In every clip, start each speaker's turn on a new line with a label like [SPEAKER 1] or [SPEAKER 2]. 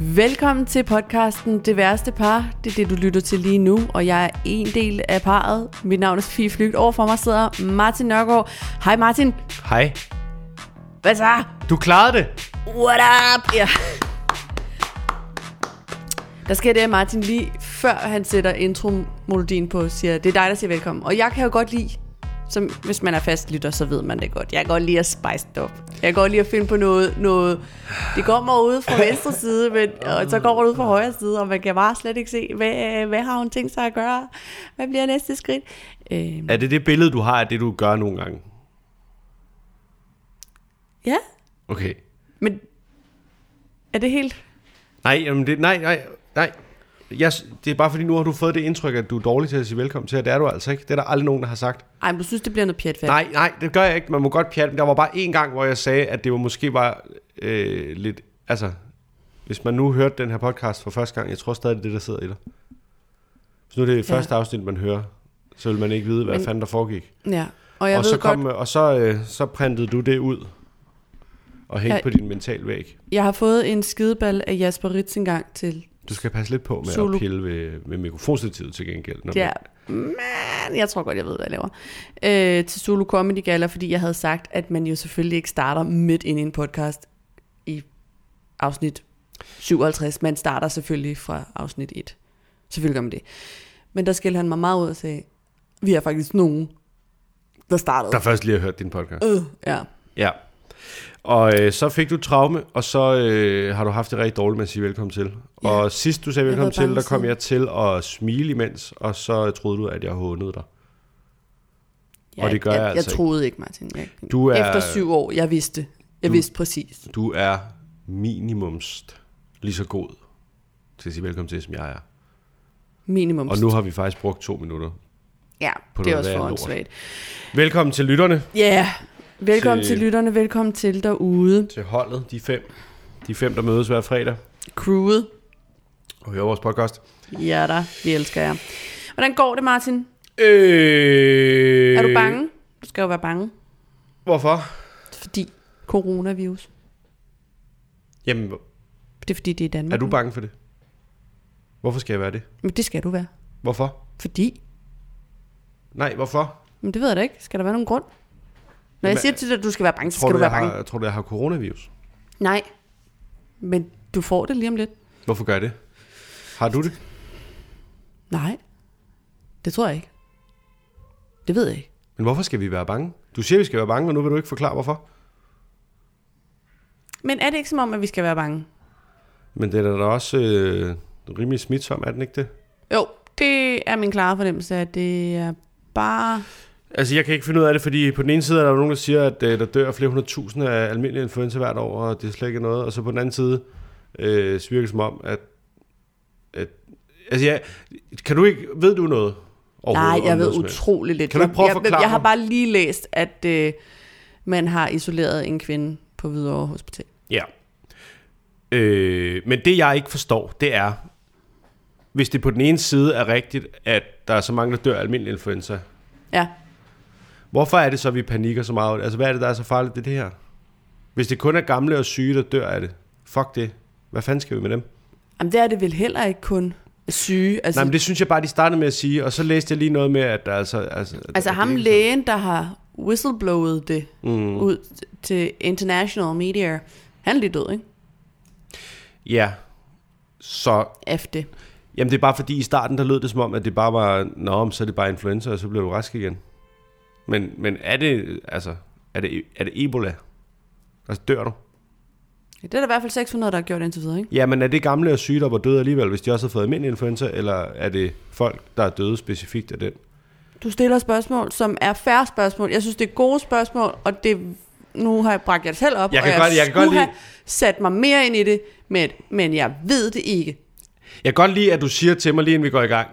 [SPEAKER 1] Velkommen til podcasten Det værste par. Det er det, du lytter til lige nu, og jeg er en del af parret. Mit navn er Sofie Flygt. Overfor mig sidder Martin Nørgaard. Hej Martin.
[SPEAKER 2] Hej.
[SPEAKER 1] Hvad så?
[SPEAKER 2] Du klarede det.
[SPEAKER 1] What up? Ja. Der sker det, at Martin lige før han sætter intromelodien på, siger, det er dig, der siger velkommen. Og jeg kan jo godt lide, som, hvis man er fastlytter, så ved man det godt. Jeg kan godt lide at spice det op. Jeg kan godt lide at finde på noget. noget. Det kommer ud fra venstre side, men, og så kommer det ud fra højre side, og man kan bare slet ikke se, hvad, hvad har hun tænkt sig at gøre? Hvad bliver næste skridt? Øh,
[SPEAKER 2] Er det det billede, du har af det, du gør nogle gange?
[SPEAKER 1] ja,
[SPEAKER 2] Okay.
[SPEAKER 1] men er det helt...
[SPEAKER 2] Nej, jamen det, nej, nej, nej. Jeg, s- det er bare fordi, nu har du fået det indtryk, at du er dårlig til at sige velkommen til, og det er du altså ikke. Det er der aldrig nogen, der har sagt.
[SPEAKER 1] Ej, men du synes, det bliver noget pjat
[SPEAKER 2] Nej, nej, det gør jeg ikke. Man må godt pjatte. men Der var bare en gang, hvor jeg sagde, at det var måske var øh, lidt... Altså, hvis man nu hørte den her podcast for første gang, jeg tror stadig, det er det, der sidder i dig. Hvis nu er det
[SPEAKER 1] Ja.
[SPEAKER 2] første afsnit, man hører, så vil man ikke vide, hvad
[SPEAKER 1] Men-
[SPEAKER 2] fanden der foregik.
[SPEAKER 1] Ja, og jeg
[SPEAKER 2] og
[SPEAKER 1] ved
[SPEAKER 2] så
[SPEAKER 1] godt...
[SPEAKER 2] kom, og så, øh, så printede du det ud og hængte
[SPEAKER 1] Jeg-
[SPEAKER 2] jeg... på din mental væg.
[SPEAKER 1] Jeg har fået en skideball af Jasper Ritz engang til.
[SPEAKER 2] Du skal passe lidt på med Solo.
[SPEAKER 1] Solo.
[SPEAKER 2] at pille ved, ved mikrofonstativet til gengæld. Når
[SPEAKER 1] Det er, men jeg tror godt, jeg ved, hvad jeg laver. Øh, til Solo Comedy Gala, fordi jeg havde sagt, at man jo selvfølgelig ikke starter midt ind i en podcast i afsnit 57. Man starter selvfølgelig fra afsnit 1. Selvfølgelig gør man det. Men der skældte han mig meget ud og sagde, vi er faktisk nogen, der startede.
[SPEAKER 2] man, der først lige har hørt din podcast.
[SPEAKER 1] Øh, ja.
[SPEAKER 2] Ja. Og øh, så fik du traume, og så øh, har du haft det rigtig dårligt med at sige velkommen til.
[SPEAKER 1] Ja.
[SPEAKER 2] Ja. Og sidst du sagde
[SPEAKER 1] Jeg
[SPEAKER 2] velkommen
[SPEAKER 1] var bange
[SPEAKER 2] til, der kom
[SPEAKER 1] siden.
[SPEAKER 2] jeg til at smile imens, og så troede du, at jeg hånede dig.
[SPEAKER 1] ja
[SPEAKER 2] Og det gør
[SPEAKER 1] jeg,
[SPEAKER 2] jeg
[SPEAKER 1] jeg
[SPEAKER 2] altså
[SPEAKER 1] troede ikke, Martin. Jeg,
[SPEAKER 2] Du er-
[SPEAKER 1] Efter syv år, jeg vidste. Jeg
[SPEAKER 2] Du-
[SPEAKER 1] vidste præcis.
[SPEAKER 2] Du er minimumst lige så god til at sige velkommen til, som jeg er.
[SPEAKER 1] Minimum.
[SPEAKER 2] Og nu har vi faktisk brugt to minutter.
[SPEAKER 1] ja,
[SPEAKER 2] på
[SPEAKER 1] det er
[SPEAKER 2] noget
[SPEAKER 1] også
[SPEAKER 2] værre lort.
[SPEAKER 1] forhåndssvagt.
[SPEAKER 2] Velkommen til lytterne.
[SPEAKER 1] Ja, yeah. velkommen til...
[SPEAKER 2] Til-
[SPEAKER 1] til lytterne, velkommen til derude.
[SPEAKER 2] til holdet, de fem. De fem, der mødes hver fredag
[SPEAKER 1] Crewet,
[SPEAKER 2] og hører vores podcast.
[SPEAKER 1] ja da, vi elsker jer. Hvordan går det, Martin?
[SPEAKER 2] Øh,
[SPEAKER 1] Er du bange? Du skal jo være bange,
[SPEAKER 2] Hvorfor?
[SPEAKER 1] fordi coronavirus.
[SPEAKER 2] Jamen,
[SPEAKER 1] Det er fordi, det er i Danmark.
[SPEAKER 2] er du bange for det? Hvorfor skal jeg være det?
[SPEAKER 1] Men det skal du være.
[SPEAKER 2] Hvorfor?
[SPEAKER 1] Fordi?
[SPEAKER 2] Nej, hvorfor?
[SPEAKER 1] Men det ved jeg da ikke. Skal der være nogen grund? Når jeg
[SPEAKER 2] Jamen,
[SPEAKER 1] siger til dig, at du skal være bange, så
[SPEAKER 2] Tror
[SPEAKER 1] skal du
[SPEAKER 2] du,
[SPEAKER 1] være
[SPEAKER 2] jeg
[SPEAKER 1] bange.
[SPEAKER 2] har, tror du, jeg har coronavirus?
[SPEAKER 1] Nej. Men du får det lige om lidt.
[SPEAKER 2] Hvorfor gør jeg det? Har du det?
[SPEAKER 1] Nej. Det tror jeg ikke. Det ved jeg ikke.
[SPEAKER 2] Men hvorfor skal vi være bange? Du siger, vi skal være bange, og nu vil du ikke forklare, hvorfor.
[SPEAKER 1] Men er det ikke som om, at vi skal være bange?
[SPEAKER 2] Men det er da også øh, rimelig smitsom, er den ikke det?
[SPEAKER 1] Jo, det er min klare fornemmelse, at det er bare...
[SPEAKER 2] Altså, jeg kan ikke finde ud af det, fordi på den ene side er der jo nogen, der siger, at øh, der dør flere hundredtusinde af almindelig influenza hvert år, og det er slet ikke noget. Og så på den anden side øh, så virker det som om, at... at altså, ja, kan du ikke... Ved du noget?
[SPEAKER 1] Nej,
[SPEAKER 2] overhovedet
[SPEAKER 1] jeg
[SPEAKER 2] om
[SPEAKER 1] ved
[SPEAKER 2] noget som helst?
[SPEAKER 1] utrolig lidt.
[SPEAKER 2] Kan du ikke prøve at
[SPEAKER 1] jeg, jeg,
[SPEAKER 2] forklare
[SPEAKER 1] jeg har
[SPEAKER 2] mig?
[SPEAKER 1] bare lige læst, at øh, man har isoleret en kvinde på Hvidovre Hospital.
[SPEAKER 2] Ja. Øh, men det, jeg ikke forstår, det er, hvis det på den ene side er rigtigt, at der er så mange, der dør af almindelig influenza,
[SPEAKER 1] Ja,
[SPEAKER 2] hvorfor er det så, at vi panikker så meget? Altså, hvad er det, der er så farligt ved det her? Hvis det kun er gamle og syge, der dør af det, fuck det. Hvad fanden skal vi med dem?
[SPEAKER 1] Jamen, det er det vel heller ikke kun syge. Altså,
[SPEAKER 2] Nej,
[SPEAKER 1] Nej,
[SPEAKER 2] men
[SPEAKER 1] det,
[SPEAKER 2] det synes jeg bare, de startede med at sige, og så læste jeg lige noget med, at der altså... Altså,
[SPEAKER 1] altså
[SPEAKER 2] at det
[SPEAKER 1] ham
[SPEAKER 2] ikke-
[SPEAKER 1] lægen, der har whistleblowet det mm. ud til international media, han er lige død, ikke?
[SPEAKER 2] Ja, så...
[SPEAKER 1] Af det.
[SPEAKER 2] Jamen, det er bare fordi, i starten, der lød det som om, at det bare var, nå, men så er det bare influenza, og så bliver du rask igen. Men, men er det, altså, er det, er det Ebola? Altså, dør du?
[SPEAKER 1] Ja, Det er der i hvert fald 600, der har gjort indtil videre, ikke?
[SPEAKER 2] Ja, men er det gamle og syge, der var døde alligevel, hvis de også havde fået almindelig influenza, eller er det folk, der er døde specifikt af den?
[SPEAKER 1] Du stiller spørgsmål, som er færre spørgsmål. Jeg synes, det er gode spørgsmål, og det, nu har jeg bragt jer selv op,
[SPEAKER 2] Jeg kan
[SPEAKER 1] og
[SPEAKER 2] godt- jeg kan
[SPEAKER 1] skulle
[SPEAKER 2] godt lide-
[SPEAKER 1] have sat mig mere ind i det, men, men jeg ved det ikke.
[SPEAKER 2] Jeg kan godt lide, at du siger til mig, lige inden vi går i gang,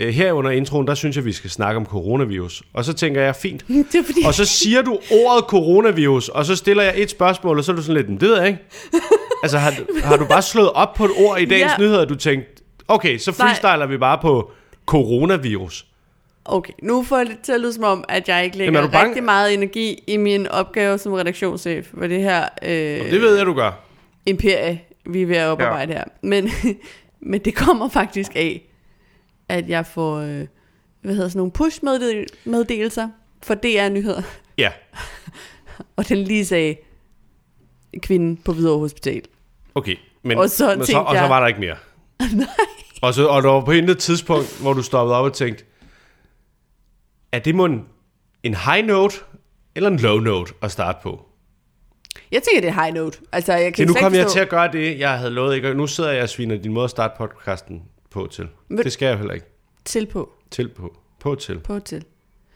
[SPEAKER 2] øh, her under introen, der synes jeg, vi skal snakke om coronavirus. Og så tænker jeg, fint,
[SPEAKER 1] Det er fordi,
[SPEAKER 2] Og så siger du ordet coronavirus, og så stiller jeg et spørgsmål, og så er du sådan lidt, "Men det ved jeg ikke. Altså, har, du- har du bare slået op på et ord i dagens
[SPEAKER 1] Ja.
[SPEAKER 2] ja. nyheder, og du tænkte, okay, så
[SPEAKER 1] Nej.
[SPEAKER 2] freestyler vi bare på coronavirus.
[SPEAKER 1] okay, nu får jeg lidt til at lyde som om, at jeg ikke lægger
[SPEAKER 2] Jamen, er
[SPEAKER 1] Jamen,
[SPEAKER 2] du bange?
[SPEAKER 1] rigtig meget energi i min opgave som redaktionschef for det her øh,
[SPEAKER 2] Det ved jeg, du gør.
[SPEAKER 1] imperie vi er ved at oparbejde ja. her. Men, men det kommer faktisk af, at jeg får øh, hvad hedder sådan nogle push-meddelelser for DR-nyheder.
[SPEAKER 2] Ja,
[SPEAKER 1] Og den lige sagde, kvinden på Hvidovre Hospital.
[SPEAKER 2] okay. Men,
[SPEAKER 1] Og så
[SPEAKER 2] men så,
[SPEAKER 1] tænkte
[SPEAKER 2] og så
[SPEAKER 1] jeg-
[SPEAKER 2] var der ikke mere. Nej. Og, så, og der var på intet tidspunkt, hvor du stoppede op og tænkte, er det mon en high note eller en low note at starte på?
[SPEAKER 1] Jeg tænker, det er high note. Altså, jeg
[SPEAKER 2] Det,
[SPEAKER 1] kan
[SPEAKER 2] nu
[SPEAKER 1] slet ikke
[SPEAKER 2] kom jeg
[SPEAKER 1] forstå-
[SPEAKER 2] til at gøre det, jeg havde lovet ikke, og nu sidder jeg og sviner din måde at starte podcasten på til.
[SPEAKER 1] Men-
[SPEAKER 2] Det skal jeg heller ikke.
[SPEAKER 1] til på.
[SPEAKER 2] Til på. På til.
[SPEAKER 1] På til.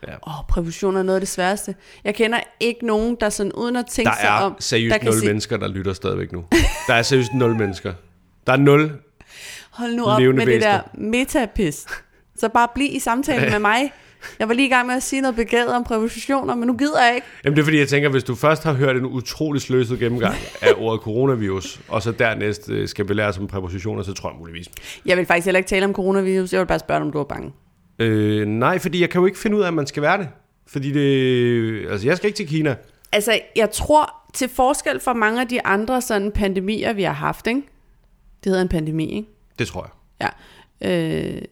[SPEAKER 2] Ja.
[SPEAKER 1] Åh, oh, prævision er noget af det sværeste. Jeg kender ikke nogen, der sådan uden at tænke
[SPEAKER 2] Der
[SPEAKER 1] sig
[SPEAKER 2] er
[SPEAKER 1] om...
[SPEAKER 2] seriøst nul
[SPEAKER 1] sige,
[SPEAKER 2] mennesker, der lytter stadigvæk nu. Der er seriøst nul mennesker. Der er nul.
[SPEAKER 1] Hold nu op
[SPEAKER 2] levende
[SPEAKER 1] med
[SPEAKER 2] væsener."
[SPEAKER 1] det der metapis. Så bare bliv i samtalen med mig. Jeg var lige i gang med at sige noget begavet om prævisioner, men nu gider jeg ikke.
[SPEAKER 2] Jamen det er fordi, jeg tænker, hvis du først har hørt en utrolig sløset gennemgang af ordet coronavirus, og så dernæst øh, skal belære som præpositioner, så tror jeg muligvis.
[SPEAKER 1] Jeg vil faktisk heller ikke tale om coronavirus. Jeg vil bare spørge, om du var bange.
[SPEAKER 2] Øh, nej, fordi jeg kan jo ikke finde ud af, at man skal være det. Fordi det... Altså, jeg skal ikke til Kina.
[SPEAKER 1] Altså, jeg tror, til forskel fra mange af de andre sådan pandemier, vi har haft, ikke? Det hedder en pandemi, ikke?
[SPEAKER 2] Det tror jeg.
[SPEAKER 1] Ja. Øh,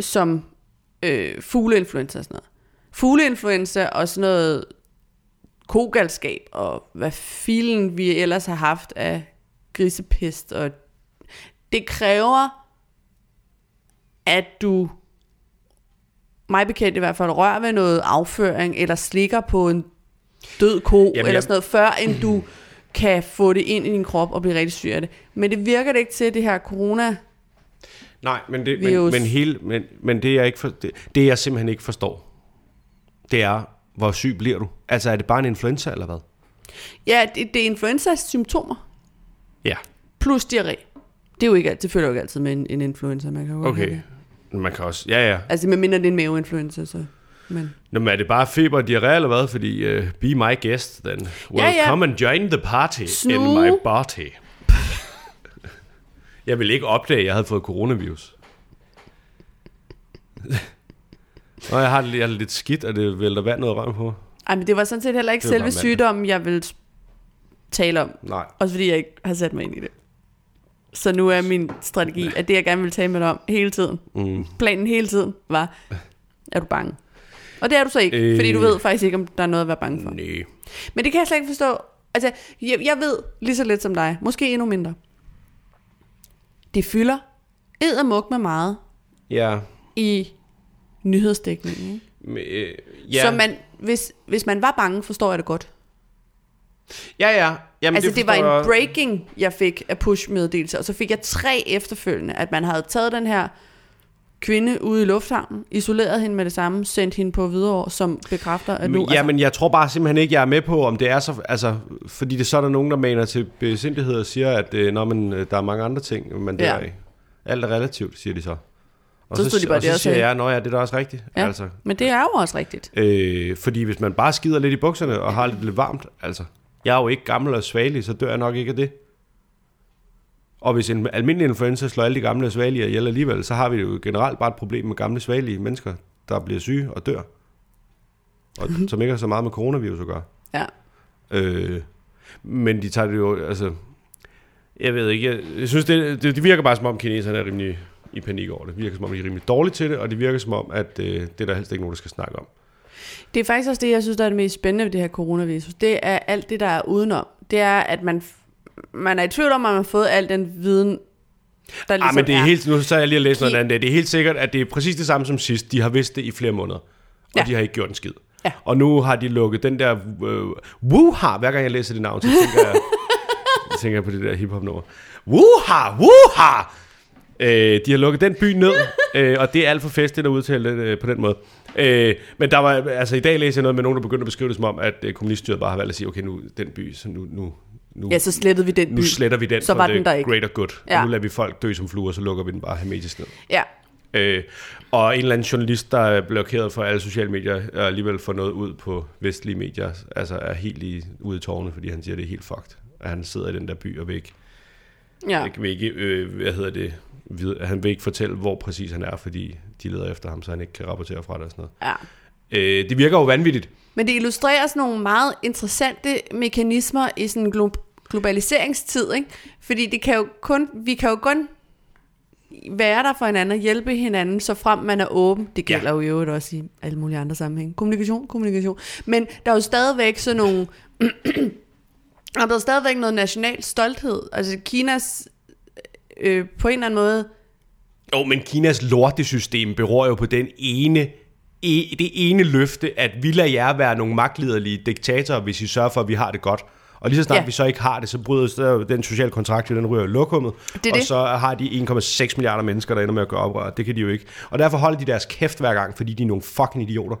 [SPEAKER 1] som øh, fugleinfluenza og sådan noget. Fugleinfluenza og sådan noget kogalskab og hvad filen vi ellers har haft af grisepest. Og det kræver, at du mig bekendt i hvert fald rører ved noget afføring eller slikker på en død ko Jamen, eller
[SPEAKER 2] jeg-
[SPEAKER 1] sådan noget, før end du kan få det ind i din krop og blive rigtig syg af det. Men det virker det ikke til, det her corona...
[SPEAKER 2] Nej, men det, men,
[SPEAKER 1] Virus.
[SPEAKER 2] men, hele, men, men det, jeg ikke for, det, det, jeg simpelthen ikke forstår, det er, hvor syg bliver du? Altså, er det bare en influenza eller hvad?
[SPEAKER 1] Ja, det, det er influenzas symptomer
[SPEAKER 2] Ja,
[SPEAKER 1] plus diarré. Det, er jo ikke, alt- det følger jo ikke altid med en, en influenza, man kan jo godt have
[SPEAKER 2] okay.
[SPEAKER 1] det.
[SPEAKER 2] Man kan også... Ja, ja.
[SPEAKER 1] Altså, med mindre det er en maveinfluenza, så... Men,
[SPEAKER 2] Nå, men er det bare feber og diarré eller hvad? Fordi uh, be my guest, then. Welcome ja, ja. and join the party in
[SPEAKER 1] Snu.
[SPEAKER 2] my body. jeg ville ikke opdage, at jeg havde fået coronavirus. Nå, jeg har, det, jeg har det lidt skidt, og det vælter vand noget røm på.
[SPEAKER 1] ej, men det var sådan set heller ikke
[SPEAKER 2] Det var bare
[SPEAKER 1] selve
[SPEAKER 2] mandag.
[SPEAKER 1] sygdommen, jeg ville s- tale om.
[SPEAKER 2] Nej.
[SPEAKER 1] Også fordi jeg ikke har sat mig ind i det. Så nu er min strategi, at det, jeg gerne vil tale med dig om hele tiden,
[SPEAKER 2] Mm.
[SPEAKER 1] planen hele tiden, var, er du bange? Og det er du så ikke, øh. fordi du
[SPEAKER 2] Øh.
[SPEAKER 1] ved faktisk ikke, om der er noget at være bange for.
[SPEAKER 2] Nej.
[SPEAKER 1] Men det kan jeg slet ikke forstå. Altså, jeg, jeg ved lige så lidt som dig. Måske endnu mindre. Det fylder eddermuk med meget
[SPEAKER 2] Ja.
[SPEAKER 1] i nyhedsdækningen. ikke?
[SPEAKER 2] Men, øh, ja.
[SPEAKER 1] Så man, hvis, hvis man var bange, forstår jeg det godt.
[SPEAKER 2] ja, ja. Jamen,
[SPEAKER 1] altså, det, det var
[SPEAKER 2] forstår
[SPEAKER 1] en
[SPEAKER 2] jeg.
[SPEAKER 1] breaking, jeg fik af push-meddelelser, og så fik jeg tre efterfølgende, at man havde taget den her kvinde ude i lufthavnen, isoleret hende med det samme, sendt hende på videre, som bekræfter, at nu...
[SPEAKER 2] Men, ja, men jeg tror bare simpelthen ikke, jeg er med på, om det er så... Altså, fordi det så er der nogen, der maner til besindighed og siger, at øh, nå, men, øh, der er mange andre ting, man dør
[SPEAKER 1] Ja.
[SPEAKER 2] ja. i. Alt er relativt, siger de så. Og
[SPEAKER 1] Så stod de bare
[SPEAKER 2] og
[SPEAKER 1] der
[SPEAKER 2] så
[SPEAKER 1] og
[SPEAKER 2] siger
[SPEAKER 1] sagde-
[SPEAKER 2] jeg, nå ja, det er da også rigtigt. Ja. Altså,
[SPEAKER 1] men det er jo også rigtigt.
[SPEAKER 2] øh, fordi hvis man bare skider lidt i bukserne og har lidt, lidt varmt, altså... Jeg er jo ikke gammel og svagelig, så dør jeg nok ikke af det. Og hvis en almindelig influenza slår alle de gamle og svagelige ihjel alligevel, så har vi jo generelt bare et problem med gamle svagelige mennesker, der bliver syge og dør. Og som ikke har så meget med coronavirus at gøre.
[SPEAKER 1] Ja.
[SPEAKER 2] Øh, men de tager det jo, altså... Jeg ved ikke, jeg, jeg synes, det, det, det virker bare som om, kineserne er rimelig i panik over det. Det virker som om, de er rimelig dårlige til det, og det virker som om, at øh, det er der helst ikke nogen, der skal snakke om.
[SPEAKER 1] Det er faktisk også det, jeg synes, der er det mest spændende ved det her coronavirus. Det er alt det, der er udenom. Det er, at man, man er i tvivl om, at man har fået al den viden, der ligesom
[SPEAKER 2] Ah, men det er
[SPEAKER 1] er.
[SPEAKER 2] helt, nu så jeg lige at læse noget
[SPEAKER 1] Ki-
[SPEAKER 2] andet. dag. Det er helt sikkert, at det er præcis det samme som sidst. De har vidst det i flere måneder, og
[SPEAKER 1] Ja.
[SPEAKER 2] ja. de har ikke gjort en skid.
[SPEAKER 1] Ja.
[SPEAKER 2] Og nu har de lukket den der øh, Wuha, hver gang jeg læser det navn, så tænker jeg, så tænker jeg på det der hiphop nummer. Wuha, Wuha! Øh, de har lukket den by ned, øh, og det er alt for festligt at udtale det øh, på den måde. Øh, men der var, altså i dag læser jeg noget med nogen, der begyndte at beskrive det som om, at øh, kommuniststyret bare har valgt at sige, okay, nu den by, så nu, nu, nu
[SPEAKER 1] Ja, så slettede vi den by.
[SPEAKER 2] nu sletter vi den
[SPEAKER 1] Så
[SPEAKER 2] for
[SPEAKER 1] var
[SPEAKER 2] the
[SPEAKER 1] den der ikke.
[SPEAKER 2] greater good. Ja.
[SPEAKER 1] Ja.
[SPEAKER 2] Og nu lader vi folk dø som fluer, så lukker vi den bare hermetisk ned.
[SPEAKER 1] Ja.
[SPEAKER 2] Øh, og en eller anden journalist, der er blokeret for alle sociale medier, og alligevel får noget ud på vestlige medier, altså er helt i, ude i tårne, fordi han siger, det er helt fucked. At han sidder i den der by og vil ikke,
[SPEAKER 1] ja.
[SPEAKER 2] ja. vil ikke øh, hvad hedder det, vid, han vil ikke fortælle, hvor præcis han er, fordi de leder efter ham, så han ikke kan rapportere fra det og sådan noget.
[SPEAKER 1] ja.
[SPEAKER 2] Øh, det virker jo vanvittigt.
[SPEAKER 1] Men det illustrerer sådan nogle meget interessante mekanismer i sådan glo- globaliseringstid, ikke? Fordi det kan jo kun, vi kan jo kun være der for hinanden og hjælpe hinanden, så frem man er åben. Det
[SPEAKER 2] Ja.
[SPEAKER 1] gælder ja. jo i øvrigt også i alle mulige andre sammenhænge. Kommunikation, kommunikation. Men der er jo stadigvæk sådan nogle... der er blevet stadigvæk noget national stolthed. Altså Kinas øh, på en eller anden måde...
[SPEAKER 2] Jo, men Kinas lortesystem beror jo på den ene, e, det ene løfte, at vi lader jer være nogle magtliderlige diktatorer, hvis I sørger for, at vi har det godt. Og lige så snart
[SPEAKER 1] Ja.
[SPEAKER 2] ja. vi så ikke har det, så bryder så den sociale kontrakt, jo, den ryger i lokummet.
[SPEAKER 1] Det er
[SPEAKER 2] og
[SPEAKER 1] det.
[SPEAKER 2] så har de 1,6 milliarder mennesker, der ender med at gøre oprør. Det kan de jo ikke. Og derfor holder de deres kæft hver gang, fordi de er nogle fucking idioter.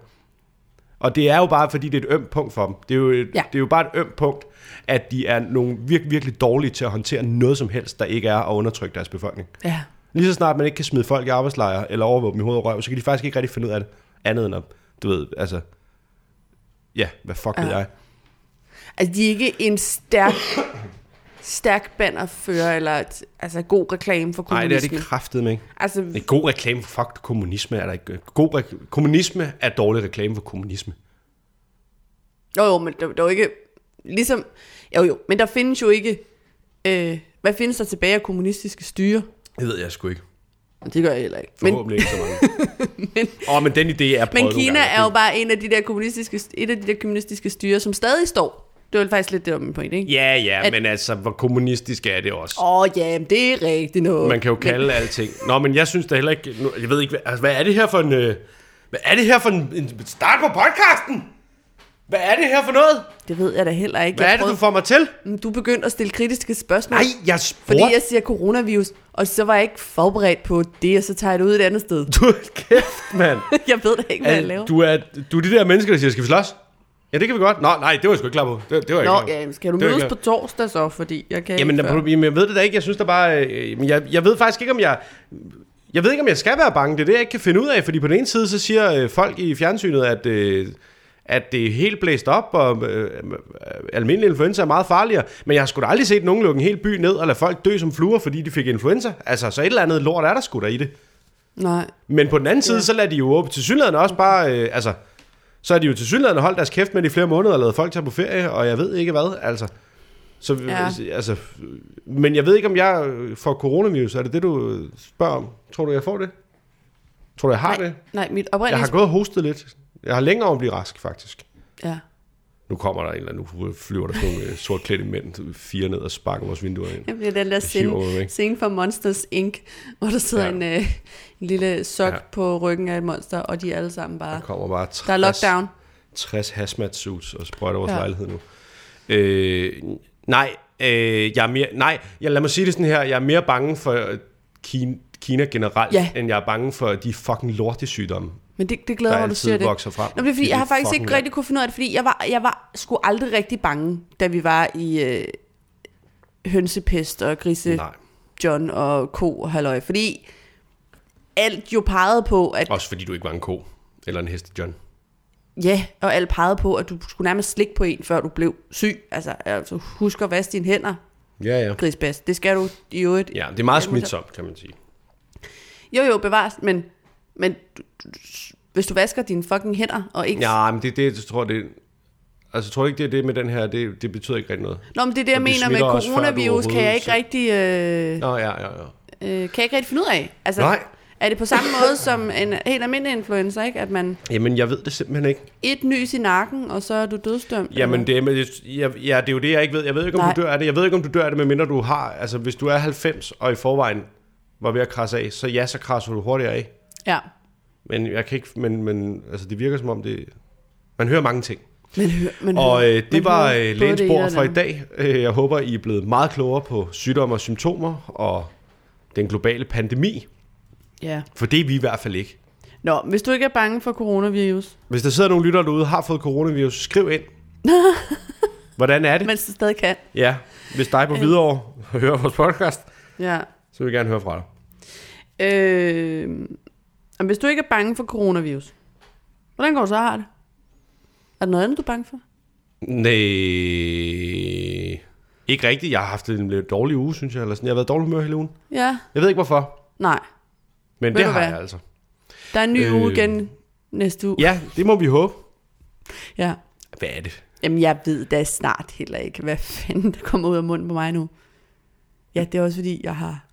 [SPEAKER 2] Og det er jo bare, fordi det er et ømt punkt for dem. Det er jo, et,
[SPEAKER 1] Ja.
[SPEAKER 2] ja. det er jo bare et ømt punkt, at de er nogle virke, virkelig dårlige til at håndtere noget som helst, der ikke er at undertrykke deres befolkning.
[SPEAKER 1] Ja.
[SPEAKER 2] Lige så snart man ikke kan smide folk i arbejdslejre eller overvåge dem i hovedet og røv, så kan de faktisk ikke rigtig finde ud af det. Andet end at, du ved, altså... Ja, hvad fuck ved
[SPEAKER 1] Ja.
[SPEAKER 2] jeg?
[SPEAKER 1] Altså, de er ikke en stærk, stærk bannerfører, eller et, altså, god reklame for
[SPEAKER 2] Nej, det er
[SPEAKER 1] kommunismen.
[SPEAKER 2] det kraftedeme, ikke?
[SPEAKER 1] Altså,
[SPEAKER 2] En god reklame for fuck kommunisme er der ikke. God re- kommunisme er dårlig reklame for kommunisme.
[SPEAKER 1] jo, jo, men der, der er jo ikke... Ligesom, jo, jo, men der findes jo ikke... Øh, hvad findes der tilbage af kommunistiske styre?
[SPEAKER 2] Det ved jeg sgu ikke.
[SPEAKER 1] Det gør jeg heller ikke. Men,
[SPEAKER 2] Forhåbentlig ikke så mange. Åh, oh, men den idé er prøvet
[SPEAKER 1] men
[SPEAKER 2] nogle
[SPEAKER 1] Kina
[SPEAKER 2] gange.
[SPEAKER 1] er jo bare en af de der kommunistiske, et af de der kommunistiske styre, som stadig står. Det var faktisk lidt det, der var min pointe, ikke?
[SPEAKER 2] Ja, ja,
[SPEAKER 1] at-
[SPEAKER 2] men altså, hvor kommunistisk er det også?
[SPEAKER 1] Åh, oh, ja, men det er rigtigt noget.
[SPEAKER 2] Man kan jo kalde men... alting. Nå, men jeg synes da heller ikke... Nu, jeg ved ikke, hvad, altså, hvad er det her for en... Øh, hvad er det her for en, en... Start på podcasten! Hvad er det her for noget?
[SPEAKER 1] Det ved jeg da heller ikke.
[SPEAKER 2] Hvad
[SPEAKER 1] Jeg
[SPEAKER 2] er det, du
[SPEAKER 1] prøvede-
[SPEAKER 2] får mig til?
[SPEAKER 1] Men Du begyndte at stille kritiske spørgsmål.
[SPEAKER 2] Nej, jeg
[SPEAKER 1] Fordi
[SPEAKER 2] spurgte...
[SPEAKER 1] jeg siger coronavirus, og så var jeg ikke forberedt på det, og så tager jeg det ud et andet sted.
[SPEAKER 2] Du er kæft, mand.
[SPEAKER 1] Jeg ved da ikke, hvad jeg laver.
[SPEAKER 2] Al- du, er, du er de der mennesker, der siger, skal vi slås? Ja, det kan vi godt. Nå, nej, det var jeg sgu ikke klar på. Det, det var jeg
[SPEAKER 1] Nå,
[SPEAKER 2] ikke klar på.
[SPEAKER 1] ja, men skal du
[SPEAKER 2] Det var jeg
[SPEAKER 1] mødes
[SPEAKER 2] ikke
[SPEAKER 1] på torsdag så, fordi jeg kan
[SPEAKER 2] Jamen,
[SPEAKER 1] ikke
[SPEAKER 2] der,
[SPEAKER 1] før.
[SPEAKER 2] jamen, jeg ved det da ikke. Jeg synes der bare... Øh, men jeg, jeg ved faktisk ikke, om jeg... Jeg ved ikke, om jeg skal være bange. Det er det, jeg ikke kan finde ud af. Fordi på den ene side, så siger øh, folk i fjernsynet, at, øh, at det er helt blæst op, og øh, øh, almindelig influenza er meget farligere. Men jeg har sgu da aldrig set nogen lukke en hel by ned og lade folk dø som fluer, fordi de fik influenza. Altså, så et eller andet lort er der sgu da i det.
[SPEAKER 1] Nej.
[SPEAKER 2] Men på den anden side, ja. så lader de jo åbent til synligheden også bare... Øh, altså, så har de jo til synligheden holdt deres kæft med i flere måneder og lavet folk tage på ferie, og jeg ved ikke hvad, altså. Så,
[SPEAKER 1] Ja.
[SPEAKER 2] ja. altså, men jeg ved ikke, om jeg øh, får coronavirus. Er det det, du øh, spørger om? Tror du, jeg får det? Tror du, jeg har
[SPEAKER 1] Nej,
[SPEAKER 2] det?
[SPEAKER 1] nej, mit
[SPEAKER 2] Jeg
[SPEAKER 1] oprindelige...
[SPEAKER 2] har gået og hostet lidt. Jeg har længere om at blive rask, faktisk.
[SPEAKER 1] Ja.
[SPEAKER 2] Nu kommer der en eller anden, nu flyver der sådan nogle øh, sortklædte mænd fire ned og sparker vores vinduer ind.
[SPEAKER 1] Jeg bliver den der
[SPEAKER 2] hiver ud,
[SPEAKER 1] scene,
[SPEAKER 2] ikke?
[SPEAKER 1] scene fra Monsters Inc., hvor der sidder ja.
[SPEAKER 2] Ja.
[SPEAKER 1] en, øh, en lille sok ja.
[SPEAKER 2] Ja.
[SPEAKER 1] på ryggen af et monster, og de er alle sammen bare...
[SPEAKER 2] Der kommer bare
[SPEAKER 1] Der er
[SPEAKER 2] 60
[SPEAKER 1] lockdown.
[SPEAKER 2] 60 hazmat suits og sprøjter vores
[SPEAKER 1] Ja.
[SPEAKER 2] ja. lejlighed nu. Øh, nej, øh, jeg er mere, nej jeg, lad mig sige det sådan her. Jeg er mere bange for øh, Kina, Kina generelt,
[SPEAKER 1] Ja.
[SPEAKER 2] ja. end jeg er bange for de fucking lortesygdomme,
[SPEAKER 1] Men det, det
[SPEAKER 2] der
[SPEAKER 1] glæder mig, at du
[SPEAKER 2] altid
[SPEAKER 1] siger det.
[SPEAKER 2] vokser frem.
[SPEAKER 1] Nå, det er fordi,
[SPEAKER 2] i
[SPEAKER 1] jeg har
[SPEAKER 2] det
[SPEAKER 1] faktisk
[SPEAKER 2] fucking
[SPEAKER 1] ikke rigtig kunne finde ud af det, fordi jeg var, jeg var sgu aldrig rigtig bange, da vi var i øh, hønsepest og grise
[SPEAKER 2] land. Nej,
[SPEAKER 1] John og ko og halløj, fordi alt jo pegede på, at
[SPEAKER 2] også fordi du ikke var en ko eller en hest, John.
[SPEAKER 1] ja, og alt pegede på, at du skulle nærmest slikke på en, før du blev syg. Altså, altså husk at vaske dine hænder,
[SPEAKER 2] Ja, ja.
[SPEAKER 1] grisbas. Det skal du i øvrigt.
[SPEAKER 2] Ja, det
[SPEAKER 1] Ja,
[SPEAKER 2] er meget
[SPEAKER 1] men så-
[SPEAKER 2] smitsomt, kan man sige.
[SPEAKER 1] Jo, jo, bevares, men, men du, du, hvis du vasker dine fucking hænder og ikke...
[SPEAKER 2] Ja, men det, det jeg tror det Altså, jeg tror ikke, det er det med den her, det, det betyder ikke rigtig noget.
[SPEAKER 1] Nå, men det er det, jeg
[SPEAKER 2] Og det
[SPEAKER 1] mener med
[SPEAKER 2] smitter også, før du
[SPEAKER 1] coronavirus, kan jeg
[SPEAKER 2] overhovedet
[SPEAKER 1] ikke
[SPEAKER 2] selv-
[SPEAKER 1] rigtig... Øh,
[SPEAKER 2] Nå, ja, ja, ja.
[SPEAKER 1] øh, kan jeg ikke rigtig finde ud af. Altså,
[SPEAKER 2] Nej.
[SPEAKER 1] Er det på samme måde som en helt almindelig influenza, ikke? At man
[SPEAKER 2] Jamen, jeg ved det simpelthen ikke.
[SPEAKER 1] et nys i nakken, og så er du dødsdømt.
[SPEAKER 2] Jamen, det, er- men det- ja, ja, det er jo det, jeg ikke ved. Jeg ved ikke, om
[SPEAKER 1] Nej.
[SPEAKER 2] Nej. du dør af det. Jeg ved ikke, om du dør af det, medmindre du har... Altså, hvis du er 90 og i forvejen var ved at krasse af, så ja, så krasser du hurtigere af.
[SPEAKER 1] Ja.
[SPEAKER 2] Men jeg kan ikke... Men, men altså, det virker som om det... Man hører mange ting.
[SPEAKER 1] Men hør, men
[SPEAKER 2] Og
[SPEAKER 1] hør,
[SPEAKER 2] øh,
[SPEAKER 1] men
[SPEAKER 2] det var
[SPEAKER 1] hør, både
[SPEAKER 2] øh, lægens
[SPEAKER 1] det ene
[SPEAKER 2] bord
[SPEAKER 1] og
[SPEAKER 2] fra i
[SPEAKER 1] det andet.
[SPEAKER 2] dag. Øh, Jeg håber, I er blevet meget klogere på sygdomme og symptomer og den globale pandemi.
[SPEAKER 1] Ja.
[SPEAKER 2] For det er vi i hvert fald ikke.
[SPEAKER 1] Nå, hvis du ikke er bange for coronavirus,
[SPEAKER 2] Hvis der sidder nogle lyttere derude, har fået coronavirus, skriv ind. Hvordan er det?
[SPEAKER 1] mens du stadig kan.
[SPEAKER 2] Ja, hvis dig på
[SPEAKER 1] Øh.
[SPEAKER 2] Hvidovre hører vores podcast,
[SPEAKER 1] Ja.
[SPEAKER 2] så vil jeg gerne høre fra dig.
[SPEAKER 1] Øh, og hvis du ikke er bange for coronavirus, hvordan går du så har det? Er der noget andet, du er bange for?
[SPEAKER 2] Nej, ikke rigtigt. Jeg har haft en lidt dårlig uge, synes jeg. Eller sådan. Jeg har været i dårlig humør hele ugen.
[SPEAKER 1] Ja.
[SPEAKER 2] Jeg ved ikke hvorfor,
[SPEAKER 1] Nej.
[SPEAKER 2] men
[SPEAKER 1] Ved
[SPEAKER 2] det
[SPEAKER 1] du
[SPEAKER 2] har
[SPEAKER 1] hvad?
[SPEAKER 2] jeg altså.
[SPEAKER 1] Der er en ny øh, uge
[SPEAKER 2] Øh.
[SPEAKER 1] igen næste uge.
[SPEAKER 2] Ja, det må vi håbe.
[SPEAKER 1] ja.
[SPEAKER 2] Hvad er det?
[SPEAKER 1] Jamen, jeg ved da snart heller ikke, hvad fanden der kommer ud af munden på mig nu. Ja, det er også fordi, jeg har,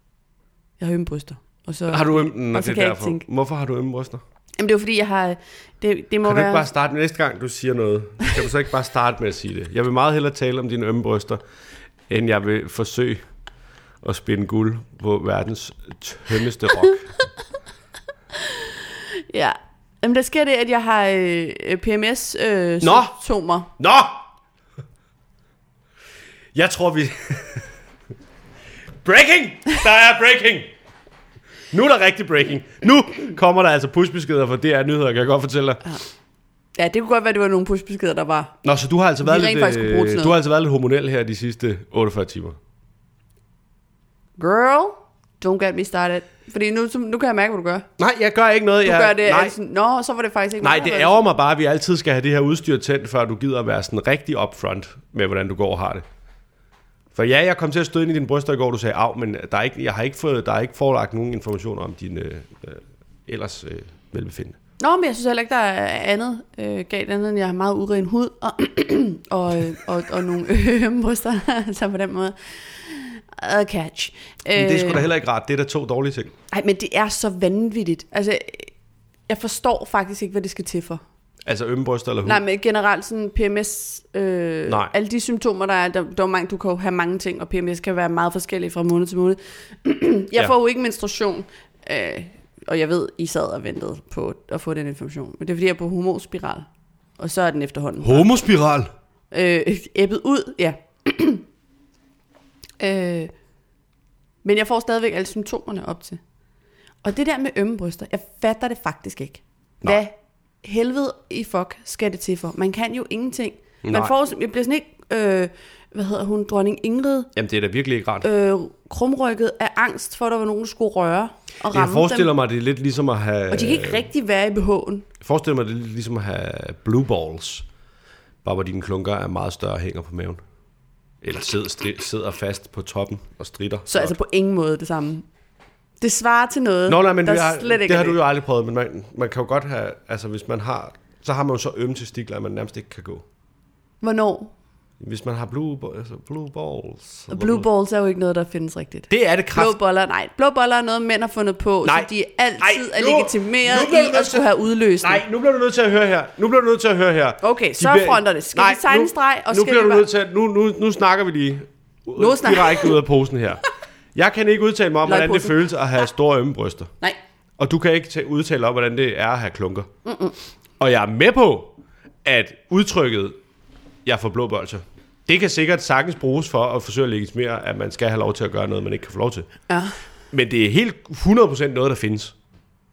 [SPEAKER 1] jeg har ømme bryster. Og så,
[SPEAKER 2] Har du ømt den,
[SPEAKER 1] og så
[SPEAKER 2] det
[SPEAKER 1] kan
[SPEAKER 2] er
[SPEAKER 1] jeg ikke
[SPEAKER 2] derfor?
[SPEAKER 1] tænke.
[SPEAKER 2] Hvorfor har du ømme bryster?
[SPEAKER 1] Jamen, det er jo fordi, jeg har... Det, det må
[SPEAKER 2] Kan du
[SPEAKER 1] være...
[SPEAKER 2] ikke bare starte næste gang, du siger noget? Kan du så ikke bare starte med at sige det? Jeg vil meget hellere tale om dine ømme bryster, end jeg vil forsøge at spinde guld på verdens tyndeste rock.
[SPEAKER 1] Ja. Jamen, der sker det, at jeg har øh, PMS-symptomer. Øh,
[SPEAKER 2] Nå! Jeg tror, vi... breaking! Der er breaking! Nu er der rigtig breaking. Nu kommer der altså pushbeskeder fra DR Nyheder, kan jeg godt fortælle dig.
[SPEAKER 1] Ja, det kunne godt være, det var nogle pushbeskeder, der var.
[SPEAKER 2] Nå, så du har altså været,
[SPEAKER 1] rent
[SPEAKER 2] lidt,
[SPEAKER 1] faktisk kunne bruge til
[SPEAKER 2] øh,
[SPEAKER 1] noget.
[SPEAKER 2] du har altså været lidt hormonel her de sidste 48 timer.
[SPEAKER 1] Girl, don't get me started. Fordi nu, så- nu kan jeg mærke, hvad du gør. Du
[SPEAKER 2] Nej, jeg gør ikke noget.
[SPEAKER 1] ja,
[SPEAKER 2] jeg,
[SPEAKER 1] gør det,
[SPEAKER 2] nej,
[SPEAKER 1] nej. Sådan, Nå, så var det faktisk ikke
[SPEAKER 2] Nej,
[SPEAKER 1] mig, der
[SPEAKER 2] det
[SPEAKER 1] var
[SPEAKER 2] ærger mig bare, at vi altid skal have det her udstyr tændt, før du gider at være sådan rigtig upfront med, hvordan du går og har det. For ja, jeg kom til at støde ind i din bryster i går, du sagde, af, men der er ikke, jeg har ikke, fået, der er ikke forelagt nogen information om din øh, øh, ellers øh, velbefindende.
[SPEAKER 1] Nå, men jeg synes heller ikke, der er andet øh, galt andet, end jeg har meget uren hud og, og, øh, og, og nogle ømme bryster, så på den måde. Og catch.
[SPEAKER 2] Men det er sgu
[SPEAKER 1] Øh,
[SPEAKER 2] da heller ikke rart. Det er da to dårlige ting.
[SPEAKER 1] Ej, men det er så vanvittigt. Altså, øh, jeg forstår faktisk ikke, hvad det skal til for.
[SPEAKER 2] Altså ømme bryster eller hud.
[SPEAKER 1] Nej, men generelt sådan PMS, øh,
[SPEAKER 2] Nej.
[SPEAKER 1] alle de symptomer, der er, der, der er mange, du kan jo have mange ting, og PMS kan være meget forskellige fra måned til måned. jeg
[SPEAKER 2] Ja.
[SPEAKER 1] ja. får jo ikke menstruation, øh, og jeg ved, I sad og ventede på at få den information, men det er fordi, jeg er på hormonspiral, og så er den efterhånden
[SPEAKER 2] Homospiral.
[SPEAKER 1] øh, æbbet ud, ja. øh, men jeg får stadigvæk alle symptomerne op til. Og det der med ømme bryster, jeg fatter det faktisk ikke.
[SPEAKER 2] Nej.
[SPEAKER 1] Hvad helvede i fuck skal det til for? Man kan jo ingenting. Man
[SPEAKER 2] Nej.
[SPEAKER 1] får, sim- jeg bliver sådan ikke, øh, hvad hedder hun, dronning Ingrid,
[SPEAKER 2] Jamen, det er da virkelig ikke rart.
[SPEAKER 1] øh, krumrykket af angst for, at der var nogen, der skulle røre og
[SPEAKER 2] jeg
[SPEAKER 1] ramme
[SPEAKER 2] forestiller
[SPEAKER 1] dem.
[SPEAKER 2] mig, det er lidt ligesom at have...
[SPEAKER 1] Og de kan ikke rigtig være i BH'en.
[SPEAKER 2] Jeg forestiller mig, det er lidt ligesom at have blue balls. Bare hvor dine klunker er meget større og hænger på maven. Eller sidder, stri- sidder fast på toppen og stritter.
[SPEAKER 1] Så altså på ingen måde det samme. Det svarer til noget,
[SPEAKER 2] Nå, nej, men
[SPEAKER 1] der
[SPEAKER 2] vi har,
[SPEAKER 1] slet ikke
[SPEAKER 2] det
[SPEAKER 1] er
[SPEAKER 2] har du jo aldrig prøvet, men man, man kan jo godt have... Altså, hvis man har... Så har man jo så ømme testikler, at man nærmest ikke kan gå.
[SPEAKER 1] Hvornår
[SPEAKER 2] Hvis man har blue, ba- altså blue balls...
[SPEAKER 1] Og blue balls er jo ikke noget, der findes rigtigt.
[SPEAKER 2] Det er det kraft...
[SPEAKER 1] Blå boller, nej. Blå boller er noget, mænd har fundet på,
[SPEAKER 2] Nej.
[SPEAKER 1] så de altid
[SPEAKER 2] Nej,
[SPEAKER 1] er
[SPEAKER 2] nu-
[SPEAKER 1] legitimeret
[SPEAKER 2] nu bliver du
[SPEAKER 1] i
[SPEAKER 2] nødt
[SPEAKER 1] at
[SPEAKER 2] til-
[SPEAKER 1] skulle have udløsning.
[SPEAKER 2] Nej, nu bliver du nødt til at høre her. Nu bliver du nødt til at høre her.
[SPEAKER 1] Okay, så
[SPEAKER 2] bliver-
[SPEAKER 1] fronter det. Skal vi tegne en streg, og
[SPEAKER 2] nu
[SPEAKER 1] skal
[SPEAKER 2] bliver
[SPEAKER 1] vi
[SPEAKER 2] du
[SPEAKER 1] bare-
[SPEAKER 2] nødt til at, nu, nu, nu snakker vi lige nu
[SPEAKER 1] snakker-
[SPEAKER 2] direkte ud af posen her. Jeg kan ikke udtale mig om, hvordan det
[SPEAKER 1] Løgposen.
[SPEAKER 2] føles at have store ømme bryster.
[SPEAKER 1] nej.
[SPEAKER 2] Og du kan ikke tage, udtale dig om, hvordan det er at have klunker. Mm-mm. Og jeg er med på, at udtrykket, jeg får blå bolcher, det kan sikkert sagtens bruges for at forsøge at legitimere, at man skal have lov til at gøre noget, man ikke kan få lov til.
[SPEAKER 1] Ja.
[SPEAKER 2] Men det er helt 100% noget, der findes.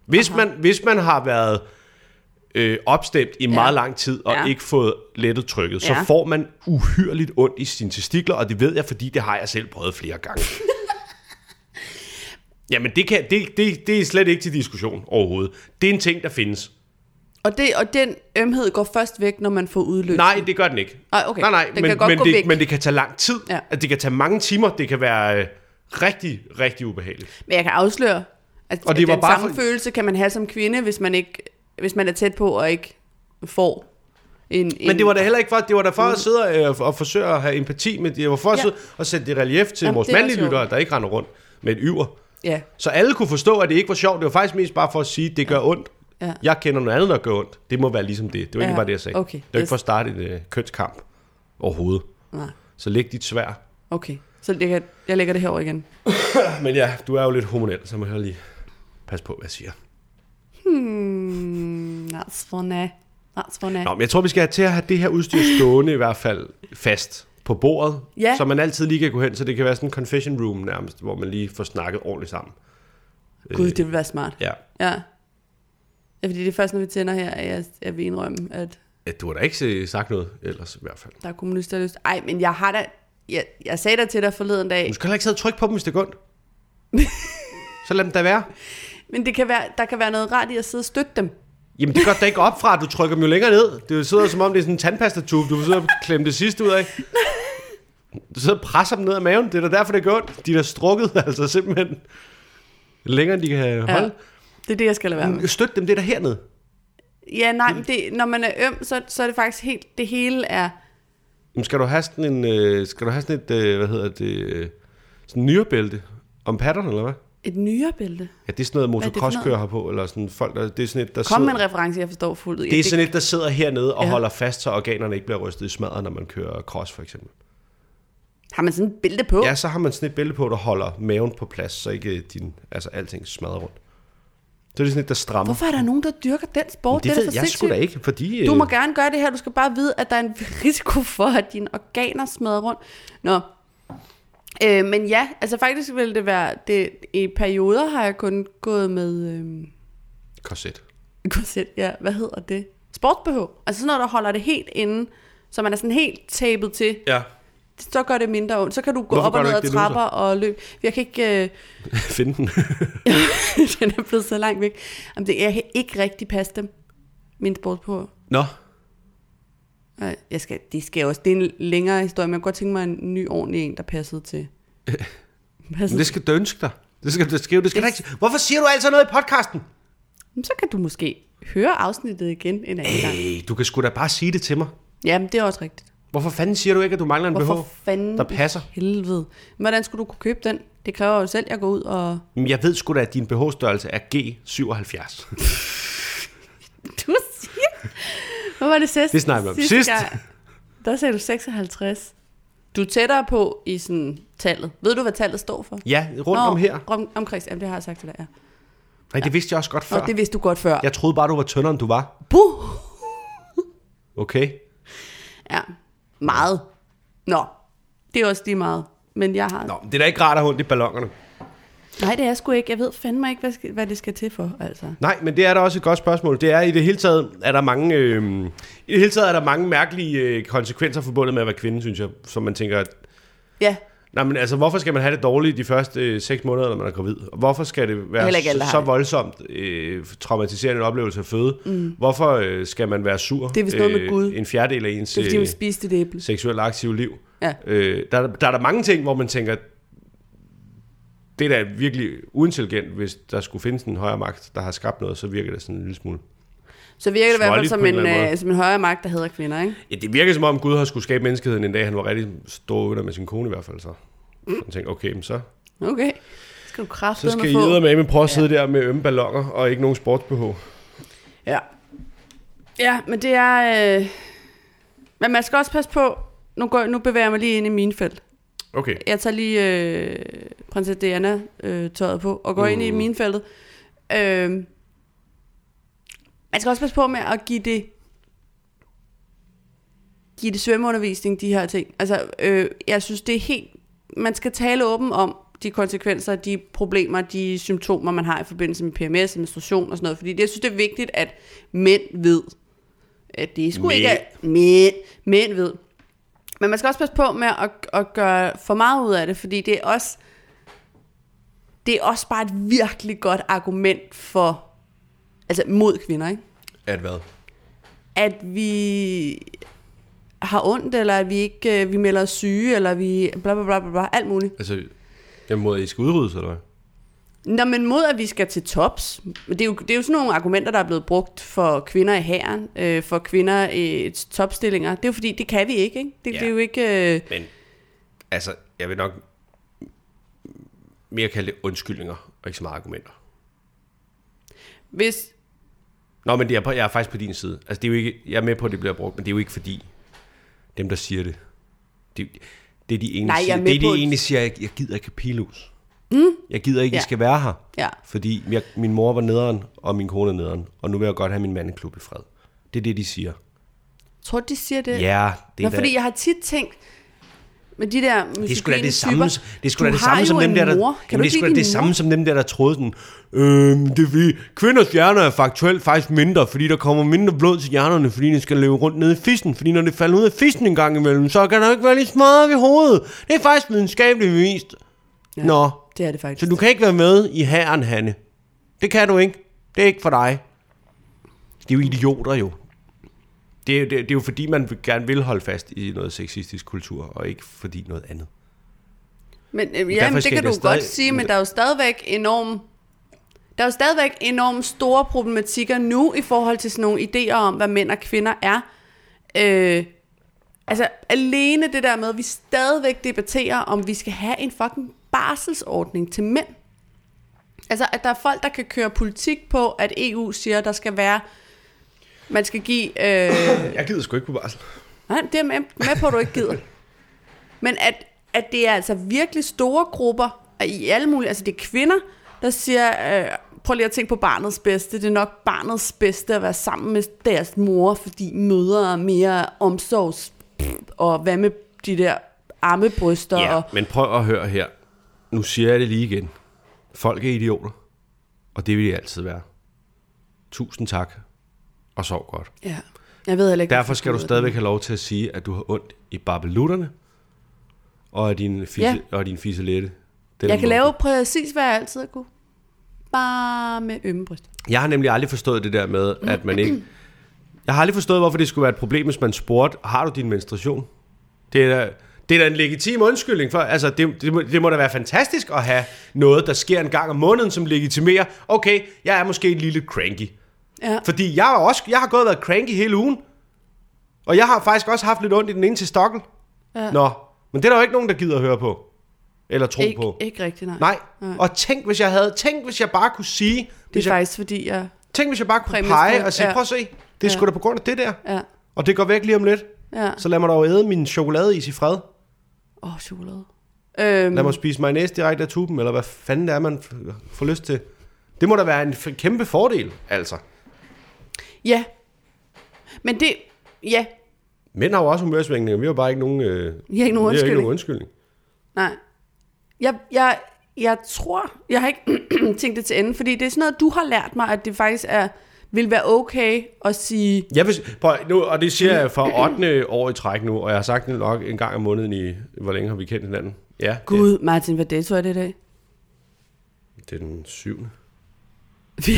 [SPEAKER 2] Hvis, man, hvis man har været øh, opstemt i meget lang tid og
[SPEAKER 1] Ja.
[SPEAKER 2] ikke fået lettet trykket, så
[SPEAKER 1] Ja.
[SPEAKER 2] får man uhyreligt ondt i sine testikler, og det ved jeg, fordi det har jeg selv prøvet flere gange. Jamen, det, kan, det, det, det er slet ikke til diskussion overhovedet. Det er en ting, der findes.
[SPEAKER 1] Og, det, og den ømhed går først væk, når man får udløsning.
[SPEAKER 2] Nej, det gør den ikke.
[SPEAKER 1] Ej, okay.
[SPEAKER 2] Nej, nej,
[SPEAKER 1] Den
[SPEAKER 2] men,
[SPEAKER 1] kan godt
[SPEAKER 2] men,
[SPEAKER 1] gå
[SPEAKER 2] det,
[SPEAKER 1] væk.
[SPEAKER 2] men det kan tage lang tid.
[SPEAKER 1] Ja.
[SPEAKER 2] At det kan tage mange timer. Det kan være øh, rigtig, rigtig ubehageligt.
[SPEAKER 1] Men jeg kan afsløre, at,
[SPEAKER 2] Og
[SPEAKER 1] og
[SPEAKER 2] det
[SPEAKER 1] det at
[SPEAKER 2] var
[SPEAKER 1] den
[SPEAKER 2] bare
[SPEAKER 1] samme
[SPEAKER 2] for-
[SPEAKER 1] følelse kan man have som kvinde, hvis man, ikke, hvis man er tæt på og ikke får en... en Mm.
[SPEAKER 2] Men det var da heller ikke for, det var da for at sidde øh, og forsøge at have empati med det. var for at
[SPEAKER 1] Ja.
[SPEAKER 2] sidde og sætte det i relief til
[SPEAKER 1] Jamen,
[SPEAKER 2] vores
[SPEAKER 1] det er
[SPEAKER 2] mandlige
[SPEAKER 1] sjovt.
[SPEAKER 2] lyttere, der ikke render rundt med et yver.
[SPEAKER 1] Ja,
[SPEAKER 2] Så alle kunne forstå, at det ikke var sjovt. Det var faktisk mest bare for at sige, at det gør ondt.
[SPEAKER 1] Ja.
[SPEAKER 2] Jeg kender noget andet, der gør ondt. Det må være ligesom det. Det var ikke
[SPEAKER 1] Ja.
[SPEAKER 2] bare det, jeg sagde.
[SPEAKER 1] Okay.
[SPEAKER 2] Det var ikke
[SPEAKER 1] Yes.
[SPEAKER 2] for at starte en øh, kønskamp overhovedet.
[SPEAKER 1] nej.
[SPEAKER 2] Så læg dit svær.
[SPEAKER 1] Okay, så lægger, jeg lægger det herover igen.
[SPEAKER 2] Men ja, du er jo lidt hormonel, så må jeg lige passe på, hvad jeg siger.
[SPEAKER 1] Hmm, that's for na. That's for na.
[SPEAKER 2] Nå, men jeg tror, vi skal have til at have det her udstyr stående i hvert fald fast på bordet,
[SPEAKER 1] Ja.
[SPEAKER 2] så man altid lige kan gå hen, så det kan være sådan en confession room nærmest, hvor man lige får snakket ordentligt sammen.
[SPEAKER 1] Gud,
[SPEAKER 2] øh.
[SPEAKER 1] det ville være smart.
[SPEAKER 2] Ja,
[SPEAKER 1] Ja. Ja, fordi det er først, når vi tænder her, at jeg, jeg vil indrømme, at
[SPEAKER 2] Ja, du har da ikke se- sagt noget ellers i hvert fald.
[SPEAKER 1] der er kommunister der lyst. Ej, men jeg har da... Jeg, jeg sagde da til dig forleden dag,
[SPEAKER 2] Du skal heller ikke sidde og trykke på dem, hvis det er ondt. så lad dem da være.
[SPEAKER 1] men det kan være, der kan være noget rart i at sidde og støtte dem.
[SPEAKER 2] Jamen det går da ikke op fra, at du trykker dem jo længere ned. Det sidder som om, det er sådan en tandpastatube, du sidder og klemme det sidste ud af. Du sidder og presser dem ned af maven. Det er da derfor, det gør ondt. De er da strukket, altså simpelthen længere, end de kan
[SPEAKER 1] Ja.
[SPEAKER 2] holde.
[SPEAKER 1] Det er det, jeg skal lade være med.
[SPEAKER 2] Ja. Støt dem, det er der hernede.
[SPEAKER 1] Ja, nej, men det, når man er øm, så, så er det faktisk helt... Det hele er
[SPEAKER 2] Jamen, skal du have sådan en, øh, skal du have sådan et, øh, hvad hedder det, øh, sådan en nyrebælte om patterne, eller hvad?
[SPEAKER 1] Et nyere bælte.
[SPEAKER 2] Ja, det er sådan noget,
[SPEAKER 1] er det for
[SPEAKER 2] motocrosskører har på, eller sådan folk, der, det er sådan et, der
[SPEAKER 1] Kom med
[SPEAKER 2] sidder,
[SPEAKER 1] en reference, jeg forstår fuldt ud.
[SPEAKER 2] det er
[SPEAKER 1] Jeg-
[SPEAKER 2] sådan et, der sidder hernede og
[SPEAKER 1] Ja.
[SPEAKER 2] ja. holder fast, så organerne ikke bliver rystet i smadret, når man kører cross, for eksempel.
[SPEAKER 1] Har man sådan en bælte på?
[SPEAKER 2] Ja, så har man sådan et bælte på, der holder maven på plads, så ikke din, altså alting smadrer rundt. Så er det sådan et, der strammer.
[SPEAKER 1] Hvorfor er der nogen, der dyrker den sport?
[SPEAKER 2] det,
[SPEAKER 1] det er da
[SPEAKER 2] ved
[SPEAKER 1] for
[SPEAKER 2] jeg sgu
[SPEAKER 1] sindssygt.
[SPEAKER 2] da ikke, fordi...
[SPEAKER 1] Du må
[SPEAKER 2] øh,
[SPEAKER 1] gerne gøre det her, du skal bare vide, at der er en risiko for, at dine organer smadrer rundt. Nå. Øh, men ja, altså faktisk vil det være, det, i perioder har jeg kun gået med, øh,
[SPEAKER 2] Korset.
[SPEAKER 1] korset, ja, hvad hedder det? Sportsbehov. Altså sådan noget, der holder det helt inde, så man er sådan helt tabet til.
[SPEAKER 2] Ja.
[SPEAKER 1] Så gør det mindre ondt. Så kan du gå
[SPEAKER 2] Hvorfor
[SPEAKER 1] op og
[SPEAKER 2] gør du
[SPEAKER 1] ned
[SPEAKER 2] ikke
[SPEAKER 1] ad
[SPEAKER 2] det nu, så?
[SPEAKER 1] trapper og løbe. Jeg kan ikke... Øh,
[SPEAKER 2] Find den.
[SPEAKER 1] den er blevet så langt væk. Jamen, det, jeg kan ikke rigtig passe dem. Min sportsbehov.
[SPEAKER 2] Nå.
[SPEAKER 1] Nej, Jeg skal, det skal jeg også. Det er en længere historie, men jeg kunne godt tænke mig en ny ordentlig en, der passede til.
[SPEAKER 2] Men
[SPEAKER 1] Passede.
[SPEAKER 2] det skal du ønske dig. Det skal du skrive. Det skal det... Ikke... Hvorfor siger du altid noget i podcasten?
[SPEAKER 1] Jamen, Så kan du måske høre afsnittet igen en anden gang.
[SPEAKER 2] Hey, du kan sgu da bare sige det til mig.
[SPEAKER 1] Jamen, det er også rigtigt.
[SPEAKER 2] Hvorfor fanden siger du ikke, at du mangler en BH?
[SPEAKER 1] Hvorfor fanden
[SPEAKER 2] der
[SPEAKER 1] i
[SPEAKER 2] passer?
[SPEAKER 1] helvede? Hvordan skulle du kunne købe den? Det kræver jo selv, at jeg går ud og...
[SPEAKER 2] Jamen, Jeg ved sgu da, at din BH-størrelse er G77.
[SPEAKER 1] Du siger... Hvad var det sidst?
[SPEAKER 2] Det snakker vi om. Sidst.
[SPEAKER 1] gang, der sagde du 56. Du er tættere på i sådan tallet. Ved du, hvad tallet står for?
[SPEAKER 2] ja, rundt Nå. om her.
[SPEAKER 1] Om, omkreds. Jamen, det har jeg sagt til dig, ja.
[SPEAKER 2] Nej, det vidste jeg også godt før.
[SPEAKER 1] Og det vidste du godt før.
[SPEAKER 2] Jeg troede bare, du var tyndere, end du var.
[SPEAKER 1] Buh!
[SPEAKER 2] Okay.
[SPEAKER 1] Ja, meget. Nå, det er også lige meget. Men jeg har...
[SPEAKER 2] Nå, men det er da ikke rart at have ondt i ballongerne.
[SPEAKER 1] Nej, det er sgu ikke. Jeg ved fandme ikke, hvad, skal, hvad det skal til for, altså.
[SPEAKER 2] Nej, men det er da også et godt spørgsmål. Det er i det hele taget, er der mange, øh, i det hele taget er der mange mærkelige øh, konsekvenser forbundet med at være kvinde, synes jeg. Som man tænker, at
[SPEAKER 1] Ja,
[SPEAKER 2] Nej, men altså, hvorfor skal man have det dårligt de første øh, seks måneder, når man er gravid? Og hvorfor skal det være
[SPEAKER 1] Heller ikke alle, der
[SPEAKER 2] så,
[SPEAKER 1] har
[SPEAKER 2] så
[SPEAKER 1] det.
[SPEAKER 2] voldsomt øh, traumatiserende en oplevelse at føde? Mm. Hvorfor øh, skal man være sur? øh,
[SPEAKER 1] Det er vist noget med Gud.
[SPEAKER 2] En fjerdedel af ens
[SPEAKER 1] det er fordi, hun
[SPEAKER 2] øh,
[SPEAKER 1] spiste det æble.
[SPEAKER 2] seksuelt aktive liv.
[SPEAKER 1] Ja.
[SPEAKER 2] Øh, der, er- der er der mange ting, hvor man tænker, det er da virkelig uintelligent, hvis der skulle findes en højere magt, der har skabt noget, så virker det sådan en lille smule.
[SPEAKER 1] Så virker det i hvert fald
[SPEAKER 2] Småligt på
[SPEAKER 1] som
[SPEAKER 2] en
[SPEAKER 1] en,
[SPEAKER 2] eller anden
[SPEAKER 1] øh,
[SPEAKER 2] måde.
[SPEAKER 1] som en højere magt, der hedder kvinder, ikke?
[SPEAKER 2] Ja, det virker som om Gud har skulle skabe menneskeheden en dag, han var rigtig stor under med sin kone i hvert fald så.
[SPEAKER 1] Mm.
[SPEAKER 2] Man tænker, okay, men så
[SPEAKER 1] Okay. Så skal du
[SPEAKER 2] Så
[SPEAKER 1] kraftedeme
[SPEAKER 2] skal I
[SPEAKER 1] få.
[SPEAKER 2] med med prøve at sidde der med ømme ballonger og ikke nogen sportsbehov.
[SPEAKER 1] Ja. Ja, men det er... Øh... Men man skal også passe på... Nu, går, nu bevæger jeg mig lige ind i mine felt.
[SPEAKER 2] Okay.
[SPEAKER 1] Jeg tager lige øh, prinsesse Diana øh, tøjet på og går mm. ind i minefeltet. Øh, man skal også passe på med at give det give det svømmeundervisning, de her ting. Altså, øh, jeg synes, det er helt... Man skal tale åben om de konsekvenser, de problemer, de symptomer, man har i forbindelse med PMS, menstruation og sådan noget. Fordi det, jeg synes, det er vigtigt, at mænd ved, at det er sgu
[SPEAKER 2] Mænd.
[SPEAKER 1] ikke... at- Mænd. Mænd ved. Men man skal også passe på med at, at gøre for meget ud af det, fordi det er også det er også bare et virkelig godt argument for altså mod kvinder, ikke?
[SPEAKER 2] At hvad?
[SPEAKER 1] At vi har ondt eller at vi ikke øh, vi melder os syge eller vi bla bla bla bla, bla alt muligt.
[SPEAKER 2] Altså, jeg må I skal udryddes, eller hvad?
[SPEAKER 1] Nå, men mod at vi skal til tops, det er, jo, det er jo sådan nogle argumenter, der er blevet brugt for kvinder i hæren, øh, for kvinder i topstillinger. Det er jo fordi, det kan vi ikke, ikke? Det, ja.
[SPEAKER 2] Ja.
[SPEAKER 1] det er jo ikke... Øh,
[SPEAKER 2] Men, altså, jeg vil nok mere kalde det undskyldninger, og ikke så meget argumenter.
[SPEAKER 1] hvis,
[SPEAKER 2] Nå, men det er på, jeg er faktisk på din side. Altså, det er jo ikke, jeg er med på, at det bliver brugt, men det er jo ikke fordi, dem der siger det, det, det er de egentlig
[SPEAKER 1] Nej, jeg er
[SPEAKER 2] siger.
[SPEAKER 1] med
[SPEAKER 2] Det er de
[SPEAKER 1] på- Hmm?
[SPEAKER 2] egentlig siger, jeg, jeg gider ikke have pilus. Mm. Jeg gider ikke, ja.
[SPEAKER 1] Ja.
[SPEAKER 2] I skal være her.
[SPEAKER 1] ja,
[SPEAKER 2] Fordi jeg, min mor var nederen, og min kone er nederen, og nu vil jeg godt have min mandeklub i fred. Det er det, de siger.
[SPEAKER 1] tror du, de siger det?
[SPEAKER 2] Ja,
[SPEAKER 1] Øh.
[SPEAKER 2] det
[SPEAKER 1] Nå,
[SPEAKER 2] er da-
[SPEAKER 1] fordi jeg har tit tænkt, med de der
[SPEAKER 2] det er sgu da det samme,
[SPEAKER 1] typer,
[SPEAKER 2] det er sgu da
[SPEAKER 1] du
[SPEAKER 2] det
[SPEAKER 1] har
[SPEAKER 2] samme
[SPEAKER 1] jo
[SPEAKER 2] som dem
[SPEAKER 1] en
[SPEAKER 2] der, der,
[SPEAKER 1] mor. Kan du
[SPEAKER 2] jamen, det er
[SPEAKER 1] ikke
[SPEAKER 2] sgu da
[SPEAKER 1] lide
[SPEAKER 2] det
[SPEAKER 1] din
[SPEAKER 2] samme
[SPEAKER 1] mor?
[SPEAKER 2] som dem der, der troede sådan, øhm, det er vi, kvinders hjerner er faktuelt faktisk mindre, fordi der kommer mindre blod til hjernerne, fordi de skal løbe rundt nede i fissen, fordi når det falder ud af fissen en gang imellem, så kan der ikke være lige smadret ved hovedet. Det er faktisk videnskabeligt bevist. Ja. Nå,
[SPEAKER 1] Det er det faktisk.
[SPEAKER 2] så du kan ikke være med i hæren, Hanne. Det kan du ikke. Det er ikke for dig. Det er jo idioter jo. Det er, det, det er jo fordi, man vil- gerne vil holde fast i noget sexistisk kultur, og ikke fordi noget andet.
[SPEAKER 1] Men øh, jamen, det
[SPEAKER 2] skal
[SPEAKER 1] kan
[SPEAKER 2] det
[SPEAKER 1] du
[SPEAKER 2] stadig-
[SPEAKER 1] godt sige, men der er jo stadigvæk enorm... Der er jo stadigvæk enormt store problematikker nu i forhold til sådan nogle idéer om, hvad mænd og kvinder er. Øh, Altså, alene det der med, at vi stadigvæk debatterer, om vi skal have en fucking barselsordning til mænd. Altså, at der er folk, der kan køre politik på, at EU siger, der skal være... Man skal give... Øh,
[SPEAKER 3] Jeg gider sgu ikke på barsel.
[SPEAKER 1] Nej, det er med, med på, at du ikke gider. Men at, at det er altså virkelig store grupper og i alle mulige... Altså, det er kvinder, der siger... Øh, prøv lige at tænke på barnets bedste. Det er nok barnets bedste at være sammen med deres mor, fordi mødre er mere omsorgs... Og hvad med de der armebryster
[SPEAKER 2] Ja,
[SPEAKER 1] yeah. og...
[SPEAKER 2] men prøv at høre her. Nu siger jeg det lige igen. Folk er idioter, og det vil de altid være. Tusind tak, og sov godt.
[SPEAKER 1] Ja, jeg ved heller ikke...
[SPEAKER 2] Derfor skal du stadigvæk have lov til at sige, at du har ondt i barbelutterne, og at din, fise,
[SPEAKER 1] Ja.
[SPEAKER 2] ja. og din fiselette. den er
[SPEAKER 1] Jeg kan
[SPEAKER 2] lukket.
[SPEAKER 1] lave præcis, hvad jeg altid har kunne. Bare med ømme bryst.
[SPEAKER 2] Jeg har nemlig aldrig forstået det der med, at man ikke... Jeg har aldrig forstået, hvorfor det skulle være et problem, hvis man spurgte, har du din menstruation? Det er da, det er da en legitim undskyldning for. Altså, det, det, må, det må da være fantastisk at have noget, der sker en gang om måneden, som legitimerer, okay, jeg er måske en lille cranky.
[SPEAKER 1] Ja.
[SPEAKER 2] Fordi jeg, er også, jeg har gået og været cranky hele ugen. Og jeg har faktisk også haft lidt ondt i den ene til stokken.
[SPEAKER 1] Ja.
[SPEAKER 2] Nå, men det er der jo ikke nogen, der gider at høre på. Eller tro
[SPEAKER 1] Ikke,
[SPEAKER 2] på.
[SPEAKER 1] ikke rigtigt, nej.
[SPEAKER 2] Nej.
[SPEAKER 1] Nej.
[SPEAKER 2] Og tænk, hvis jeg havde... Tænk, hvis jeg bare kunne sige...
[SPEAKER 1] Det
[SPEAKER 2] hvis
[SPEAKER 1] er
[SPEAKER 2] jeg
[SPEAKER 1] faktisk, fordi jeg...
[SPEAKER 2] Tænk, hvis jeg bare kunne
[SPEAKER 1] Præmien
[SPEAKER 2] pege
[SPEAKER 1] skulle-
[SPEAKER 2] og sige,
[SPEAKER 1] ja.
[SPEAKER 2] prøv at se,
[SPEAKER 1] Ja.
[SPEAKER 2] det er sgu da på grund af det der.
[SPEAKER 1] Ja,
[SPEAKER 2] Og det går væk lige om lidt.
[SPEAKER 1] ja.
[SPEAKER 2] Så lad mig dog æde min chokoladeis i fred.
[SPEAKER 1] Åh, oh, chokolade. Øhm,
[SPEAKER 2] Lad mig spise mayonnaise direkte af tuben, eller hvad fanden det er, man f- får lyst til. Det må da være en f- kæmpe fordel, altså.
[SPEAKER 1] Ja. Men det... Ja.
[SPEAKER 2] Mænd har jo også humørsvingninger, vi har bare ikke nogen, øh,
[SPEAKER 1] Vi har ikke nogen
[SPEAKER 2] vi har ikke
[SPEAKER 1] undskyldning.
[SPEAKER 2] nogen undskyldning.
[SPEAKER 1] Nej. Jeg, jeg, jeg tror... Jeg har ikke tænkt det til ende, fordi det er sådan noget, du har lært mig, at det faktisk er vil være okay at sige...
[SPEAKER 2] Jeg vil, s- prøv, nu, og det siger jeg for 8. år i træk nu, og jeg har sagt det nok en gang om måneden i, hvor længe har vi kendt hinanden? Ja, det,
[SPEAKER 1] Gud, Martin, hvad dato er det i dag?
[SPEAKER 2] det er den syvende.
[SPEAKER 1] Vi,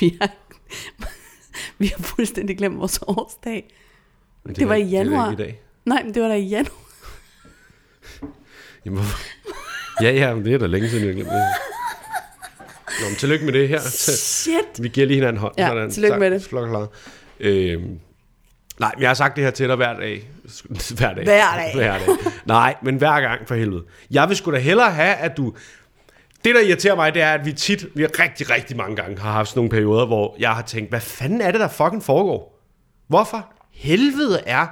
[SPEAKER 1] vi, har, vi har fuldstændig glemt vores årsdag.
[SPEAKER 2] Men
[SPEAKER 1] Det var
[SPEAKER 2] er-
[SPEAKER 1] i
[SPEAKER 2] er da
[SPEAKER 1] januar.
[SPEAKER 2] ikke i dag.
[SPEAKER 1] Nej, men det var da i januar.
[SPEAKER 2] Jamen, hvorfor? ja, ja, men det er da længe siden, jeg glemte det. Nå, men tillykke med det her.
[SPEAKER 1] Shit.
[SPEAKER 2] Vi giver lige hinanden hånd.
[SPEAKER 1] Ja, tillykke med det.
[SPEAKER 2] Flok klar. Øhm, nej, men jeg har sagt det her til dig hver dag. Hver dag.
[SPEAKER 1] Hver dag.
[SPEAKER 2] hver dag. Nej, men hver gang for helvede. Jeg vil sgu da hellere have, at du... Det, der irriterer mig, det er, at vi tit, vi rigtig, rigtig mange gange har haft sådan nogle perioder, hvor jeg har tænkt, hvad fanden er det, der fucking foregår? Hvorfor helvede er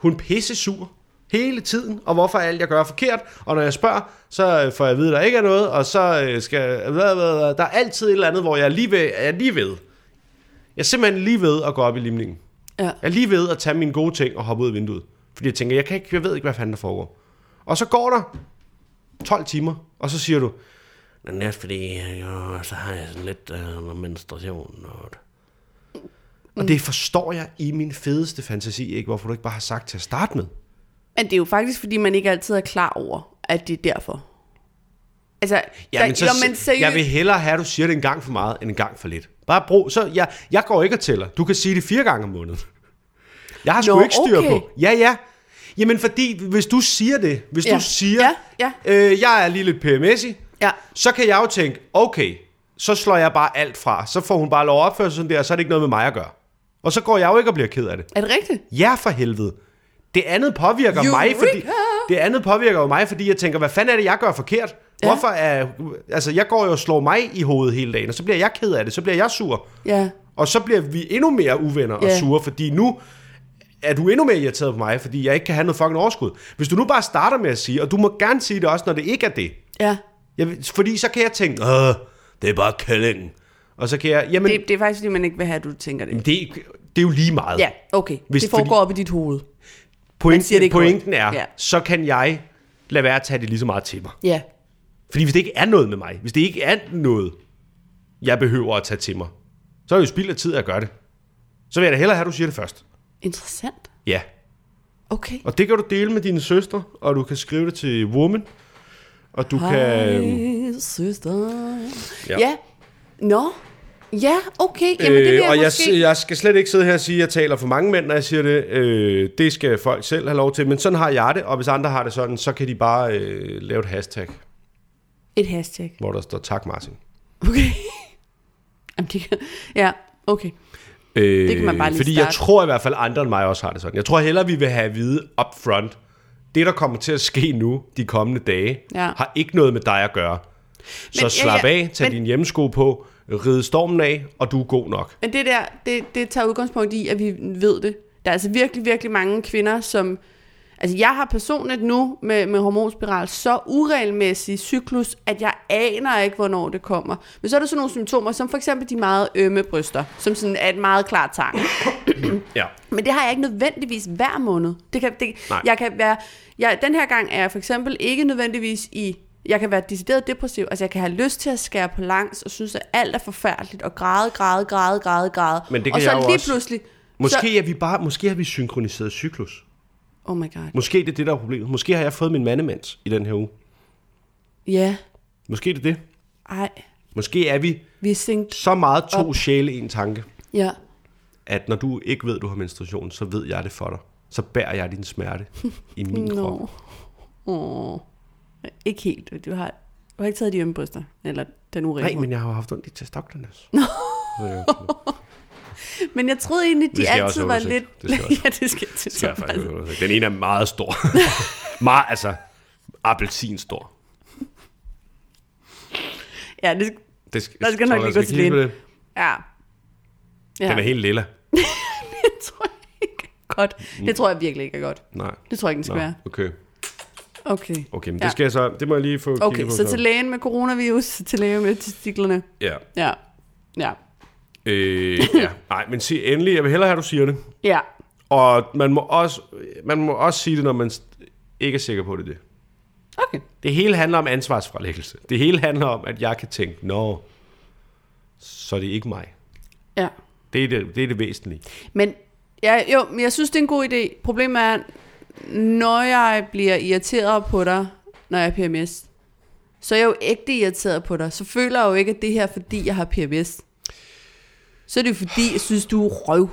[SPEAKER 2] hun pisse sur hele tiden, og hvorfor er alt, jeg gør er forkert? Og når jeg spørger, så øh, får jeg at vide, at der ikke er noget, og så øh, skal hvad, hvad, hvad, der er altid et eller andet, hvor jeg er lige ved, jeg er lige ved. Jeg er simpelthen lige ved at gå op i limningen.
[SPEAKER 1] Ja.
[SPEAKER 2] Jeg er lige ved at tage mine gode ting og hoppe ud af vinduet. Fordi jeg tænker, jeg, kan ikke, jeg ved ikke, hvad fanden der foregår. Og så går der 12 timer, og så siger du,
[SPEAKER 4] Men det er fordi,
[SPEAKER 2] øh,
[SPEAKER 4] jo, så har jeg sådan lidt øh, menstruation. Og...
[SPEAKER 2] og det forstår jeg i min fedeste fantasi ikke, hvorfor du ikke bare har sagt til at starte med.
[SPEAKER 1] Men det er jo faktisk, fordi man ikke altid er klar over, at det er derfor. Altså, der,
[SPEAKER 2] Jamen, så,
[SPEAKER 1] jo, men seriøst,
[SPEAKER 2] jeg vil hellere have, at du siger det en gang for meget, end en gang for lidt. Bare brug, så jeg, jeg går ikke og tæller. Du kan sige det fire gange om måneden. Jeg har sgu
[SPEAKER 1] Nå,
[SPEAKER 2] ikke styr
[SPEAKER 1] okay.
[SPEAKER 2] på. Ja, ja. Jamen, fordi hvis du siger det, hvis
[SPEAKER 1] Ja.
[SPEAKER 2] du siger,
[SPEAKER 1] Ja,
[SPEAKER 2] Øh, jeg er lige lidt PMS'ig,
[SPEAKER 1] ja,
[SPEAKER 2] så kan jeg jo tænke, okay, så slår jeg bare alt fra. Så får hun bare lov at opføre sig sådan der, og så er det ikke noget med mig at gøre. Og så går jeg jo ikke og bliver ked af det.
[SPEAKER 1] er det rigtigt?
[SPEAKER 2] Ja, for helvede. Det andet påvirker mig, fordi...
[SPEAKER 1] Eureka!
[SPEAKER 2] Det andet påvirker jo mig, fordi jeg tænker, hvad fanden er det, jeg gør forkert?
[SPEAKER 1] Ja.
[SPEAKER 2] Hvorfor er... Altså, jeg går jo og slår mig i hovedet hele dagen, og så bliver jeg ked af det, så bliver jeg sur.
[SPEAKER 1] Ja.
[SPEAKER 2] Og så bliver vi endnu mere uvenner og
[SPEAKER 1] Ja.
[SPEAKER 2] sure, fordi nu er du endnu mere irriteret på mig, fordi jeg ikke kan have noget fucking overskud. Hvis du nu bare starter med at sige, og du må gerne sige det også, når det ikke er det,
[SPEAKER 1] Ja,
[SPEAKER 2] jeg, vil- fordi så kan jeg tænke, Åh, det er bare kællingen. Og så kan jeg, jamen, det,
[SPEAKER 1] det, det er faktisk, fordi man ikke vil have, at du tænker det.
[SPEAKER 2] det, det er jo lige meget.
[SPEAKER 1] Ja, okay.
[SPEAKER 2] Hvis
[SPEAKER 1] Hvis det foregår
[SPEAKER 2] fordi-
[SPEAKER 1] fordi... op i dit hoved. man siger
[SPEAKER 2] pointen,
[SPEAKER 1] det ikke
[SPEAKER 2] pointen er,
[SPEAKER 1] højt. Ja.
[SPEAKER 2] så kan jeg lade være at tage det lige så meget til mig.
[SPEAKER 1] Ja,
[SPEAKER 2] Fordi hvis det ikke er noget med mig, hvis det ikke er noget, jeg behøver at tage til mig, så er det jo spild af tid at gøre det. Så vil jeg da hellere have, at du siger det først.
[SPEAKER 1] interessant.
[SPEAKER 2] Ja.
[SPEAKER 1] Okay.
[SPEAKER 2] Og det kan du dele med dine søstre, og du kan skrive det til Woman, og du kan... øhm,
[SPEAKER 1] Hej, søster.
[SPEAKER 2] Ja.
[SPEAKER 1] Ja. ja. Nå. Ja, okay. Jamen, det vil
[SPEAKER 2] Øh,
[SPEAKER 1] jeg
[SPEAKER 2] og jeg,
[SPEAKER 1] måske...
[SPEAKER 2] s- jeg skal slet ikke sidde her og sige, at jeg taler for mange mænd, når jeg siger det. Øh, det skal folk selv have lov til. Men sådan har jeg det, og hvis andre har det sådan, så kan de bare øh, lave et hashtag,
[SPEAKER 1] Et hashtag.
[SPEAKER 2] hvor der står tak Martin.
[SPEAKER 1] Okay. Jamen, det kan... Ja, okay.
[SPEAKER 2] Øh,
[SPEAKER 1] Det kan man bare lige
[SPEAKER 2] Fordi jeg
[SPEAKER 1] starte.
[SPEAKER 2] tror i hvert fald, andre end mig også har det sådan. Jeg tror hellere, vi vil have at vide upfront, det, der kommer til at ske nu, de kommende dage,
[SPEAKER 1] Ja.
[SPEAKER 2] har ikke noget med dig at gøre. Så
[SPEAKER 1] Men- ja,
[SPEAKER 2] slap
[SPEAKER 1] ja,
[SPEAKER 2] af, tag
[SPEAKER 1] men-
[SPEAKER 2] dine hjemmesko på, ride stormen af, og du er god nok.
[SPEAKER 1] Men det der, det, det tager udgangspunkt i, at vi ved det. Der er altså virkelig, virkelig mange kvinder, som... Altså, jeg har personligt nu med, med hormonspiral så uregelmæssig cyklus, at jeg aner ikke, hvornår det kommer. Men så er der sådan nogle symptomer, som for eksempel de meget ømme bryster, som sådan er et meget klart tegn.
[SPEAKER 2] Ja.
[SPEAKER 1] Men det har jeg ikke nødvendigvis hver måned. Det kan, det,
[SPEAKER 2] Nej.
[SPEAKER 1] jeg kan være, jeg, den her gang er jeg for eksempel ikke nødvendigvis i... Jeg kan være decideret depressiv. Altså, jeg kan have lyst til at skære på langs og synes, at alt er forfærdeligt. Og græde, græde, græde, græde, græde.
[SPEAKER 2] Men det kan
[SPEAKER 1] og så
[SPEAKER 2] jeg jo
[SPEAKER 1] lige
[SPEAKER 2] også.
[SPEAKER 1] pludselig...
[SPEAKER 2] Måske,
[SPEAKER 1] Så,
[SPEAKER 2] er vi bare, måske har vi synkroniseret cyklus.
[SPEAKER 1] oh my god.
[SPEAKER 2] Måske det er det, der er problemet. Måske har jeg fået min mandemens i den her uge.
[SPEAKER 1] Ja.
[SPEAKER 2] Måske det er det.
[SPEAKER 1] Ej.
[SPEAKER 2] Måske er vi
[SPEAKER 1] Vi er singt.
[SPEAKER 2] så meget to sjæle i en tanke,
[SPEAKER 1] Ja.
[SPEAKER 2] at når du ikke ved, du har menstruation, så ved jeg det for dig. Så bærer jeg din smerte i min no. krop.
[SPEAKER 1] Nå. Åh. Ikke helt. Du har, du har ikke taget de ømme bryster. Eller den
[SPEAKER 2] Nej,
[SPEAKER 1] uregelmæssige.
[SPEAKER 2] men jeg har jo haft ondt i testaklerne. Nå.
[SPEAKER 1] Men jeg troede egentlig,
[SPEAKER 2] Det
[SPEAKER 1] de
[SPEAKER 2] skal jeg
[SPEAKER 1] altid
[SPEAKER 2] også
[SPEAKER 1] var
[SPEAKER 2] have
[SPEAKER 1] lidt...
[SPEAKER 2] undersøgt. Det skal jeg også.
[SPEAKER 1] ja, det skal, det skal
[SPEAKER 2] Den ene er meget stor. meget, altså, appelsin stor.
[SPEAKER 1] Ja, det,
[SPEAKER 2] Det skal,
[SPEAKER 1] Der skal nok
[SPEAKER 2] så
[SPEAKER 1] lige gå til
[SPEAKER 2] kigge på
[SPEAKER 1] lægen.
[SPEAKER 2] det.
[SPEAKER 1] ja. ja.
[SPEAKER 2] Den er helt lilla.
[SPEAKER 1] det tror jeg ikke er godt. Det tror jeg virkelig ikke er godt.
[SPEAKER 2] Nej.
[SPEAKER 1] Det tror jeg ikke, den skal
[SPEAKER 2] Nå,
[SPEAKER 1] være.
[SPEAKER 2] okay.
[SPEAKER 1] Okay.
[SPEAKER 2] Okay, men
[SPEAKER 1] Ja.
[SPEAKER 2] det skal jeg så, det må jeg lige få
[SPEAKER 1] Okay,
[SPEAKER 2] kigget på.
[SPEAKER 1] så til lægen med coronavirus, til lægen med testiklerne.
[SPEAKER 2] Ja.
[SPEAKER 1] Ja. Ja.
[SPEAKER 2] Øh, ja. Nej, men sig endelig, jeg vil hellere have, at du siger det.
[SPEAKER 1] Ja.
[SPEAKER 2] Og man må, også, man må også sige det, når man st- ikke er sikker på, at det er det.
[SPEAKER 1] Okay.
[SPEAKER 2] Det hele handler om ansvarsfralæggelse. Det hele handler om, at jeg kan tænke, nå, så er det ikke mig.
[SPEAKER 1] Ja.
[SPEAKER 2] Det er det, det, er det væsentlige.
[SPEAKER 1] Men ja, jo, men jeg synes, det er en god idé. Problemet er, når jeg bliver irriteret på dig, når jeg har PMS, så er jeg jo ægte irriteret på dig. Så føler jeg jo ikke, at det her er, fordi jeg har PMS. Så er det jo fordi, jeg synes, du er røv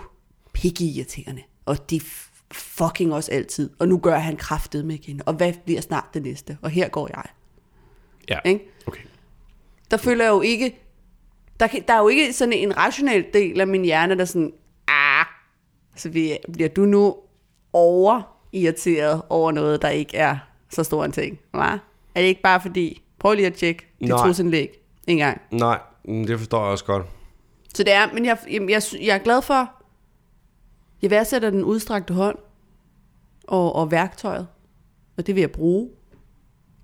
[SPEAKER 1] pikke irriterende. Og det er f- fucking også altid. Og nu gør han kraftet med igen. Og hvad bliver snart det næste? Og her går jeg.
[SPEAKER 2] Ja.
[SPEAKER 1] Ikke?
[SPEAKER 2] Okay.
[SPEAKER 1] der føler jeg jo ikke, der, kan, der er jo ikke sådan en rationel del af min hjerne, der er sådan, ah, så vi- bliver du nu over irriteret over noget, der ikke er så stor en ting, hva? Er det ikke bare fordi, prøv lige at tjekke dit
[SPEAKER 2] Nej.
[SPEAKER 1] trusindlæg en gang.
[SPEAKER 2] Nej, mm, det forstår jeg også godt.
[SPEAKER 1] Så det er, men jeg, jamen, jeg, sy- jeg er glad for, jeg værdsætter den udstrakte hånd og, og værktøjet, og det vil jeg bruge,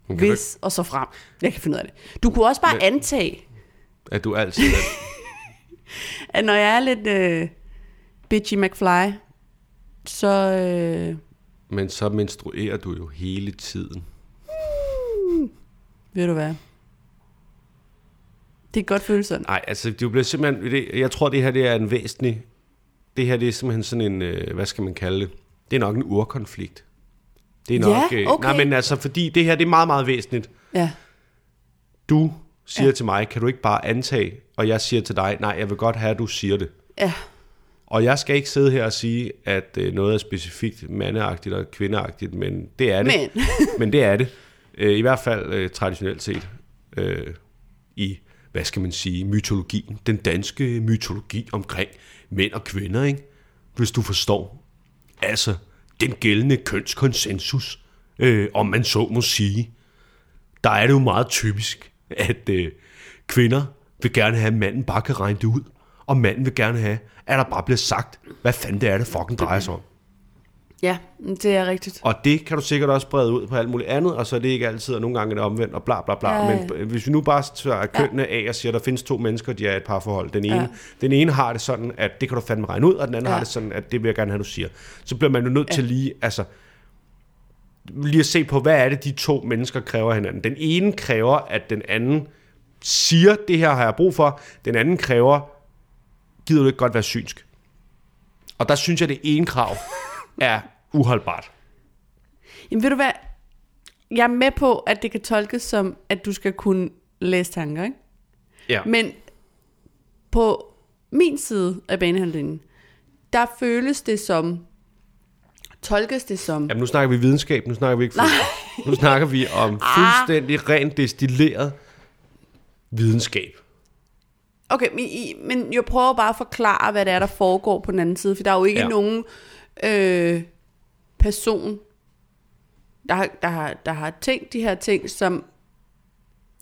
[SPEAKER 2] Men kan du
[SPEAKER 1] hvis og så frem. Jeg kan finde ud af det. Du kunne også bare antage,
[SPEAKER 2] ikke- At du altid er...
[SPEAKER 1] at når jeg er lidt øh, bitchy McFly, så... Øh,
[SPEAKER 2] Men så menstruerer du jo hele tiden.
[SPEAKER 1] ved du hvad? Det er godt føles sådan.
[SPEAKER 2] Nej, altså du bliver simpelthen... Det, jeg tror, det her det er en væsentlig... Det her det er simpelthen sådan en... øh, Hvad skal man kalde det? Det er nok en urkonflikt. Det er
[SPEAKER 1] Ja,
[SPEAKER 2] nok... øh,
[SPEAKER 1] okay.
[SPEAKER 2] Nej, men altså, fordi det her det er meget, meget væsentligt.
[SPEAKER 1] Ja.
[SPEAKER 2] Du siger ja. til mig, kan du ikke bare antage, og jeg siger til dig, nej, jeg vil godt have, at du siger det.
[SPEAKER 1] Ja.
[SPEAKER 2] Og jeg skal ikke sidde her og sige, at øh, noget er specifikt mandeagtigt og kvindeagtigt, men det er det.
[SPEAKER 1] Men.
[SPEAKER 2] men det er det. Øh, I hvert fald øh, traditionelt set øh, i, hvad skal man sige, mytologien. Den danske mytologi omkring mænd og kvinder, ikke? Hvis du forstår. Altså, den gældende kønskonsensus, øh, om man så må sige der er det jo meget typisk, at øh, kvinder vil gerne have, at manden bare kan regne det ud, og manden vil gerne have, at der bare bliver sagt, hvad fanden det er, det fucking drejer sig om.
[SPEAKER 1] Ja, det er rigtigt.
[SPEAKER 2] Og det kan du sikkert også brede ud på alt muligt andet, og så er det ikke altid, og nogle gange er det omvendt, og bla bla bla.
[SPEAKER 1] Ja, ja.
[SPEAKER 2] Men b- hvis vi nu bare tager kønnene af og siger, at der findes to mennesker, de er i et parforhold. Den ene,
[SPEAKER 1] Ja.
[SPEAKER 2] den ene har det sådan, at det kan du fandme regne ud, og den anden
[SPEAKER 1] Ja.
[SPEAKER 2] ja. har det sådan, at det vil jeg gerne have, du siger. Så bliver man jo nødt ja. til lige, altså, lige at se på, hvad er det, de to mennesker kræver af hinanden. Den ene kræver, at den anden siger, det her har jeg brug for. Den anden kræver, gider du ikke godt være synsk? Og der synes jeg, det ene krav er uholdbart.
[SPEAKER 1] Jamen ved du hvad? Jeg er med på, at det kan tolkes som, at du skal kunne læse tanker, ikke?
[SPEAKER 2] Ja.
[SPEAKER 1] Men på min side af banehandlingen, der føles det som, tolkes det som,
[SPEAKER 2] Jamen, nu snakker vi videnskab, nu snakker vi ikke følelser. Nu snakker vi
[SPEAKER 1] Ah.
[SPEAKER 2] om fuldstændig rent destilleret videnskab.
[SPEAKER 1] Okay, men, I, men jeg prøver bare at forklare, hvad det er, der foregår på den anden side, for der er jo ikke
[SPEAKER 2] Ja.
[SPEAKER 1] ja. nogen øh, person, der har, der, har, der har tænkt de her ting, som,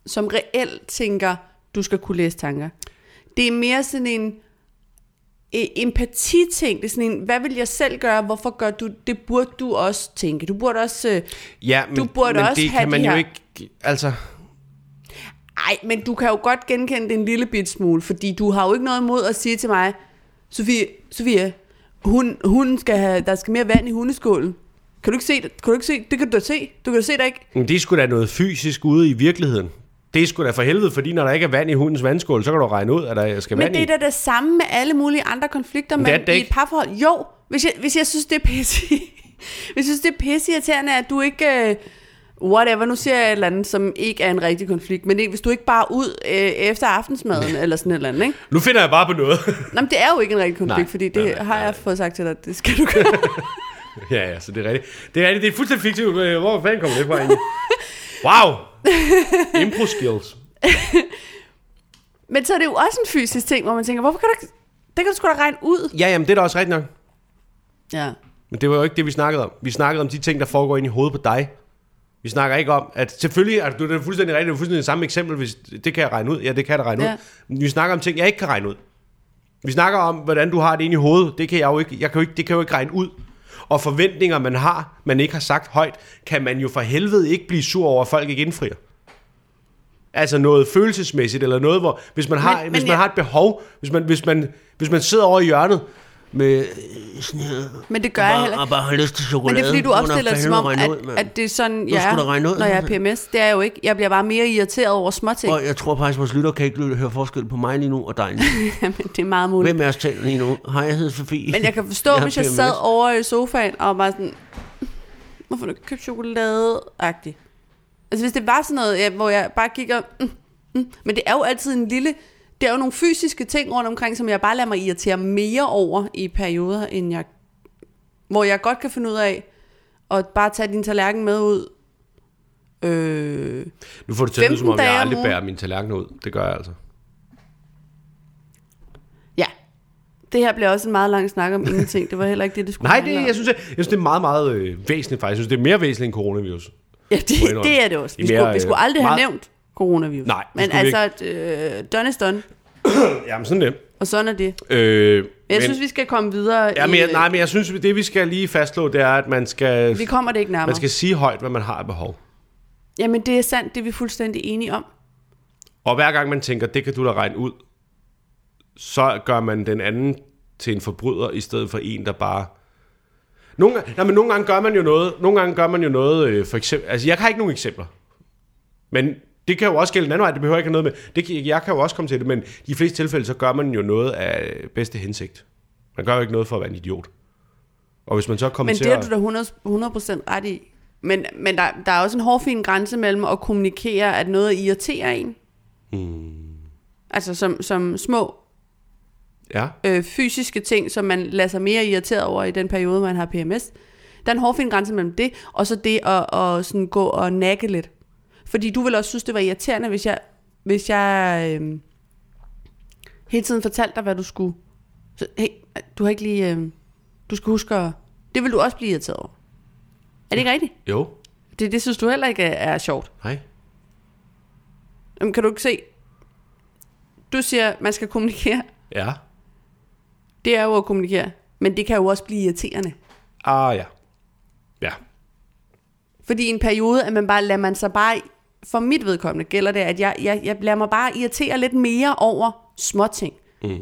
[SPEAKER 1] som reelt tænker, du skal kunne læse tanker. Det er mere sådan en øh, empatiting. Det er sådan en, hvad vil jeg selv gøre? Hvorfor gør du? Det burde du også tænke. Du burde også... Øh,
[SPEAKER 2] Ja, men,
[SPEAKER 1] Du burde
[SPEAKER 2] men
[SPEAKER 1] også
[SPEAKER 2] det
[SPEAKER 1] have
[SPEAKER 2] kan man
[SPEAKER 1] de
[SPEAKER 2] jo
[SPEAKER 1] her-
[SPEAKER 2] ikke... Altså,
[SPEAKER 1] Ej, men du kan jo godt genkende det en lille bit smule, fordi du har jo ikke noget imod at sige til mig, Sofie, Sofie hun, hun skal have, der skal mere vand i hundeskålen. Kan du ikke se det? Kan du ikke se? Det kan du da se. Du kan da se det ikke.
[SPEAKER 2] men det er sgu da noget fysisk ude i virkeligheden. Det er sgu da for helvede, fordi når der ikke er vand i hundens vandskål, så kan du regne ud, at der skal
[SPEAKER 1] Men
[SPEAKER 2] vand
[SPEAKER 1] det er
[SPEAKER 2] i.
[SPEAKER 1] da det samme med alle mulige andre konflikter,
[SPEAKER 2] Men det er
[SPEAKER 1] men
[SPEAKER 2] det
[SPEAKER 1] i
[SPEAKER 2] ikke.
[SPEAKER 1] et parforhold. Jo, hvis jeg, hvis jeg synes, det er pisse. hvis jeg synes, det er pisse irriterende, at du ikke... øh, Whatever, nu siger jeg et eller andet, som ikke er en rigtig konflikt, men det- hvis du ikke bare er ud øh, efter aftensmaden eller sådan et eller andet, ikke?
[SPEAKER 2] Nu finder jeg bare på noget.
[SPEAKER 1] Nå, men det er jo ikke en rigtig konflikt,
[SPEAKER 2] Nej,
[SPEAKER 1] nej, fordi det
[SPEAKER 2] nej,
[SPEAKER 1] nej,
[SPEAKER 2] nej,
[SPEAKER 1] har
[SPEAKER 2] nej.
[SPEAKER 1] jeg fået sagt til dig, det skal du gøre.
[SPEAKER 2] ja, ja, så det er rigtigt. Det er rigtigt, det er fuldstændig fiktivt. Øh, Hvor fanden kommer det fra egentlig? Wow! Impro skills.
[SPEAKER 1] Men så er det jo også en fysisk ting, hvor man tænker, hvorfor kan du ikke... Det kan du sgu da regne ud.
[SPEAKER 2] Ja, jamen det er da også rigtigt nok.
[SPEAKER 1] Ja.
[SPEAKER 2] Men det var jo ikke det, vi snakkede om. Vi snakkede om de ting, der foregår ind i hovedet på dig. Vi snakker ikke om, at selvfølgelig, at du det er fuldstændig rigtigt, det er fuldstændig det samme eksempel, hvis det kan jeg regne ud. Ja, det kan jeg da regne ja.
[SPEAKER 1] Ja.
[SPEAKER 2] ud. Men Vi snakker om ting, jeg ikke kan regne ud. Vi snakker om, hvordan du har det inde i hovedet. Det kan jeg jo ikke, jeg kan jo ikke, det kan jeg jo ikke regne ud. Og forventninger, man har, man ikke har sagt højt, kan man jo for helvede ikke blive sur over, at folk ikke indfrier. Altså noget følelsesmæssigt, eller noget, hvor hvis man har, men,
[SPEAKER 1] Men-
[SPEAKER 2] hvis
[SPEAKER 1] men
[SPEAKER 2] man
[SPEAKER 1] jeg-
[SPEAKER 2] har et behov, hvis man, hvis, man, hvis man sidder over i hjørnet med
[SPEAKER 1] Men det gør jeg heller
[SPEAKER 4] øh, Og
[SPEAKER 1] ikke.
[SPEAKER 4] bare har lyst til chokolade.
[SPEAKER 1] Men det er fordi, du
[SPEAKER 4] Hun har
[SPEAKER 1] opstiller det som
[SPEAKER 4] fandme
[SPEAKER 1] om,
[SPEAKER 4] regnet
[SPEAKER 1] at,
[SPEAKER 4] ud, mand.
[SPEAKER 1] at det er sådan,
[SPEAKER 4] Nu
[SPEAKER 1] jeg
[SPEAKER 4] skulle du regne ud,
[SPEAKER 1] er, når jeg er
[SPEAKER 4] mand.
[SPEAKER 1] PMS. Det er jeg jo ikke. Jeg bliver bare mere irriteret over småting.
[SPEAKER 4] Og jeg tror faktisk, vores lytter kan ikke høre forskel på mig lige nu og dig lige nu.
[SPEAKER 1] Jamen, det er meget muligt.
[SPEAKER 4] Hvem er os taler lige nu? Hej, jeg hedder Sofie.
[SPEAKER 1] Men jeg kan forstå,
[SPEAKER 4] Jeg
[SPEAKER 1] jeg
[SPEAKER 4] har
[SPEAKER 1] hvis jeg
[SPEAKER 4] PMS.
[SPEAKER 1] sad over i sofaen og var sådan, hvorfor har du ikke købt chokolade-agtigt? Altså hvis det var sådan noget, ja, hvor jeg bare gik og... Mm, mm. Men det er jo altid en lille... Det er jo nogle fysiske ting rundt omkring, som jeg bare lader mig irritere mere over i perioder, end jeg... Hvor jeg godt kan finde ud af at bare tage din tallerken med ud. Øh,
[SPEAKER 2] Nu får du til at lyde, som om
[SPEAKER 1] 15
[SPEAKER 2] jeg
[SPEAKER 1] dage om
[SPEAKER 2] aldrig
[SPEAKER 1] ugen.
[SPEAKER 2] bærer mine tallerkener ud. Det gør jeg altså.
[SPEAKER 1] ja. Det her bliver også en meget lang snak om ingenting. Det var heller ikke det, det skulle
[SPEAKER 2] Nej, det,
[SPEAKER 1] handle om.
[SPEAKER 2] jeg, synes, jeg, jeg synes, det er meget, meget øh, væsentligt faktisk. Jeg synes, det er mere væsentligt end coronavirus.
[SPEAKER 1] Ja, det,
[SPEAKER 2] Må jeg indrømme.
[SPEAKER 1] det er det også.
[SPEAKER 2] I
[SPEAKER 1] Vi,
[SPEAKER 2] mere,
[SPEAKER 1] mere, skulle, vi skulle
[SPEAKER 2] øh,
[SPEAKER 1] aldrig have
[SPEAKER 2] meget-
[SPEAKER 1] nævnt coronavirus.
[SPEAKER 2] Nej, det
[SPEAKER 1] Men
[SPEAKER 2] skulle vi
[SPEAKER 1] altså, øh, done is done.
[SPEAKER 2] Jamen, sådan det.
[SPEAKER 1] Og sådan er det.
[SPEAKER 2] Øh,
[SPEAKER 1] Men jeg synes, vi skal komme videre.
[SPEAKER 2] ja, men
[SPEAKER 1] i, øh,
[SPEAKER 2] jeg, nej, men jeg synes, det vi skal lige fastslå, det er, at man skal,
[SPEAKER 1] Vi kommer det ikke nærmere.
[SPEAKER 2] man skal sige højt, hvad man har af behov.
[SPEAKER 1] Jamen, det er sandt. Det er vi fuldstændig enige om.
[SPEAKER 2] Og hver gang man tænker, det kan du da regne ud, så gør man den anden til en forbryder, i stedet for en, der bare... Nogle, gange- nej, men nogle gange gør man jo noget, nogle gange gør man jo noget, øh, for eksempel... Altså, jeg har ikke nogen eksempler. Men det kan jo også gælde den anden vej, det behøver ikke have noget med... Det, kan- jeg kan jo også komme til det, men i de fleste tilfælde, så gør man jo noget af bedste hensigt. Man gør jo ikke noget for at være en idiot. Og hvis man så kommer
[SPEAKER 1] Men
[SPEAKER 2] til
[SPEAKER 1] det har
[SPEAKER 2] at...
[SPEAKER 1] du da 100, 100% ret i. Men, men der, der er også en hårfin grænse mellem at kommunikere, at noget irriterer en. Mm.
[SPEAKER 2] Hmm.
[SPEAKER 1] Altså som, som små
[SPEAKER 2] Ja,
[SPEAKER 1] øh, fysiske ting, som man lader sig mere irriteret over i den periode, man har PMS. Der er en hårfin grænse mellem det, og så det at, at sådan gå og nakke lidt. Fordi du vil også synes, det var irriterende, hvis jeg, hvis jeg øh, hele tiden fortalte dig, hvad du skulle. Så, hey, du har ikke lige... Øh, du skal huske at... Det vil du også blive irriteret over. Er det ikke rigtigt?
[SPEAKER 2] jo,
[SPEAKER 1] Det, det synes du heller ikke er, er sjovt.
[SPEAKER 2] nej.
[SPEAKER 1] Jamen, kan du ikke se? Du siger, man skal kommunikere.
[SPEAKER 2] Ja.
[SPEAKER 1] Det er jo at kommunikere. Men det kan jo også blive irriterende.
[SPEAKER 2] Ah, ja. Ja.
[SPEAKER 1] Fordi i en periode, at man bare lader man sig bare, for mit vedkommende gælder det, at jeg, jeg, jeg lader mig bare irritere lidt mere over småting. Mm.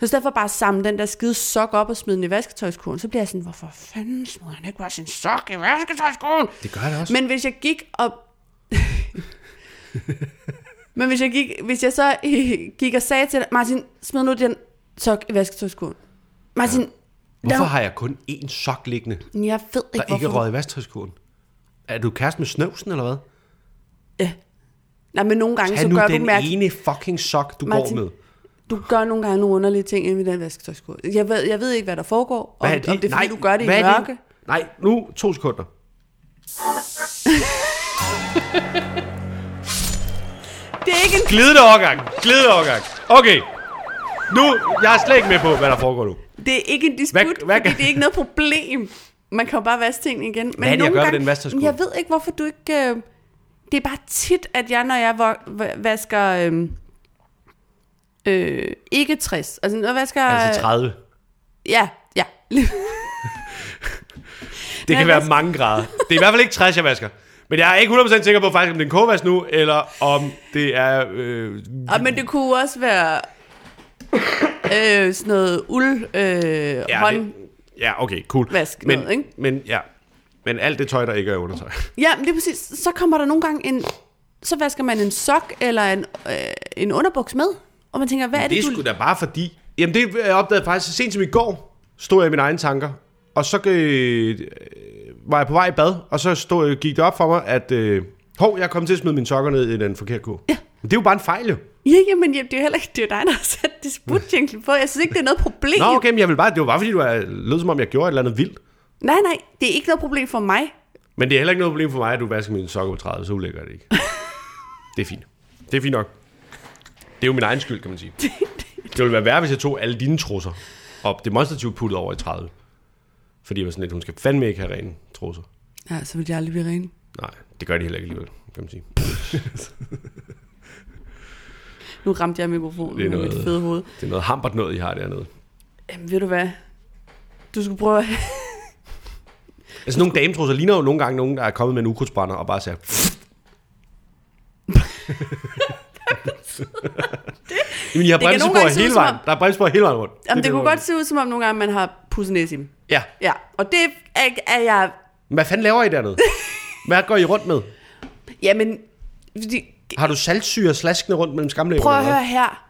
[SPEAKER 1] Så i stedet for bare at samle den der skide sok op og smide den i vasketøjskurven, så bliver jeg sådan, hvorfor fanden smider han ikke bare sin sok i vasketøjskurven?
[SPEAKER 2] Det gør det også.
[SPEAKER 1] Men hvis jeg gik og... Men hvis jeg, gik, hvis jeg så øh, gik og sagde til dig, Martin, smid nu den sok i vasketøjskurven. Martin,
[SPEAKER 2] Hvorfor
[SPEAKER 1] der-
[SPEAKER 2] har jeg kun én sok liggende?
[SPEAKER 1] jeg ved
[SPEAKER 2] Der
[SPEAKER 1] ikke,
[SPEAKER 2] er ikke
[SPEAKER 1] hvorfor.
[SPEAKER 2] røget i vasktøjskurven. Er du kæreste med snøvsen, eller hvad?
[SPEAKER 1] Nej, men nogle gange,
[SPEAKER 2] Tag
[SPEAKER 1] så
[SPEAKER 2] nu
[SPEAKER 1] gør du
[SPEAKER 2] den
[SPEAKER 1] mærke,
[SPEAKER 2] ene fucking sok, du
[SPEAKER 1] Martin,
[SPEAKER 2] går med.
[SPEAKER 1] Du gør nogle gange nogle underlige ting inde i den vasketøjskurv. Jeg ved, jeg ved ikke, hvad der foregår. Om, om det er, fordi du gør det i
[SPEAKER 2] hvad er
[SPEAKER 1] mørke.
[SPEAKER 2] Nej, nu to sekunder.
[SPEAKER 1] Det er ikke en...
[SPEAKER 2] Glidende overgang. Glidende overgang. Okay. Nu, jeg er slet ikke med på, hvad der foregår nu.
[SPEAKER 1] Det er ikke en disput,
[SPEAKER 2] Hvad-
[SPEAKER 1] hvad,
[SPEAKER 2] hvad
[SPEAKER 1] hvad
[SPEAKER 2] kan-
[SPEAKER 1] fordi det er ikke noget problem. Man kan jo bare vaske tingene igen. Men
[SPEAKER 2] Hvad er det, jeg gør ved den vasketøjskurv?
[SPEAKER 1] Jeg ved ikke, hvorfor du ikke... Øh, det er bare tit, at jeg, når jeg vo- va- vasker... Øh, øh, ikke 60. Altså, når jeg vasker...
[SPEAKER 2] Altså 30.
[SPEAKER 1] Ja, ja.
[SPEAKER 2] Det kan
[SPEAKER 1] jeg
[SPEAKER 2] være
[SPEAKER 1] vasker-
[SPEAKER 2] mange grader. Det er i hvert fald ikke 60, jeg vasker. Men jeg er ikke 100% sikker på faktisk, om det er en kogevask nu, eller om det er... Øh,
[SPEAKER 1] Og, men det kunne også være... Øh, sådan noget uld øh, ja,
[SPEAKER 2] ja,
[SPEAKER 1] hånd...
[SPEAKER 2] det, ja, okay, cool.
[SPEAKER 1] Vask
[SPEAKER 2] men,
[SPEAKER 1] noget, ikke?
[SPEAKER 2] Men, ja. men alt det tøj, der ikke er undertøj.
[SPEAKER 1] Ja, men det er præcis. Så kommer der nogle gange en... Så vasker man en sok eller en, øh, en underbuks med. Og man tænker, hvad er det,
[SPEAKER 2] Det er
[SPEAKER 1] du...
[SPEAKER 2] sgu da bare fordi... Jamen, det jeg opdagede faktisk så sent som i går, stod jeg i mine egne tanker, og så øh, var jeg på vej i bad, og så stod, øh, gik det op for mig, at øh, hov, jeg kom til at smide mine sokker ned i den forkerte kurv. Ja. Men det er jo bare en fejl, jo.
[SPEAKER 1] Ja, jamen, jamen, det er jo heller ikke, det er jo dig, der har sat disputjinglen på. Jeg synes ikke, det er noget problem.
[SPEAKER 2] Nå, okay, men jeg vil bare, det var bare fordi, du er, lød som om, jeg gjorde et eller andet vildt.
[SPEAKER 1] Nej, nej, det er ikke noget problem for mig.
[SPEAKER 2] Men det er heller ikke noget problem for mig, at du vasker mine sokker på 30, så ulækker er det ikke. det er fint. Det er fint nok. Det er jo min egen skyld, kan man sige. Det ville være værre, hvis jeg tog alle dine trusser og demonstrativt puttede over i 30. Fordi jeg var sådan lidt, hun skal fandme ikke have rene trusser.
[SPEAKER 1] Ja, så vil jeg aldrig blive ren.
[SPEAKER 2] Nej, det gør de heller ikke alligevel, kan man sige.
[SPEAKER 1] Nu ramte jeg mikrofonen
[SPEAKER 2] Det er
[SPEAKER 1] med
[SPEAKER 2] noget-
[SPEAKER 1] mit fede hoved.
[SPEAKER 2] Det er noget hampert noget, I har dernede.
[SPEAKER 1] Jamen, ved du hvad? Du skulle prøve at...
[SPEAKER 2] Altså, nogle dametrusser ligner jo nogle gange nogen, der er kommet med en ukrudtsbrænder og bare siger... Jamen, I har
[SPEAKER 1] kan nogle
[SPEAKER 2] bremsespor
[SPEAKER 1] gange se ud
[SPEAKER 2] hele
[SPEAKER 1] som
[SPEAKER 2] vejen.
[SPEAKER 1] om-
[SPEAKER 2] Der er bremsespor hele vejen rundt. er
[SPEAKER 1] Jamen, det, det kunne
[SPEAKER 2] der-
[SPEAKER 1] godt se ud, som om nogle gange man har pudset næse i dem.
[SPEAKER 2] Ja.
[SPEAKER 1] Ja, og det er, er jeg...
[SPEAKER 2] Hvad fanden laver I dernede? Hvad går I rundt med?
[SPEAKER 1] Jamen, fordi,
[SPEAKER 2] Har du saltsyre slaskende rundt mellem skamlæberne?
[SPEAKER 1] prøv at
[SPEAKER 2] eller
[SPEAKER 1] høre her.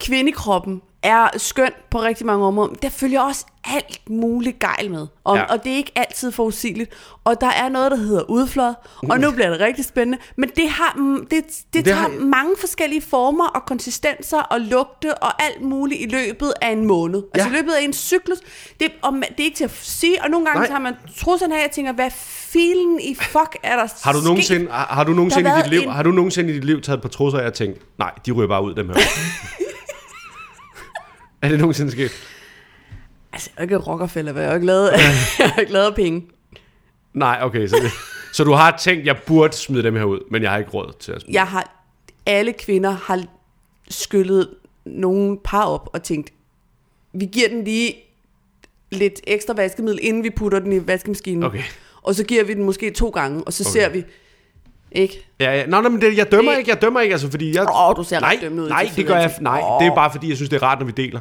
[SPEAKER 1] Kvindekroppen er skøn på rigtig mange områder. Der følger også alt muligt gejl med. Og,
[SPEAKER 2] Ja.
[SPEAKER 1] ja. og det er ikke altid forudsigeligt. Og der er noget, der hedder udflod. Og nu bliver det rigtig spændende. Men det har mm, det, det, det tager
[SPEAKER 2] har-
[SPEAKER 1] har... mange forskellige former og konsistenser og lugte og alt muligt i løbet af en måned. Altså
[SPEAKER 2] Ja.
[SPEAKER 1] i løbet af en cyklus. Det, og man, det er ikke til at sige. Og nogle gange
[SPEAKER 2] Nej.
[SPEAKER 1] Nej. tager man trusserne af og tænker, hvad filen i fuck er der
[SPEAKER 2] Har du
[SPEAKER 1] sket?
[SPEAKER 2] nogensinde, har, har du nogensinde i
[SPEAKER 1] været
[SPEAKER 2] dit liv,
[SPEAKER 1] en-
[SPEAKER 2] har du nogensinde i dit liv taget et par trusser af og tænkt, nej, de ryger bare ud dem her. er det nogensinde sket?
[SPEAKER 1] Altså, jeg er jo ikke Rockefeller, hvad jeg har ikke lavet, jeg har ikke lavet penge.
[SPEAKER 2] Nej, okay. Så, så du har tænkt, jeg burde smide dem her ud, men jeg har ikke råd til at smide.
[SPEAKER 1] Jeg har, alle kvinder har skyllet nogle par op og tænkt, vi giver den lige lidt ekstra vaskemiddel, inden vi putter den i vaskemaskinen.
[SPEAKER 2] Okay.
[SPEAKER 1] Og så giver vi den måske to gange, og så okay. ser vi, ikke?
[SPEAKER 2] Ja, ja. Nå, nej, men det, jeg dømmer
[SPEAKER 1] Det-
[SPEAKER 2] ikke, jeg dømmer ikke, altså, fordi jeg...
[SPEAKER 1] Åh, du ser ret
[SPEAKER 2] nej,
[SPEAKER 1] dømmende ud i
[SPEAKER 2] Nej,
[SPEAKER 1] dit
[SPEAKER 2] det gør jeg,
[SPEAKER 1] ansigt.
[SPEAKER 2] nej,
[SPEAKER 1] Åh.
[SPEAKER 2] det er bare fordi, jeg synes, det er rart, når vi deler.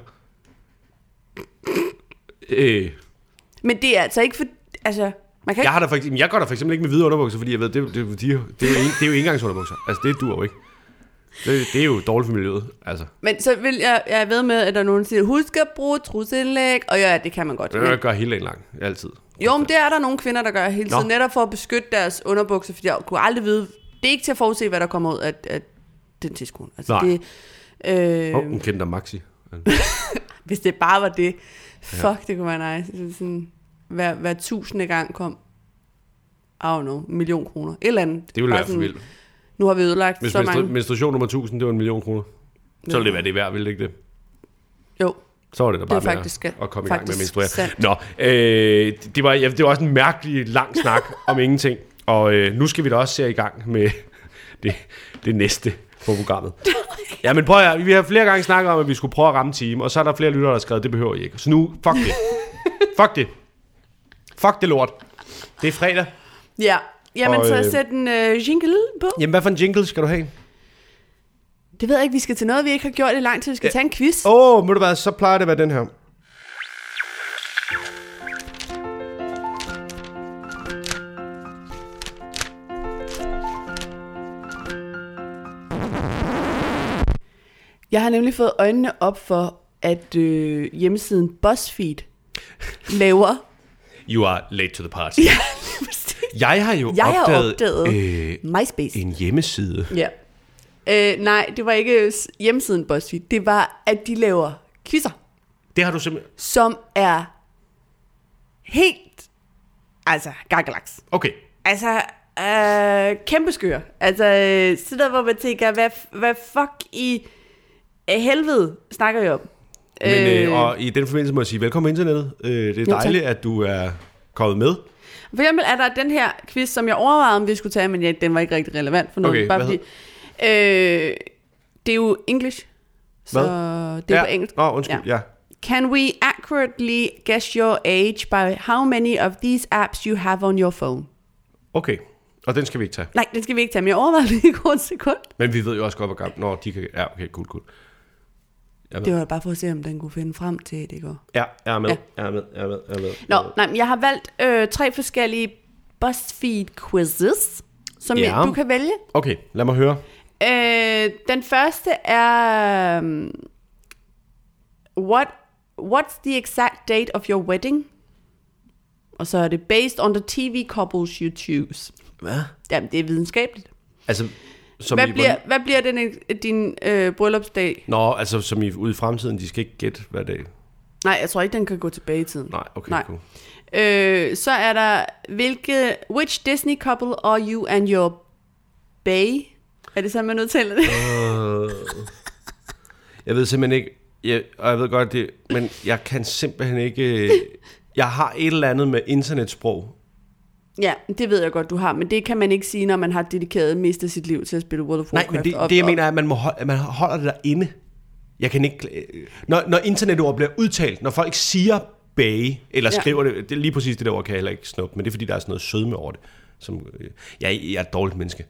[SPEAKER 2] Øh,
[SPEAKER 1] Men det er altså ikke for... Altså, man kan
[SPEAKER 2] jeg,
[SPEAKER 1] ikke...
[SPEAKER 2] har da for eksempel, jeg går da for eksempel ikke med hvide underbukser, fordi jeg ved, det, er jo- det, er jo- de, er jo- det, er, jo en, det er jo engangsunderbukser. Altså, det dur jo ikke. Det, det er jo dårligt for miljøet, altså.
[SPEAKER 1] Men så vil jeg... Jeg er ved med, at der er nogen, der siger, husk at bruge trusindlæg. Og ja, det kan man godt.
[SPEAKER 2] Det
[SPEAKER 1] Men-
[SPEAKER 2] vil jeg gøre hele dagen lang, altid.
[SPEAKER 1] Jo, men det er der nogle kvinder, der gør hele
[SPEAKER 2] Nå.
[SPEAKER 1] tiden, netop for at beskytte deres underbukser, fordi jeg kunne aldrig vide, det er ikke til at forudse, hvad der kommer ud af, af den tidskone. Altså,
[SPEAKER 2] Nej.
[SPEAKER 1] Det, øh,
[SPEAKER 2] Åh, oh, hun kendte dig, Maxi.
[SPEAKER 1] Hvis det bare var det, fuck, ja. det kunne være nice. Så Sådan, hver, hver tusinde gang kom, I don't know, en million kroner, et eller andet.
[SPEAKER 2] Det ville
[SPEAKER 1] Bare
[SPEAKER 2] være for
[SPEAKER 1] sådan,
[SPEAKER 2] vildt.
[SPEAKER 1] Nu har vi ødelagt
[SPEAKER 2] Hvis
[SPEAKER 1] så
[SPEAKER 2] menstru-
[SPEAKER 1] mange.
[SPEAKER 2] menstruation nummer 1000, det var en million kroner. Så ville det være det værd, ville det ikke det?
[SPEAKER 1] Jo,
[SPEAKER 2] Så var det da bare
[SPEAKER 1] er
[SPEAKER 2] med at-
[SPEAKER 1] faktisk-
[SPEAKER 2] at komme i gang med at
[SPEAKER 1] faktisk
[SPEAKER 2] menstruere.
[SPEAKER 1] sandt.
[SPEAKER 2] Nå, øh, det, var, ja, det var også en mærkelig lang snak om ingenting. Og øh, nu skal vi da også se i gang med det, det næste på programmet. Ja, men prøv at, høre, vi har flere gange snakket om, at vi skulle prøve at ramme time, og så er der flere lyttere, der har skrevet, det behøver I ikke. Så nu, fuck det. Fuck det. Fuck det lort. Det er fredag.
[SPEAKER 1] ja. Jamen,
[SPEAKER 2] Og,
[SPEAKER 1] så
[SPEAKER 2] øh,
[SPEAKER 1] sæt en øh, jingle på.
[SPEAKER 2] Jamen, hvad for en jingle skal du have?
[SPEAKER 1] Det ved jeg ikke, vi skal til noget, vi ikke har gjort i lang tid. Vi skal tage en quiz.
[SPEAKER 2] Åh, oh, må du være, så plejer det at være den her.
[SPEAKER 1] Jeg har nemlig fået øjnene op for, at øh, hjemmesiden BuzzFeed laver...
[SPEAKER 2] You are late to the party. Jeg har jo
[SPEAKER 1] Jeg har
[SPEAKER 2] opdaget,
[SPEAKER 1] opdaget-
[SPEAKER 2] Øh,
[SPEAKER 1] MySpace.
[SPEAKER 2] en hjemmeside.
[SPEAKER 1] Ja. Øh, nej, det var ikke s- hjemmesiden BuzzFeed. Det var, at de laver quizzer,
[SPEAKER 2] Det har du simpelthen...
[SPEAKER 1] som er helt... Altså, gakkelaks.
[SPEAKER 2] Okay.
[SPEAKER 1] Altså, øh, kæmpe skør. Altså, øh, sådan noget, hvor man tænker, hvad, hvad fuck i... af helvede snakker jeg om.
[SPEAKER 2] Men, øh, og i den forbindelse må jeg sige, velkommen internettet. Øh, det er
[SPEAKER 1] Jo, tak.
[SPEAKER 2] dejligt, at du er kommet med.
[SPEAKER 1] For eksempel er der den her quiz, som jeg overvejede, om vi skulle tage, men ja, den var ikke rigtig relevant for noget.
[SPEAKER 2] Okay,
[SPEAKER 1] bare
[SPEAKER 2] hvad
[SPEAKER 1] fordi, øh, det er jo engelsk, så
[SPEAKER 2] Hvad?
[SPEAKER 1] det er
[SPEAKER 2] ja.
[SPEAKER 1] på engelsk.
[SPEAKER 2] Nå, undskyld, ja. ja.
[SPEAKER 1] Can we accurately guess your age by how many of these apps you have on your phone?
[SPEAKER 2] Okay, og den skal vi ikke tage.
[SPEAKER 1] Nej, den skal vi ikke tage, men jeg overvejede lige et kort sekund.
[SPEAKER 2] Men vi ved jo også godt, hvor gammel... Nå, de kan... Ja, okay, cool, cool. Jeg er
[SPEAKER 1] Det
[SPEAKER 2] med.
[SPEAKER 1] var bare for at se, om den kunne finde frem til det går.
[SPEAKER 2] Ja, jeg er med.
[SPEAKER 1] Ja.
[SPEAKER 2] Jeg er med, jeg er med, jeg er med.
[SPEAKER 1] Nå, nej, men jeg har valgt øh, tre forskellige BuzzFeed-quizzes, som
[SPEAKER 2] Ja.
[SPEAKER 1] ja. jeg, du kan vælge.
[SPEAKER 2] Okay, lad mig høre.
[SPEAKER 1] Øh, den første er... Um, what, what's the exact date of your wedding? Og så er det based on the TV couples you choose.
[SPEAKER 2] Hvad?
[SPEAKER 1] Jamen, det er videnskabeligt.
[SPEAKER 2] Altså, som
[SPEAKER 1] Hvad
[SPEAKER 2] i,
[SPEAKER 1] bliver, hvad bliver den, din øh, bryllupsdag?
[SPEAKER 2] Nå, altså, som i ude i fremtiden, de skal ikke gætte hver dag.
[SPEAKER 1] Nej, jeg tror ikke, den kan gå tilbage i tiden.
[SPEAKER 2] Nej, okay,
[SPEAKER 1] Nej.
[SPEAKER 2] cool.
[SPEAKER 1] Øh, så er der, hvilke, which Disney couple are you and your bae? Er det sådan, man udtaler det?
[SPEAKER 2] Jeg ved simpelthen ikke, jeg, og jeg ved godt det, men jeg kan simpelthen ikke... Jeg har et eller andet med internetsprog.
[SPEAKER 1] ja, det ved jeg godt, du har, men det kan man ikke sige, når man har dedikeret mest af sit liv til at spille World of
[SPEAKER 2] Nej,
[SPEAKER 1] Warcraft.
[SPEAKER 2] men det,
[SPEAKER 1] op,
[SPEAKER 2] det jeg
[SPEAKER 1] op.
[SPEAKER 2] mener er, at man, må holde, at man holder det derinde. Jeg kan ikke... øh, Når, når internetord bliver udtalt, når folk siger bage, eller
[SPEAKER 1] Ja.
[SPEAKER 2] skriver det, det er lige præcis det der ord, kan jeg heller ikke snuppe, men det er fordi, der er sådan noget sødme over det. Som, øh, jeg, jeg er et dårligt menneske.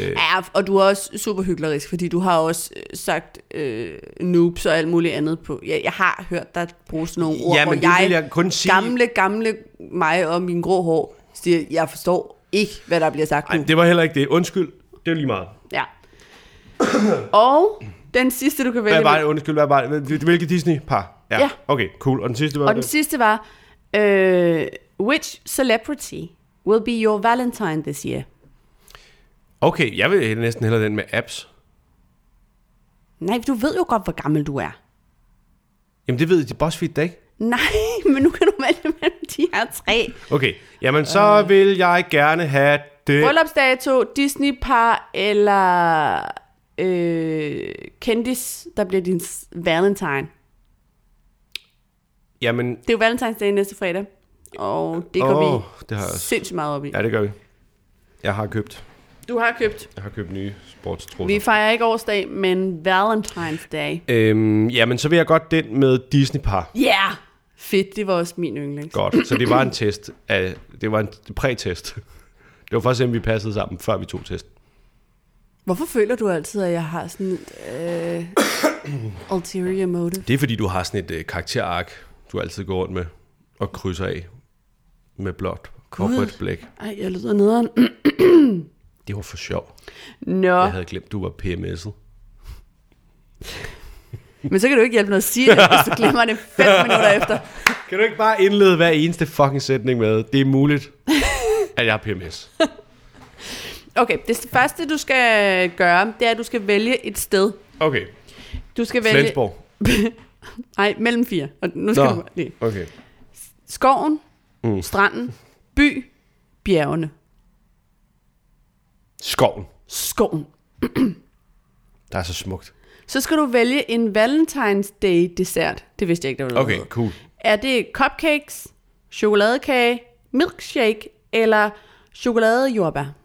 [SPEAKER 2] Øh,
[SPEAKER 1] Ja, og du er også super hyggelig, fordi du har også øh, sagt øh, noobs og alt muligt andet på. Jeg, jeg har hørt dig bruge sådan nogle ord,
[SPEAKER 2] Ja, men
[SPEAKER 1] hvor
[SPEAKER 2] det vil jeg kun sige-
[SPEAKER 1] gamle, gamle mig og min grå hår siger, jeg forstår ikke, hvad der bliver sagt nu.
[SPEAKER 2] Ej, det var heller ikke det. Undskyld. Det er lige meget.
[SPEAKER 1] Ja. og den sidste, du kan vælge
[SPEAKER 2] Hvad var det?
[SPEAKER 1] med-
[SPEAKER 2] Undskyld, hvad var det? Hvilke Disney-par?
[SPEAKER 1] Ja.
[SPEAKER 2] Okay, cool. Og den sidste var
[SPEAKER 1] Og den
[SPEAKER 2] det?
[SPEAKER 1] sidste var, øh, which celebrity will be your valentine this year?
[SPEAKER 2] Okay, jeg vil næsten hellere den med apps.
[SPEAKER 1] Nej, du ved jo godt, hvor gammel du er.
[SPEAKER 2] Jamen, det ved de BuzzFeed da ikke.
[SPEAKER 1] Nej, men nu kan du vælge mellem de her tre.
[SPEAKER 2] Okay, jamen så
[SPEAKER 1] Øh.
[SPEAKER 2] vil jeg gerne have det.
[SPEAKER 1] Bryllupsdato, Disney-par eller øh, kendis, der bliver din s- valentine.
[SPEAKER 2] Jamen,
[SPEAKER 1] Det er jo valentinsdag næste fredag, og det går oh,
[SPEAKER 2] åh, oh, det har jeg
[SPEAKER 1] vi
[SPEAKER 2] også.
[SPEAKER 1] sindssygt meget op i.
[SPEAKER 2] Ja, det gør vi. Jeg har købt.
[SPEAKER 1] Du har købt.
[SPEAKER 2] Jeg har købt nye sportstrusser.
[SPEAKER 1] Vi
[SPEAKER 2] Vi...
[SPEAKER 1] fejrer ikke årsdag, men valentinsdag.
[SPEAKER 2] Øhm, jamen, så vil jeg godt den med Disney-par.
[SPEAKER 1] Ja! Yeah! Fedt, det var også min yndlings.
[SPEAKER 2] Godt, så det var en test. Af, det var en prætest. Det var faktisk, at vi passede sammen, før vi tog testen.
[SPEAKER 1] Hvorfor føler du altid, at jeg har sådan et øh, ulterior motive?
[SPEAKER 2] Det er fordi, du har sådan et øh, karakterark, du altid går rundt med og krydser af med blåt og
[SPEAKER 1] Gud.
[SPEAKER 2] rødt blæk.
[SPEAKER 1] Ej, jeg lyder nederen.
[SPEAKER 2] Det var for sjov.
[SPEAKER 1] Nå,
[SPEAKER 2] Jeg havde glemt, du var PMS'et.
[SPEAKER 1] men så kan du ikke hjælpe noget at sige det, hvis du glemmer det fem minutter efter.
[SPEAKER 2] Kan du ikke bare indlede hver eneste fucking sætning med, det er muligt, at jeg har PMS?
[SPEAKER 1] Okay, det første, du skal gøre, det er, at du skal vælge et sted.
[SPEAKER 2] Okay,
[SPEAKER 1] Du skal vælge...
[SPEAKER 2] Flensborg.
[SPEAKER 1] Nej, mellem fire. Og nu skal
[SPEAKER 2] Nå,
[SPEAKER 1] du lige.
[SPEAKER 2] okay.
[SPEAKER 1] Skoven,
[SPEAKER 2] Mm.
[SPEAKER 1] mm. stranden, by, bjergene.
[SPEAKER 2] Skoven.
[SPEAKER 1] Skoven.
[SPEAKER 2] Der er så smukt.
[SPEAKER 1] Så skal du vælge en Valentine's Day dessert. Det vidste jeg ikke, der var noget.
[SPEAKER 2] Okay, cool.
[SPEAKER 1] Er det cupcakes, chokoladekage, milkshake eller chokoladejordbær?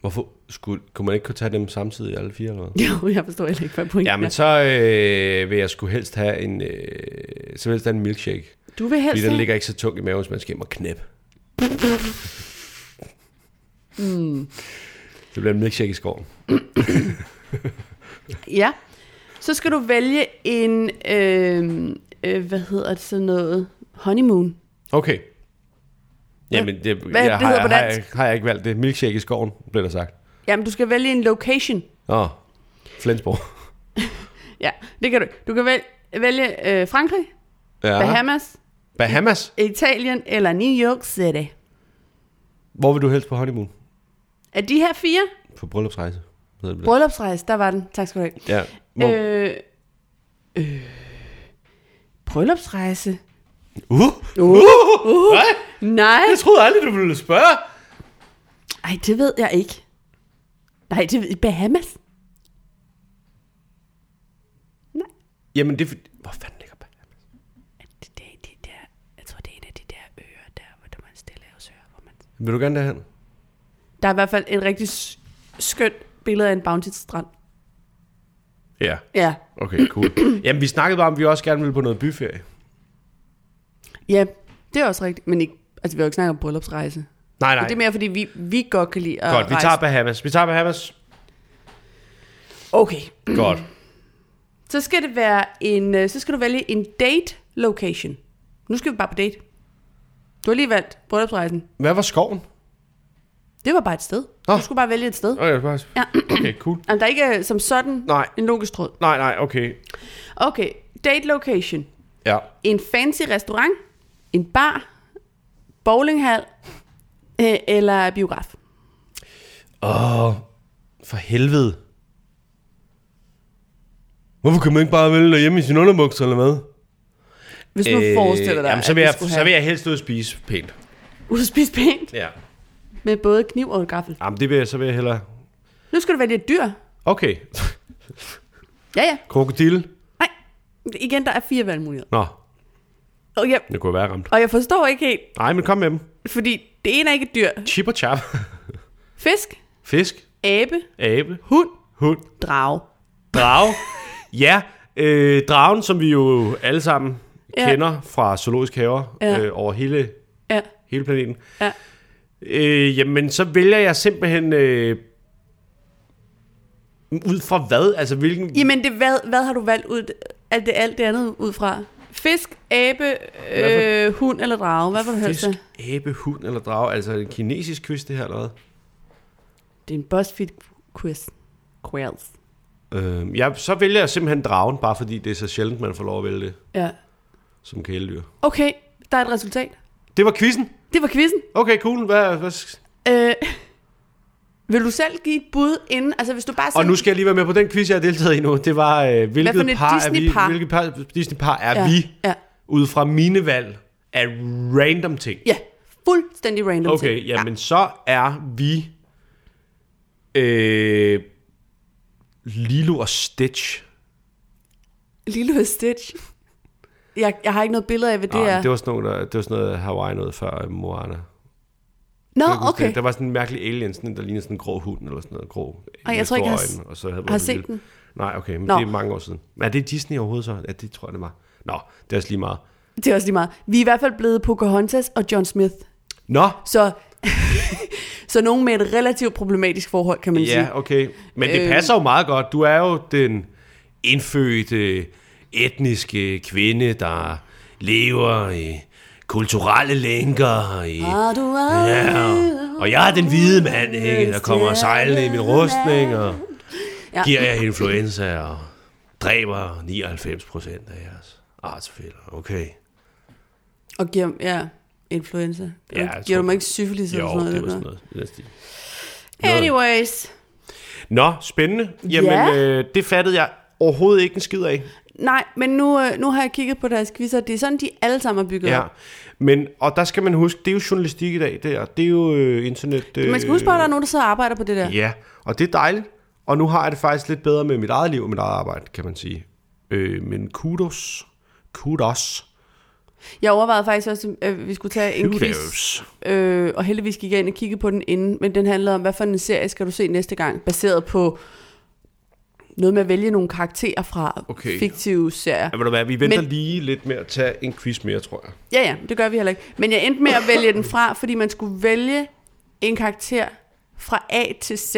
[SPEAKER 2] Hvorfor skulle, kunne man ikke kunne tage dem samtidig alle fire eller hvad?
[SPEAKER 1] Jo, jeg forstår heller ikke, hvad pointen
[SPEAKER 2] Ja, men
[SPEAKER 1] er.
[SPEAKER 2] så øh, vil jeg sgu helst have en, øh, så vil jeg helst have en milkshake.
[SPEAKER 1] Du vil helst
[SPEAKER 2] Fordi den
[SPEAKER 1] have...
[SPEAKER 2] ligger ikke så tung i maven, så man skal hjem og knæppe. Mm.
[SPEAKER 1] Hmm.
[SPEAKER 2] Det bliver en milkshake i skoven.
[SPEAKER 1] Ja. Så skal du vælge en, øh, øh, hvad hedder det sådan noget, honeymoon.
[SPEAKER 2] Okay. Jamen, det,
[SPEAKER 1] Hvad-
[SPEAKER 2] jeg,
[SPEAKER 1] det hedder på
[SPEAKER 2] har, har, jeg,
[SPEAKER 1] dansk?
[SPEAKER 2] har jeg ikke valgt det. Milkshake i skoven, blev der sagt.
[SPEAKER 1] Jamen, du skal vælge en location.
[SPEAKER 2] Åh, Flensborg.
[SPEAKER 1] Ja, det kan du ikke. Du kan vælge, vælge øh, Frankrig,
[SPEAKER 2] Ja.
[SPEAKER 1] ja. Bahamas,
[SPEAKER 2] Bahamas?
[SPEAKER 1] Italien eller New York City.
[SPEAKER 2] Hvor vil du helst på honeymoon?
[SPEAKER 1] Er de her fire?
[SPEAKER 2] På bryllupsrejse. hedder det.
[SPEAKER 1] Bryllupsrejse, der var den. Tak skal du have.
[SPEAKER 2] Ja. Hvor, øh.
[SPEAKER 1] Øh, øh, bryllupsrejse?
[SPEAKER 2] uh, uh, uh, Nej,
[SPEAKER 1] Nej.
[SPEAKER 2] jeg troede aldrig, du ville spørge.
[SPEAKER 1] Ej, det ved jeg ikke. Nej, det ved Bahamas. Nej,
[SPEAKER 2] Jamen, det er fordi- Hvor fanden ligger Bahamas?
[SPEAKER 1] Det, det er de der, jeg tror, det er en af de der øer der, hvor der man stille ører, hvor man...
[SPEAKER 2] Vil du gerne derhen?
[SPEAKER 1] Der er i hvert fald et rigtig s- skønt billede af en bounty-strand.
[SPEAKER 2] Ja.
[SPEAKER 1] Ja.
[SPEAKER 2] Okay, cool. Jamen, vi snakkede bare om, at vi også gerne ville på noget byferie.
[SPEAKER 1] Ja, det er også rigtigt. Men ikke, altså, vi har jo ikke snakket om bryllupsrejse. Nej.
[SPEAKER 2] Nej, nej.
[SPEAKER 1] Det er mere, fordi vi, vi godt kan lide at
[SPEAKER 2] Godt, vi
[SPEAKER 1] rejse.
[SPEAKER 2] tager Bahamas. Vi tager Bahamas.
[SPEAKER 1] Okay,
[SPEAKER 2] Godt.
[SPEAKER 1] så skal det være en, øh, så skal du vælge en date location. Nu skal vi bare på date. Du har lige valgt bryllupsrejsen.
[SPEAKER 2] Hvad var skoven?
[SPEAKER 1] Det var bare et sted.
[SPEAKER 2] Nå.
[SPEAKER 1] Du skulle bare vælge et sted.
[SPEAKER 2] Okay, bare...
[SPEAKER 1] Ja.
[SPEAKER 2] okay cool.
[SPEAKER 1] Jamen, der er ikke øh, som sådan
[SPEAKER 2] Nej,
[SPEAKER 1] en logisk tråd.
[SPEAKER 2] nej, nej, okay.
[SPEAKER 1] Okay, date location.
[SPEAKER 2] Ja.
[SPEAKER 1] En fancy restaurant, en bar, bowlinghal øh, eller biograf.
[SPEAKER 2] Åh, for helvede. Hvorfor kan man ikke bare vælge derhjemme i sin underbukser eller hvad?
[SPEAKER 1] Hvis du øh, forestiller dig,
[SPEAKER 2] jamen, så vil,
[SPEAKER 1] at
[SPEAKER 2] jeg,
[SPEAKER 1] vi skulle
[SPEAKER 2] så
[SPEAKER 1] have
[SPEAKER 2] vil jeg helst ud og spise pænt.
[SPEAKER 1] ud at spise pænt
[SPEAKER 2] Ja.
[SPEAKER 1] med både kniv og gaffel.
[SPEAKER 2] Jamen, det vil jeg, så vil jeg hellere...
[SPEAKER 1] Nu skal du vælge et dyr.
[SPEAKER 2] Okay.
[SPEAKER 1] Ja, ja.
[SPEAKER 2] Krokodille.
[SPEAKER 1] Nej. Igen, der er fire valgmuligheder.
[SPEAKER 2] Nå,
[SPEAKER 1] Og jeg,
[SPEAKER 2] det kunne være ramt.
[SPEAKER 1] og jeg forstår ikke helt,
[SPEAKER 2] Nej, men kom med dem.
[SPEAKER 1] fordi det ene er ikke et dyr.
[SPEAKER 2] Chip og chap.
[SPEAKER 1] Fisk,
[SPEAKER 2] Fisk.
[SPEAKER 1] abe,
[SPEAKER 2] Abe.
[SPEAKER 1] hund,
[SPEAKER 2] Hund.
[SPEAKER 1] drage.
[SPEAKER 2] Drage. ja, øh, dragen, som vi jo alle sammen
[SPEAKER 1] Ja.
[SPEAKER 2] ja. kender fra zoologiske haver
[SPEAKER 1] Ja.
[SPEAKER 2] ja. øh, over hele,
[SPEAKER 1] Ja.
[SPEAKER 2] hele planeten.
[SPEAKER 1] Ja.
[SPEAKER 2] Øh, jamen, så vælger jeg simpelthen... Øh, ud fra hvad? Altså, hvilken...
[SPEAKER 1] Jamen, det, hvad, hvad har du valgt ud af det, alt det andet ud fra? Fisk, abe, øh, hund eller drage? Hvad vil du helst
[SPEAKER 2] Fisk,
[SPEAKER 1] have?
[SPEAKER 2] abe, hund eller drage? Altså, er det en kinesisk quiz, det her, eller hvad?
[SPEAKER 1] Det er en BuzzFeed quiz. Quiz.
[SPEAKER 2] Øh, ja, så vælger jeg simpelthen dragen, bare fordi det er så sjældent, man får lov at vælge det
[SPEAKER 1] Ja.
[SPEAKER 2] som kæledyr.
[SPEAKER 1] Okay, der er et resultat.
[SPEAKER 2] Det var quizzen.
[SPEAKER 1] Det var quizzen.
[SPEAKER 2] Okay, cool. Hvad, hvad...
[SPEAKER 1] Øh, vil du selv give et bud inden? Altså, hvis du bare
[SPEAKER 2] Og
[SPEAKER 1] selv-
[SPEAKER 2] nu skal jeg lige være med på den quiz, jeg har deltaget i nu. Det var, øh, hvilket
[SPEAKER 1] Hvad for et
[SPEAKER 2] par er vi,
[SPEAKER 1] Disney-par?
[SPEAKER 2] hvilket par, Disney-par er
[SPEAKER 1] ja.
[SPEAKER 2] vi,
[SPEAKER 1] Ja.
[SPEAKER 2] ud fra mine valg af random ting.
[SPEAKER 1] ja. Fuldstændig random
[SPEAKER 2] Okay,
[SPEAKER 1] ting.
[SPEAKER 2] jamen så er vi øh, Lilo og Stitch.
[SPEAKER 1] Lilo og Stitch. Jeg, jeg har ikke noget billede af, hvad det
[SPEAKER 2] Nej,
[SPEAKER 1] er.
[SPEAKER 2] det var sådan noget, der, det var sådan noget Hawaii noget før øh, Moana.
[SPEAKER 1] Nå,
[SPEAKER 2] Jeg kan huske
[SPEAKER 1] okay.
[SPEAKER 2] det. Der var sådan en mærkelig alien, sådan, en, der lignede sådan en grå hund eller sådan noget. Grå,
[SPEAKER 1] Ej, jeg
[SPEAKER 2] med
[SPEAKER 1] tror ikke, jeg
[SPEAKER 2] store
[SPEAKER 1] har s-
[SPEAKER 2] øjne, og så havde
[SPEAKER 1] har
[SPEAKER 2] man
[SPEAKER 1] set
[SPEAKER 2] lidt-
[SPEAKER 1] den.
[SPEAKER 2] Nej, okay, men
[SPEAKER 1] Nå.
[SPEAKER 2] Nå. det er mange år siden. Men er det Disney overhovedet så? Ja, det tror jeg, det var. Nå, det er også lige meget.
[SPEAKER 1] Det er også lige meget. Vi er i hvert fald blevet Pocahontas og John Smith.
[SPEAKER 2] Nå,
[SPEAKER 1] Så, så nogen med et relativt problematisk forhold, kan man sige.
[SPEAKER 2] Ja, okay. Men det
[SPEAKER 1] Øh.
[SPEAKER 2] passer jo meget godt. Du er jo den indfødte, etniske kvinde, der lever i kulturelle lænker. I,
[SPEAKER 1] Har du
[SPEAKER 2] ja,
[SPEAKER 1] aldrig-
[SPEAKER 2] og, og jeg er den hvide mand, ikke, der kommer sejlende i min rustning, og
[SPEAKER 1] Ja.
[SPEAKER 2] giver jer influenza, og dræber 99 procent af jeres artsfælder. Okay.
[SPEAKER 1] Og giver, ja, influenza.
[SPEAKER 2] Ja,
[SPEAKER 1] Ja,
[SPEAKER 2] jeg
[SPEAKER 1] giver
[SPEAKER 2] tror-
[SPEAKER 1] du mig ikke syfilis eller
[SPEAKER 2] Jo,
[SPEAKER 1] sådan noget?
[SPEAKER 2] det var
[SPEAKER 1] eller?
[SPEAKER 2] sådan noget. i den stil.
[SPEAKER 1] Anyways.
[SPEAKER 2] Nå, spændende. Jamen,
[SPEAKER 1] Ja.
[SPEAKER 2] øh, det fattede jeg overhovedet ikke en skid af.
[SPEAKER 1] Nej, men nu, øh, nu har jeg kigget på deres quizzer. Det er sådan, de alle sammen er bygget
[SPEAKER 2] Ja,
[SPEAKER 1] op.
[SPEAKER 2] men, og der skal man huske, det er jo journalistik i dag, det er, det er jo øh, internet... Øh,
[SPEAKER 1] Man skal huske på, at der er nogen, der sidder og arbejder på det der.
[SPEAKER 2] Ja, og det er dejligt, og nu har jeg det faktisk lidt bedre med mit eget liv og mit eget arbejde, kan man sige. Øh, men kudos, kudos,
[SPEAKER 1] Jeg overvejede faktisk også, at vi skulle tage en quiz.
[SPEAKER 2] kudos.
[SPEAKER 1] Øh, og heldigvis gik jeg ind og kiggede på den inden. Men den handlede om, hvad for en serie skal du se næste gang? Baseret på noget med at vælge nogle karakterer fra okay.
[SPEAKER 2] Okay.
[SPEAKER 1] fiktive serier.
[SPEAKER 2] Ja, ved du hvad, vi venter
[SPEAKER 1] Men-
[SPEAKER 2] men... lige lidt med at tage en quiz mere, tror jeg.
[SPEAKER 1] Ja, ja, det gør vi heller ikke. Men jeg endte med at vælge den fra, fordi man skulle vælge en karakter fra A til Z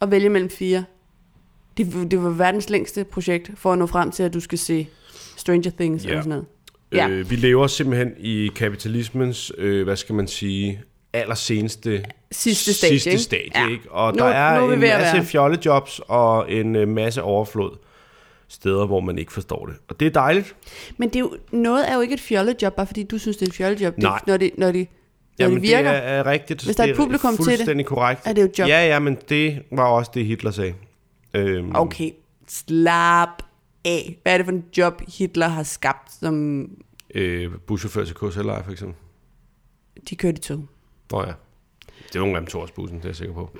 [SPEAKER 1] og vælge mellem fire. Det, det var verdens længste projekt for at nå frem til, at du skal se Stranger Things
[SPEAKER 2] Ja.
[SPEAKER 1] yeah. eller sådan noget. Ja.
[SPEAKER 2] Øh, vi lever simpelthen i kapitalismens, øh, hvad skal man sige, allerseneste
[SPEAKER 1] Sidste stadie,
[SPEAKER 2] sidste
[SPEAKER 1] ikke?
[SPEAKER 2] stadie
[SPEAKER 1] Ja.
[SPEAKER 2] ikke? Og
[SPEAKER 1] Nu-
[SPEAKER 2] der er,
[SPEAKER 1] nu er vi
[SPEAKER 2] en
[SPEAKER 1] ved at
[SPEAKER 2] masse
[SPEAKER 1] være.
[SPEAKER 2] fjollejobs og en øh, masse overflod steder, hvor man ikke forstår det. Og det er dejligt.
[SPEAKER 1] Men det er jo, noget er jo ikke et fjollejob, bare fordi du synes, det er et fjollejob. Det,
[SPEAKER 2] Nej.
[SPEAKER 1] er- når det, når det, når det virker.
[SPEAKER 2] det er, er rigtigt.
[SPEAKER 1] Hvis der er
[SPEAKER 2] Det
[SPEAKER 1] et publikum til det,
[SPEAKER 2] fuldstændig korrekt.
[SPEAKER 1] er det jo et job.
[SPEAKER 2] Ja, ja, men det var også det, Hitler sagde. Øhm,
[SPEAKER 1] Okay, slap af. Hvad er det for en job, Hitler har skabt, som
[SPEAKER 2] øh, buschauffør til KSLR, for eksempel.
[SPEAKER 1] de kørte i tog?
[SPEAKER 2] Nå ja. Det er nogle gange Torsbussen, det er jeg sikker på.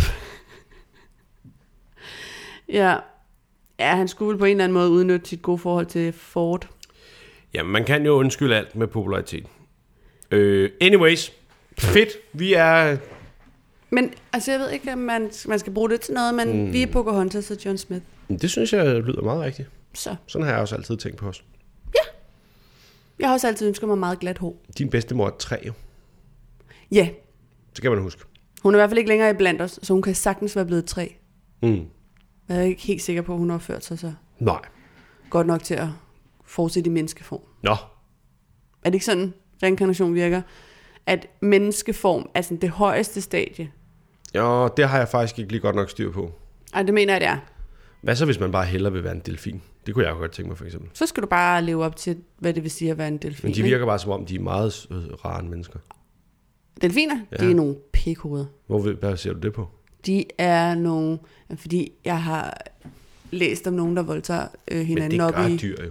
[SPEAKER 1] Ja. Ja, han skulle vel på en eller anden måde udnytte sit gode forhold til Ford.
[SPEAKER 2] Jamen, man kan jo undskylde alt med popularitet. Øh, anyways, fedt. Vi er...
[SPEAKER 1] Men altså, jeg ved ikke, om man, man skal bruge det til noget, men mm. vi er Pocahontas og John Smith.
[SPEAKER 2] Det synes jeg lyder meget rigtigt.
[SPEAKER 1] Så.
[SPEAKER 2] Sådan har jeg også altid tænkt på os.
[SPEAKER 1] Jeg har også altid ønsket mig meget glat hår.
[SPEAKER 2] Din bedstemor er træ, jo.
[SPEAKER 1] Ja,
[SPEAKER 2] Det kan man huske.
[SPEAKER 1] hun er i hvert fald ikke længere iblandt os, så hun kan sagtens være blevet tre.
[SPEAKER 2] Mm.
[SPEAKER 1] Jeg er ikke helt sikker på, at hun har ført sig så
[SPEAKER 2] Nej.
[SPEAKER 1] godt nok til at fortsætte i menneskeform.
[SPEAKER 2] Nå.
[SPEAKER 1] Er det ikke sådan, reinkarnation virker? At menneskeform er sådan det højeste stadie.
[SPEAKER 2] Jo, det har jeg faktisk ikke lige godt nok styr på.
[SPEAKER 1] Ej, det mener jeg, det er.
[SPEAKER 2] Hvad så, hvis man bare hellere vil være en delfin? Det kunne jeg godt tænke mig, for eksempel.
[SPEAKER 1] Så skal du bare leve op til, hvad det vil sige at være en delfin.
[SPEAKER 2] Men de
[SPEAKER 1] ikke?
[SPEAKER 2] virker bare, som om de er meget øh, rare mennesker.
[SPEAKER 1] Delfiner, ja.
[SPEAKER 2] Ja.
[SPEAKER 1] det er nogle pikhoveder.
[SPEAKER 2] Hvor, ved- hvad ser du det på?
[SPEAKER 1] De er nogle... Fordi jeg har læst om nogen, der voldtager øh,
[SPEAKER 2] Men
[SPEAKER 1] hinanden
[SPEAKER 2] det
[SPEAKER 1] op
[SPEAKER 2] gør
[SPEAKER 1] i...
[SPEAKER 2] dyr jo. Det er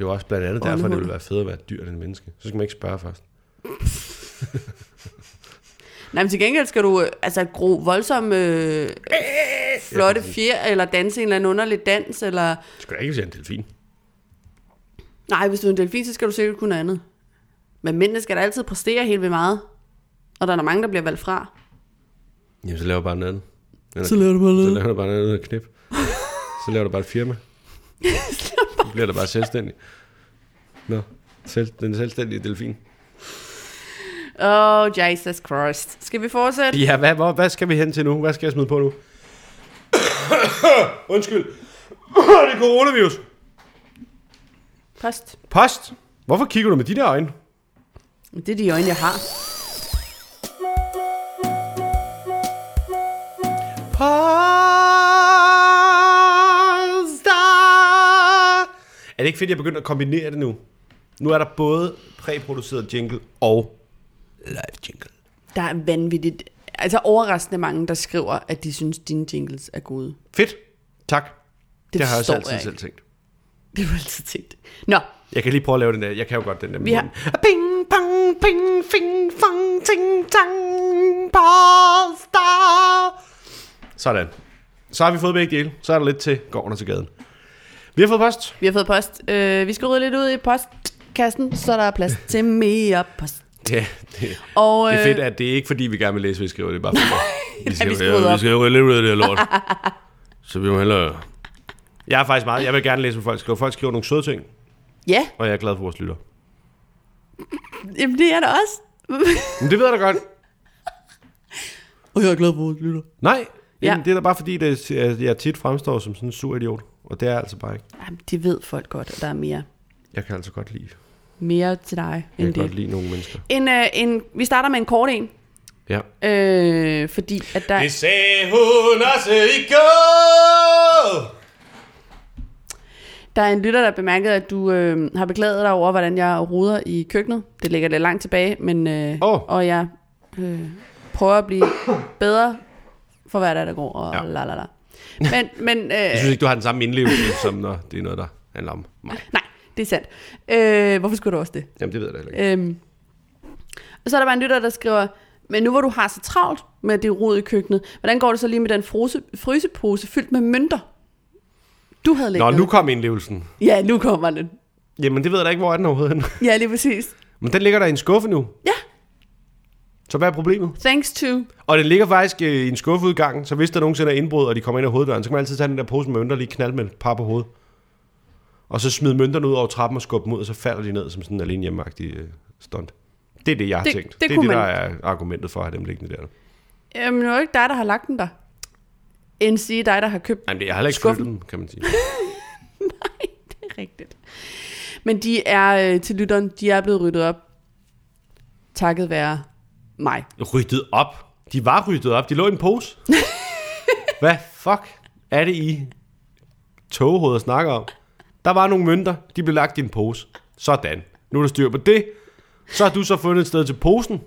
[SPEAKER 2] jo også blandt andet derfor, det
[SPEAKER 1] Åndehuller.
[SPEAKER 2] ville være federe at være et dyr end en menneske. Så skal man ikke spørge først.
[SPEAKER 1] Nej, men til gengæld skal du øh, altså gro voldsomme øh, flotte fjer, eller danse en eller anden underlig dans, eller...
[SPEAKER 2] Det skal da ikke være en delfin.
[SPEAKER 1] Nej, hvis du er en delfin, så skal du sikkert kunne andet. Men mændene skal da altid præstere helt vildt meget. Og der er der mange, der bliver valgt fra.
[SPEAKER 2] Jamen, så laver du bare noget andet. Eller,
[SPEAKER 1] Så laver du bare noget
[SPEAKER 2] Så
[SPEAKER 1] andet.
[SPEAKER 2] laver du bare noget andet knip. Så laver du bare et firma. så bliver du bare selvstændig. Nå, selv, den selvstændige delfin.
[SPEAKER 1] Åh, oh, Jesus Christ. Skal vi fortsætte?
[SPEAKER 2] Ja, hvad, hvor, hvad skal vi hen til nu? Hvad skal jeg smide på nu? Undskyld. det er coronavirus.
[SPEAKER 1] Post.
[SPEAKER 2] Post. Hvorfor kigger du med de der øjne?
[SPEAKER 1] Det er de øjne, jeg har.
[SPEAKER 2] Post. Er det ikke fedt, at jeg begynder at kombinere det nu? Nu er der både præproduceret jingle og live jingle.
[SPEAKER 1] Der er vanvittigt. Altså overraskende mange, der skriver, at de synes, dine jingles er gode.
[SPEAKER 2] Fedt. Tak. Det, det har jeg også
[SPEAKER 1] forstår
[SPEAKER 2] altid
[SPEAKER 1] jeg ikke.
[SPEAKER 2] selv tænkt.
[SPEAKER 1] Det var altid tænkt. Nå,
[SPEAKER 2] Jeg kan lige prøve at lave den der. Jeg kan jo godt den der.
[SPEAKER 1] Vi har-
[SPEAKER 2] Bing, bang, bing, fing, fang, ting, tang, pasta. Sådan. Så har vi fået begge dele. Så er der lidt til gården og til gaden. Vi har fået post.
[SPEAKER 1] vi har fået post. Øh, vi skal rydde lidt ud i postkassen, så der er plads til mere post.
[SPEAKER 2] Ja, det,
[SPEAKER 1] Og,
[SPEAKER 2] det er
[SPEAKER 1] øh,
[SPEAKER 2] fedt, at det er ikke fordi, vi gerne vil læse, hvad vi skriver. Det er bare fordi, vi
[SPEAKER 1] vi skal rydde op.
[SPEAKER 2] ja, vi skal jo lidt ud af det her lort.
[SPEAKER 4] Så vi må hellere...
[SPEAKER 2] Jeg er faktisk meget. Jeg vil gerne læse, hvad folk skriver. Folk skriver nogle søde ting,
[SPEAKER 1] Ja,
[SPEAKER 2] og jeg er glad for vores lytter.
[SPEAKER 1] jamen det er der også.
[SPEAKER 2] Men det ved jeg da godt.
[SPEAKER 1] Og jeg er glad for, at du lytter.
[SPEAKER 2] Nej,
[SPEAKER 1] Ja.
[SPEAKER 2] ja. det er da bare fordi, det, at jeg tit fremstår som sådan en sur idiot. Og det er jeg altså bare ikke.
[SPEAKER 1] Jamen, det ved folk godt, at der er mere,
[SPEAKER 2] Jeg kan altså godt lide
[SPEAKER 1] mere til dig
[SPEAKER 2] Jeg
[SPEAKER 1] end
[SPEAKER 2] kan godt
[SPEAKER 1] det.
[SPEAKER 2] lide nogle mennesker.
[SPEAKER 1] En, øh, en, vi starter med en kort en,
[SPEAKER 2] Ja.
[SPEAKER 1] øh, fordi at der...
[SPEAKER 2] sagde hun også i går.
[SPEAKER 1] Der er en lytter, der bemærkede, at du øh, har beklaget dig over, hvordan jeg roder i køkkenet. Det ligger lidt langt tilbage, men øh,
[SPEAKER 2] Åh.
[SPEAKER 1] oh. og jeg øh, prøver at blive bedre for hver dag, der går. Og
[SPEAKER 2] Ja.
[SPEAKER 1] ja. la, la, la. Men, men øh,
[SPEAKER 2] Jeg synes ikke, du har den samme indlevelse, som når det er noget, der handler om mig.
[SPEAKER 1] nej, det er sandt. Øh, hvorfor skulle du også det?
[SPEAKER 2] Jamen, det ved jeg da heller ikke.
[SPEAKER 1] Øhm. Og så er der bare en lytter, der skriver, men nu hvor du har så travlt med det rod i køkkenet, hvordan går det så lige med den frose, frysepose fyldt med mønter? Du havde
[SPEAKER 2] Nå,
[SPEAKER 1] lækkert.
[SPEAKER 2] nu kom indlevelsen.
[SPEAKER 1] Ja, nu kommer den.
[SPEAKER 2] Jamen, det ved jeg da ikke, hvor er den overhovedet henne.
[SPEAKER 1] Ja, lige præcis.
[SPEAKER 2] Men den ligger der i en skuffe nu.
[SPEAKER 1] Ja,
[SPEAKER 2] Så hvad er problemet?
[SPEAKER 1] thanks to
[SPEAKER 2] Og den ligger faktisk øh, i en skuffeudgang, så hvis der nogensinde er indbrud, og de kommer ind ad hoveddøren, så kan man altid tage den der pose med mønter og lige knalde med et par på hovedet. Og så smide mønterne ud over trappen og skubbe dem ud, og så falder de ned som sådan en alene hjemmeagtig øh, stunt. Det er det, jeg har
[SPEAKER 1] Det-
[SPEAKER 2] tænkt.
[SPEAKER 1] det
[SPEAKER 2] Det, det er
[SPEAKER 1] kunne
[SPEAKER 2] det, der
[SPEAKER 1] man.
[SPEAKER 2] er argumentet for at have dem liggende der.
[SPEAKER 1] Jamen, det er jo ikke dig, der har lagt den der. End sige dig, der har købt
[SPEAKER 2] Jamen, det- jeg har heller ikke
[SPEAKER 1] Skuffen.
[SPEAKER 2] flyttet dem, kan man sige.
[SPEAKER 1] det er rigtigt. Men de er, øh, til lytteren, de er blevet ryddet op. Takket være mig.
[SPEAKER 2] Ryddet op. De var ryddet op. De lå i en pose. Hvad fuck er det, I togehoveder snakker om? Der var nogle mønter. De blev lagt i en pose. Sådan. Nu er der styr på det. Så har du så fundet et sted til posen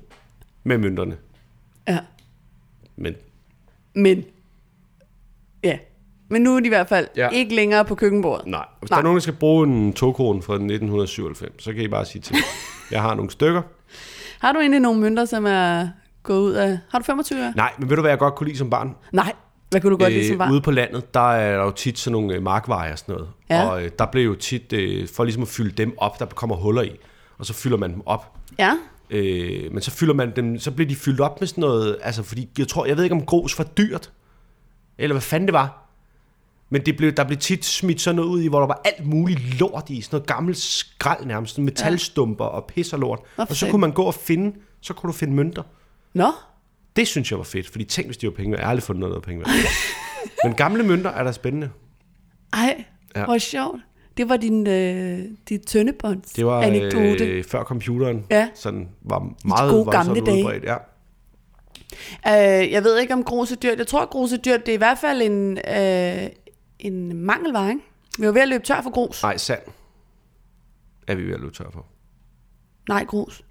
[SPEAKER 2] med mønterne.
[SPEAKER 1] Ja.
[SPEAKER 2] Men
[SPEAKER 1] Men, ja. Men nu er de i hvert fald
[SPEAKER 2] Ja.
[SPEAKER 1] ja. ikke længere på køkkenbordet.
[SPEAKER 2] nej. Hvis
[SPEAKER 1] Nej.
[SPEAKER 2] der er nogen, der skal bruge en togkron fra 1997, så kan I bare sige til. Jeg har nogle stykker.
[SPEAKER 1] Har du egentlig nogle mønter, som er gået ud af... Har du 25 år?
[SPEAKER 2] Nej, men ved du, hvad jeg godt kunne lide som barn?
[SPEAKER 1] Nej. Hvad kunne du godt lide som barn?
[SPEAKER 2] Øh, ude på landet, der er der jo tit sådan nogle øh, markveje og sådan noget.
[SPEAKER 1] Ja.
[SPEAKER 2] Og øh, der blev jo tit, øh, for ligesom at fylde dem op, der kommer huller i, og så fylder man dem op.
[SPEAKER 1] Ja.
[SPEAKER 2] Øh, men så fylder man dem, så bliver de fyldt op med sådan noget, altså fordi, jeg tror, jeg ved ikke om grus var dyrt, eller hvad fanden det var. Men det blev, der blev tit smidt sådan noget ud i, hvor der var alt muligt lort i, sådan noget gammelt skrald nærmest, sådan metalstumper og pis og lort.
[SPEAKER 1] Nå, for
[SPEAKER 2] Og så
[SPEAKER 1] satan.
[SPEAKER 2] kunne man gå og finde, så kunne du finde mønter.
[SPEAKER 1] Nå,
[SPEAKER 2] Det synes jeg var fedt, fordi tænk, hvis de var penge værd. Jeg har aldrig fundet noget, der var penge værd. Men gamle mønter er da spændende.
[SPEAKER 1] ej,
[SPEAKER 2] Ja.
[SPEAKER 1] ja. hvor sjovt. Det var din, øh, dit tøndebånds
[SPEAKER 2] Det var
[SPEAKER 1] anekdote.
[SPEAKER 2] øh, før computeren
[SPEAKER 1] Ja.
[SPEAKER 2] sådan var meget
[SPEAKER 1] gode
[SPEAKER 2] voldsomt
[SPEAKER 1] gamle dage.
[SPEAKER 2] udbredt. Ja.
[SPEAKER 1] Øh, jeg ved ikke om grus er dyrt. Jeg tror, grus er dyrt. Det er i hvert fald en, øh, en mangelvare, ikke? Vi var ved at løbe tør for grus.
[SPEAKER 2] Nej, sand er vi ved at løbe tør for.
[SPEAKER 1] Nej, grus.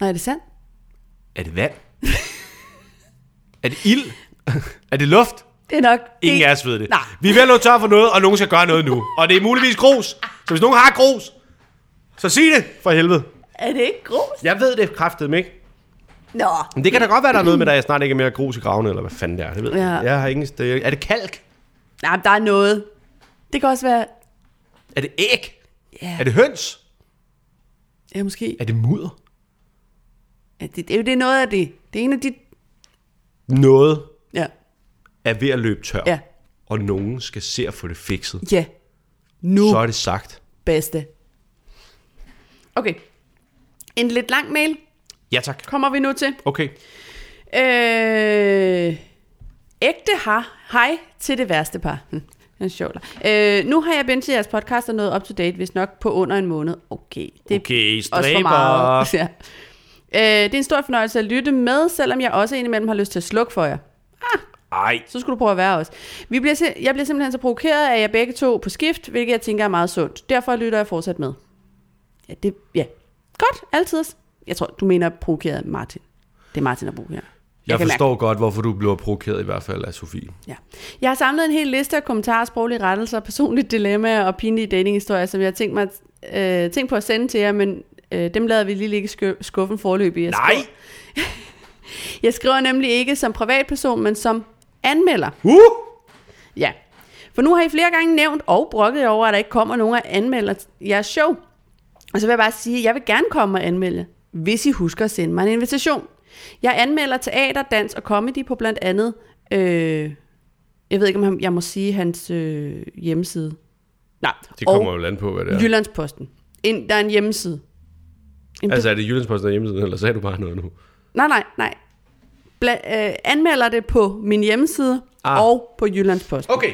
[SPEAKER 1] Nej, er det sandt?
[SPEAKER 2] Er det vand? er det ild? er det luft?
[SPEAKER 1] Det er nok
[SPEAKER 2] Ingen
[SPEAKER 1] det.
[SPEAKER 2] af os ved det.
[SPEAKER 1] Nej.
[SPEAKER 2] Vi er ved at løbe tør for noget, og nogen skal gøre noget nu. Og det er muligvis grus. Så hvis nogen har grus, så sig det for helvede.
[SPEAKER 1] Er det ikke grus?
[SPEAKER 2] Jeg ved det kraftedeme ikke.
[SPEAKER 1] Nå.
[SPEAKER 2] Men det kan da godt være, der er noget med, at jeg snart ikke er mere grus i graven, eller hvad fanden det er. Det ved jeg.
[SPEAKER 1] Ja.
[SPEAKER 2] ikke. jeg har ingen sted. Er det kalk?
[SPEAKER 1] Nej, men der er noget. Det kan også være...
[SPEAKER 2] Er det æg?
[SPEAKER 1] Ja,
[SPEAKER 2] Er det høns?
[SPEAKER 1] ja måske.
[SPEAKER 2] Er det mudder?
[SPEAKER 1] Ja, det, det, er jo- det er noget af det. Det er en af de...
[SPEAKER 2] Noget
[SPEAKER 1] Ja.
[SPEAKER 2] er ved at løbe tør,
[SPEAKER 1] Ja.
[SPEAKER 2] og nogen skal se at få det fikset.
[SPEAKER 1] Ja. Nu.
[SPEAKER 2] Så er det sagt.
[SPEAKER 1] bedste. Okay. En lidt lang mail
[SPEAKER 2] Ja tak.
[SPEAKER 1] kommer vi nu til.
[SPEAKER 2] Okay.
[SPEAKER 1] Øh, ægte har. Hej til det værste par. Hm, Den er sjov. Øh, nu har jeg binget jeres podcast og nået up to date, hvis nok på under en måned. Okay, det er
[SPEAKER 4] Okay,
[SPEAKER 1] også for
[SPEAKER 4] stræber.
[SPEAKER 1] meget. Ja. Øh, det er en stor fornøjelse at lytte med, selvom jeg også indimellem har lyst til at slukke for jer.
[SPEAKER 2] Ej.
[SPEAKER 1] Så skulle du prøve at være os. Vi bliver, sim- jeg bliver simpelthen så provokeret af jer begge to på skift, hvilket jeg tænker er meget sundt. Derfor lytter jeg fortsat med. Ja, det, ja. Godt, altid. Jeg tror, du mener provokeret af Martin. Det er Martin, der provokerer.
[SPEAKER 2] Jeg,
[SPEAKER 1] kan
[SPEAKER 2] jeg
[SPEAKER 1] mærke
[SPEAKER 2] forstår godt, hvorfor du bliver provokeret i hvert fald af Sofie.
[SPEAKER 1] Ja. Jeg har samlet en hel liste af kommentarer, sproglige rettelser, personlige dilemmaer og pinlige datinghistorier, som jeg har tænkt, mig, at- øh, tænkt på at sende til jer, men øh, dem lader vi lige ligge i skø- skuffen forløb i. Jeg
[SPEAKER 2] Nej!
[SPEAKER 1] skriver- Jeg skriver nemlig ikke som privatperson, men som anmelder.
[SPEAKER 2] Uh!
[SPEAKER 1] Ja. For nu har I flere gange nævnt og brokket jer over, at der ikke kommer nogen og anmelder jeres show. Og så vil jeg bare sige, at jeg vil gerne komme og anmelde, hvis I husker at sende mig en invitation. Jeg anmelder teater, dans og comedy på blandt andet, øh, jeg ved ikke om han- jeg må sige hans øh, hjemmeside. Nej,
[SPEAKER 2] Det
[SPEAKER 1] og
[SPEAKER 2] kommer jo an på, hvad det er.
[SPEAKER 1] Jyllandsposten. En, der er en hjemmeside. En
[SPEAKER 2] Altså er det Jyllandsposten og hjemmesiden, eller sagde du bare noget nu?
[SPEAKER 1] Nej, nej, nej. Bla- øh, anmelder det på min hjemmeside
[SPEAKER 2] Ah.
[SPEAKER 1] ah. og på Jyllandsposten.
[SPEAKER 2] Okay.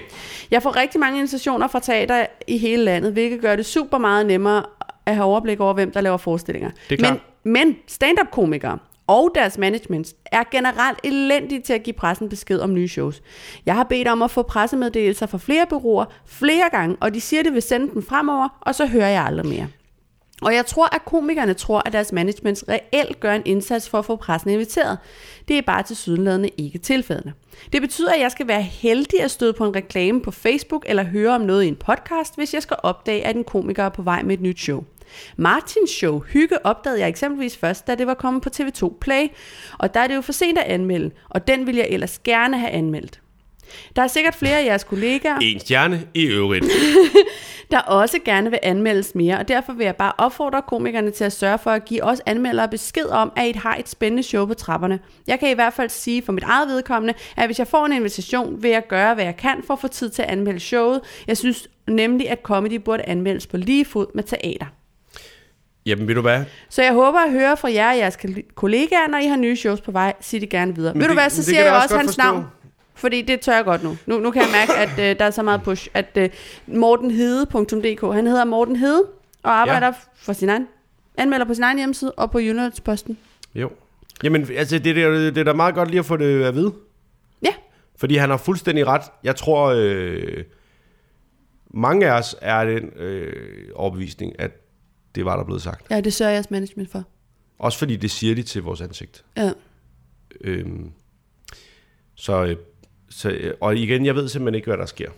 [SPEAKER 1] Jeg får rigtig mange invitationer fra teater i hele landet, hvilket gør det super meget nemmere at have overblik over, hvem der laver forestillinger.
[SPEAKER 2] Det er klart.
[SPEAKER 1] Men, men stand-up-komikere og deres management er generelt elendige til at give pressen besked om nye shows. Jeg har bedt om at få pressemeddelelser fra flere bureauer flere gange, og de siger, at det vil sende dem fremover, og så hører jeg aldrig mere. Og jeg tror, at komikerne tror, at deres management reelt gør en indsats for at få pressen inviteret. Det er bare til sydenladende ikke tilfældende. Det betyder, at jeg skal være heldig at støde på en reklame på Facebook eller høre om noget i en podcast, hvis jeg skal opdage, at en komiker er på vej med et nyt show. Martins show Hygge opdagede jeg eksempelvis først, da det var kommet på TV2 Play, og der er det jo for sent at anmelde, og den vil jeg ellers gerne have anmeldt. Der er sikkert flere af jeres kollegaer,
[SPEAKER 2] En stjerne i øvrigt.
[SPEAKER 1] der også gerne vil anmeldes mere, og derfor vil jeg bare opfordre komikerne til at sørge for at give os anmeldere besked om, at I har et spændende show på trapperne. Jeg kan i hvert fald sige for mit eget vedkommende, at hvis jeg får en invitation, vil jeg gøre, hvad jeg kan for at få tid til at anmelde showet. Jeg synes nemlig, at comedy burde anmeldes på lige fod med teater.
[SPEAKER 2] Jamen ved du hvad?
[SPEAKER 1] Så jeg håber at høre fra jer og jeres kal- kollegaer, når I har nye shows på vej. Sig det gerne videre. Men Ved du
[SPEAKER 2] det-
[SPEAKER 1] hvad,
[SPEAKER 2] men
[SPEAKER 1] så
[SPEAKER 2] det
[SPEAKER 1] siger
[SPEAKER 2] kan
[SPEAKER 1] jeg
[SPEAKER 2] jeg også
[SPEAKER 1] også
[SPEAKER 2] godt
[SPEAKER 1] hans
[SPEAKER 2] forstå.
[SPEAKER 1] navn. Fordi det tør jeg godt nu. Nu, nu kan jeg mærke, at øh, der er så meget push, at øh, mortenhede.dk, han hedder Morten Hede, og arbejder ja. for sin egen, anmelder på sin egen hjemmeside og på Jyllandsposten.
[SPEAKER 2] Jo. Jamen altså det, er- det, det er da meget godt lige at få det at vide.
[SPEAKER 1] Ja,
[SPEAKER 2] Fordi han har fuldstændig ret. Jeg tror, øh, mange af os er den øh, overbevisning, at det var der blevet sagt.
[SPEAKER 1] ja det sørger jeres management for.
[SPEAKER 2] Også fordi det siger de til vores ansigt.
[SPEAKER 1] Ja.
[SPEAKER 2] Øh, så, øh, så, øh, og igen, jeg ved simpelthen ikke, hvad der sker.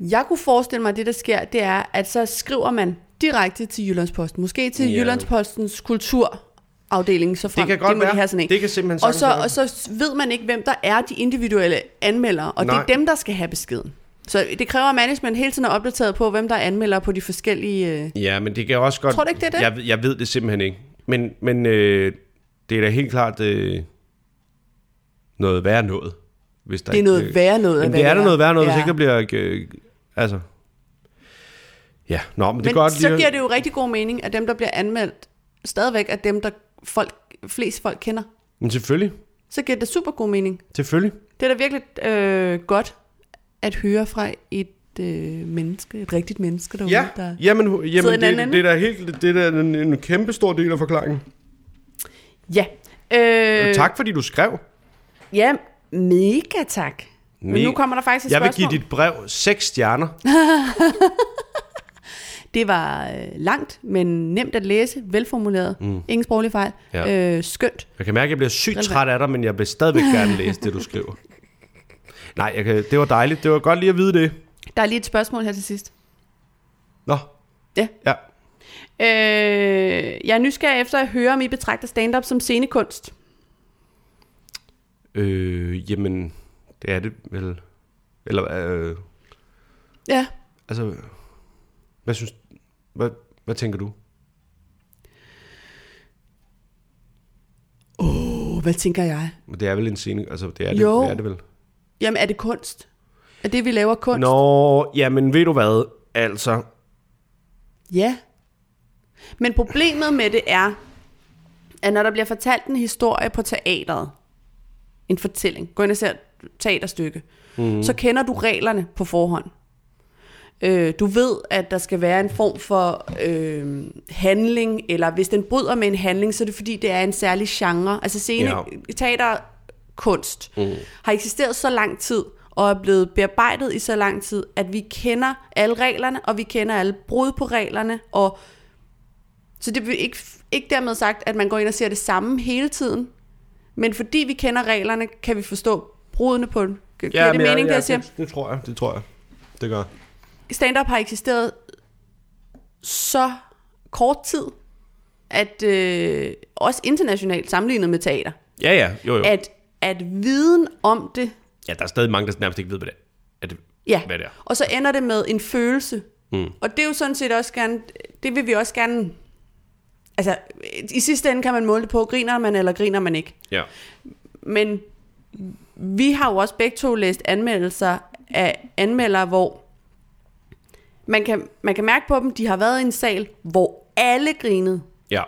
[SPEAKER 1] Jeg kunne forestille mig, at det, der sker, det er, at så skriver man direkte til Jyllandsposten. Måske til
[SPEAKER 2] Ja.
[SPEAKER 1] Jyllandspostens kultur afdeling, så frem.
[SPEAKER 2] Det kan godt
[SPEAKER 1] det må
[SPEAKER 2] være.
[SPEAKER 1] De have sådan en.
[SPEAKER 2] Det kan simpelthen
[SPEAKER 1] og
[SPEAKER 2] sagtens
[SPEAKER 1] så,
[SPEAKER 2] være.
[SPEAKER 1] og så ved man ikke, hvem der er de individuelle anmeldere, og Nej. det
[SPEAKER 2] Nej.
[SPEAKER 1] er dem, der skal have beskeden. Så det kræver, at management hele tiden er opdateret på, hvem der er anmelder på de forskellige... Øh...
[SPEAKER 2] Ja, men det kan også godt...
[SPEAKER 1] Tror du ikke, det er det?
[SPEAKER 2] Jeg, ved- jeg ved det simpelthen ikke. Men, men øh, det er da helt klart øh, noget værre noget. Hvis der
[SPEAKER 1] Det er
[SPEAKER 2] ikke,
[SPEAKER 1] noget værre noget.
[SPEAKER 2] Jamen,
[SPEAKER 1] hvad
[SPEAKER 2] det er da noget værre noget, ja.
[SPEAKER 1] Ja.
[SPEAKER 2] hvis ikke der bliver... Øh, altså... Ja, nå, men det er
[SPEAKER 1] Men
[SPEAKER 2] godt
[SPEAKER 1] så
[SPEAKER 2] lige...
[SPEAKER 1] giver det jo rigtig god mening, at dem, der bliver anmeldt, stadigvæk er dem, der folk, flest folk kender.
[SPEAKER 2] Men selvfølgelig,
[SPEAKER 1] Så giver det super god mening.
[SPEAKER 2] selvfølgelig.
[SPEAKER 1] Det er da virkelig øh, godt at høre fra et øh, menneske, et rigtigt menneske derude,
[SPEAKER 2] Ja,
[SPEAKER 1] der...
[SPEAKER 2] jamen, hu-
[SPEAKER 1] sidder i
[SPEAKER 2] jamen
[SPEAKER 1] den anden
[SPEAKER 2] det,
[SPEAKER 1] ende.
[SPEAKER 2] det er da helt, det er da en, en kæmpe stor del af forklaringen.
[SPEAKER 1] Ja. Øh,
[SPEAKER 2] Øh, tak fordi du skrev.
[SPEAKER 1] Ja, mega tak. Men nu
[SPEAKER 2] Mega.
[SPEAKER 1] kommer der faktisk et
[SPEAKER 2] Jeg vil
[SPEAKER 1] spørgsmål.
[SPEAKER 2] give dit brev seks stjerner.
[SPEAKER 1] Det var øh, langt, men nemt at læse, velformuleret, mm. ingen sproglig fejl,
[SPEAKER 2] Ja.
[SPEAKER 1] øh, skønt.
[SPEAKER 2] Jeg kan mærke, at jeg bliver sygt
[SPEAKER 1] Relevant.
[SPEAKER 2] træt af dig, men jeg vil stadigvæk gerne læse det, du skriver. Nej, jeg kan, det var dejligt. Det var godt lige at vide det.
[SPEAKER 1] Der er lige et spørgsmål her til sidst.
[SPEAKER 2] Nå,
[SPEAKER 1] Ja.
[SPEAKER 2] ja.
[SPEAKER 1] Øh, jeg er nysgerrig efter at høre, om I betragter stand-up som scenekunst.
[SPEAKER 2] Øh, jamen, det er det vel. Eller, øh,
[SPEAKER 1] Ja.
[SPEAKER 2] altså, hvad synes hvad, hvad tænker du?
[SPEAKER 1] Oh, hvad tænker jeg?
[SPEAKER 2] Men Det er vel en scene, altså det er det,
[SPEAKER 1] Jo.
[SPEAKER 2] det, er det vel.
[SPEAKER 1] Jamen, er det kunst? Er det, vi laver kunst?
[SPEAKER 2] Nå, jamen ved du hvad, altså,
[SPEAKER 1] Ja. Men problemet med det er, at når der bliver fortalt en historie på teateret, en fortælling, gå ind og se et teaterstykke, mm. så kender du reglerne på forhånd. Øh, du ved, at der skal være en form for øh, handling, eller hvis den bryder med en handling, så er det fordi, det er en særlig genre. Altså scene,
[SPEAKER 2] Ja.
[SPEAKER 1] teaterkunst mm. har eksisteret så lang tid, og er blevet bearbejdet i så lang tid, at vi kender alle reglerne, og vi kender alle brud på reglerne, og så det vil ikke, ikke dermed sagt, at man går ind og ser det samme hele tiden, men fordi vi kender reglerne, kan vi forstå brudene på den. Giver ja, det
[SPEAKER 2] men jeg-
[SPEAKER 1] mening, det
[SPEAKER 2] jeg-
[SPEAKER 1] jeg siger?
[SPEAKER 2] Det, det tror jeg, det tror jeg. Det gør.
[SPEAKER 1] stand-up har eksisteret så kort tid, at øh, også internationalt sammenlignet med teater,
[SPEAKER 2] Ja, ja, jo, jo.
[SPEAKER 1] at, at viden om det,
[SPEAKER 2] ja, der er stadig mange, der nærmest ikke ved, hvad det er. At det,
[SPEAKER 1] ja,
[SPEAKER 2] Hvad det er.
[SPEAKER 1] og så ender det med en følelse. Mm. Og det er jo sådan set også gerne, det vil vi også gerne, altså i sidste ende kan man måle det på, griner man eller griner man ikke.
[SPEAKER 2] Ja.
[SPEAKER 1] Men vi har jo også begge to læst anmeldelser af anmeldere, hvor man kan, man kan mærke på dem, de har været i en sal, hvor alle grinede,
[SPEAKER 2] Ja.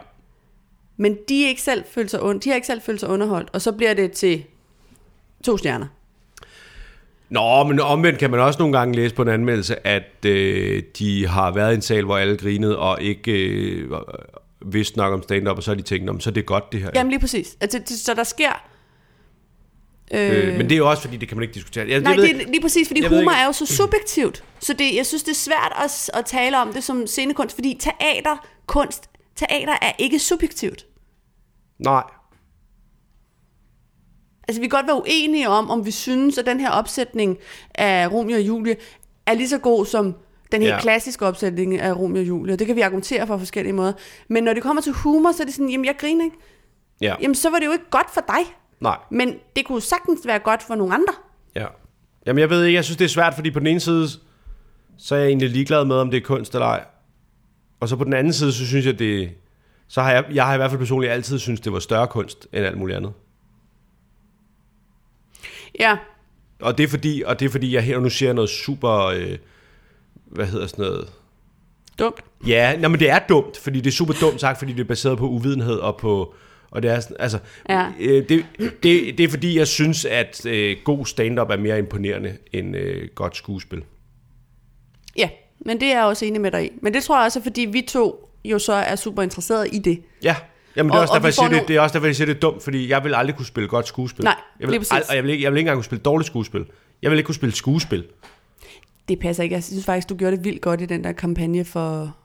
[SPEAKER 1] men de, er ikke selv følt sig und, de har ikke selv følt sig underholdt, og så bliver det til to stjerner.
[SPEAKER 2] Nå, men omvendt kan man også nogle gange læse på en anmeldelse, at øh, de har været i en sal, hvor alle grinede, og ikke øh, vidste nok om stand-up, og så har de tænkt, "Nå, men så er det godt det her.
[SPEAKER 1] Jamen lige præcis. Altså, det, så der sker...
[SPEAKER 2] øh, men det er jo også, fordi det kan man ikke diskutere. Jeg,
[SPEAKER 1] Nej,
[SPEAKER 2] jeg ved,
[SPEAKER 1] det er lige præcis, fordi
[SPEAKER 2] jeg ved
[SPEAKER 1] humor
[SPEAKER 2] ikke- Mm.
[SPEAKER 1] er jo så subjektivt. Så det, jeg synes, det er svært at, s- at tale om det som scenekunst, fordi teater, kunst, teater er ikke subjektivt.
[SPEAKER 2] Nej.
[SPEAKER 1] Altså, vi kan godt være uenige om, om vi synes, at den her opsætning af Romeo og Julie er lige så god som den helt
[SPEAKER 2] Ja.
[SPEAKER 1] ja. klassiske opsætning af Romeo og Julie. Og det kan vi argumentere for på forskellige måder. Men når det kommer til humor, så er det sådan, jamen jeg griner ikke.
[SPEAKER 2] Ja.
[SPEAKER 1] Jamen så var det jo ikke godt for dig.
[SPEAKER 2] Nej.
[SPEAKER 1] Men det kunne jo sagtens være godt for nogle andre.
[SPEAKER 2] Ja. Jamen, jeg ved ikke, jeg synes, det er svært, fordi på den ene side, så er jeg egentlig ligeglad med, om det er kunst eller ej. Og så på den anden side, så synes jeg, det... Så har jeg, jeg har i hvert fald personligt altid synes det var større kunst end alt muligt andet.
[SPEAKER 1] Ja,
[SPEAKER 2] Og det er fordi, og det er fordi jeg her nu ser noget super... Øh, hvad hedder sådan noget?
[SPEAKER 1] dumt.
[SPEAKER 2] Ja, nej, men det er dumt, fordi det er super dumt sagt, fordi det er baseret på uvidenhed og på... Og det er sådan, altså,
[SPEAKER 1] Ja.
[SPEAKER 2] øh, det, det, det er fordi, jeg synes, at øh, god stand-up er mere imponerende end øh, godt skuespil.
[SPEAKER 1] Ja, men det er jeg også enig med dig i. Men det tror jeg også er, fordi vi to jo så er super interesserede i det.
[SPEAKER 2] Ja, Jamen, det, er
[SPEAKER 1] Og-
[SPEAKER 2] også
[SPEAKER 1] og
[SPEAKER 2] derfor,
[SPEAKER 1] vi
[SPEAKER 2] jeg siger,
[SPEAKER 1] får
[SPEAKER 2] det,
[SPEAKER 1] nogle-
[SPEAKER 2] det er også derfor, jeg siger, det er dumt, fordi jeg vil aldrig kunne spille godt skuespil.
[SPEAKER 1] Nej,
[SPEAKER 2] jeg vil,
[SPEAKER 1] lige præcis.
[SPEAKER 2] ald- og jeg vil, ikke, jeg vil ikke engang kunne spille dårligt skuespil. Jeg vil ikke kunne spille skuespil.
[SPEAKER 1] Det passer ikke. Jeg synes faktisk, du gjorde det vildt godt i den der kampagne for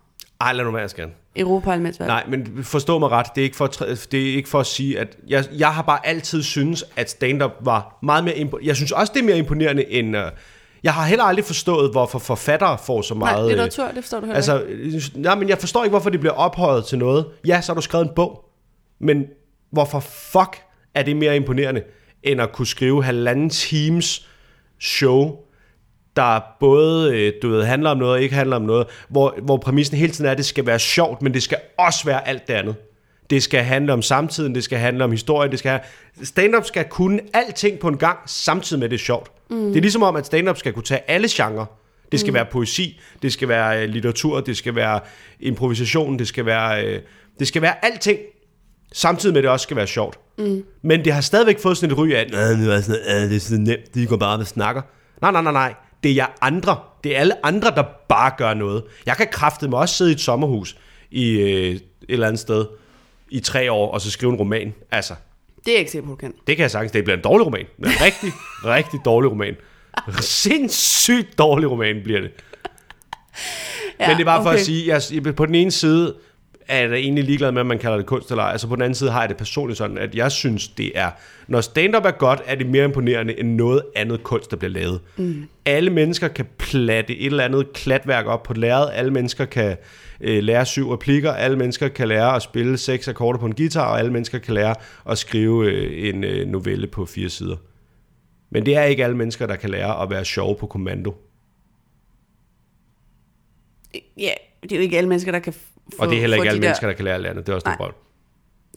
[SPEAKER 2] Ej, lad nu være, Skan.
[SPEAKER 1] Europaparlamentsvalget.
[SPEAKER 2] Nej, men forstå mig ret, det er ikke for, at træ- det er ikke for at sige, at jeg, jeg har bare altid synes, at stand-up var meget mere imponerende. Jeg synes også, det er mere imponerende end... Uh, jeg har heller aldrig forstået, hvorfor forfattere får så meget...
[SPEAKER 1] Nej,
[SPEAKER 2] øh,
[SPEAKER 1] litteratur, det forstår du heller ikke.
[SPEAKER 2] Altså, øh, nej, men jeg forstår ikke, hvorfor det bliver ophøjet til noget. Ja, så har du skrevet en bog. Men hvorfor fuck er det mere imponerende, end at kunne skrive halvanden times show, der både øh, du ved, handler om noget og ikke handler om noget, hvor, hvor præmissen hele tiden er, at det skal være sjovt, men det skal også være alt det andet. Det skal handle om samtiden, det skal handle om historien, det skal have... Stand-up skal kunne alting på en gang, samtidig med at det er sjovt. Mm. Det er ligesom om, at stand-up skal kunne tage alle genrer. Det skal mm. være poesi, det skal være øh, litteratur, det skal være improvisation, det skal være, øh, det skal være alting, samtidig med at det også skal være sjovt. Mm. Men det har stadigvæk fået sådan et ry af, "Nå, det er, sådan, "Ah, det er så nemt, de går bare og snakker. Nej, nej, nej, nej. Det er jer andre. Det er alle andre, der bare gør noget. Jeg kan kraftedeme også sidde i et sommerhus i øh, et eller andet sted i tre år, og så skrive en roman. Altså,
[SPEAKER 1] Det er ikke sikker på, du kan.
[SPEAKER 2] det kan jeg sagtens. Det bliver en dårlig roman. En rigtig, rigtig dårlig roman. Sindssygt dårlig roman bliver det.
[SPEAKER 1] Ja,
[SPEAKER 2] Men det er bare okay. for
[SPEAKER 1] okay.
[SPEAKER 2] at sige, jeg, på den ene side er jeg da egentlig ligeglad med, om man kalder det kunst eller ej. Altså på den anden side har jeg det personligt sådan, at jeg synes, det er... Når stand-up er godt, er det mere imponerende end noget andet kunst, der bliver lavet. Mm. Alle mennesker kan platte et eller andet klatværk op på lærred. Alle mennesker kan øh, lære syv replikker. Alle mennesker kan lære at spille seks akkorder på en guitar. Og alle mennesker kan lære at skrive øh, en øh, novelle på fire sider. Men det er ikke alle mennesker, der kan lære at være sjove på kommando.
[SPEAKER 1] Ja, det er jo ikke alle mennesker, der kan f- få
[SPEAKER 2] Og det er heller
[SPEAKER 1] få
[SPEAKER 2] ikke
[SPEAKER 1] de
[SPEAKER 2] alle
[SPEAKER 1] der...
[SPEAKER 2] mennesker, der kan lære at lære andet. Det er også noget
[SPEAKER 1] Nej.
[SPEAKER 2] brøl.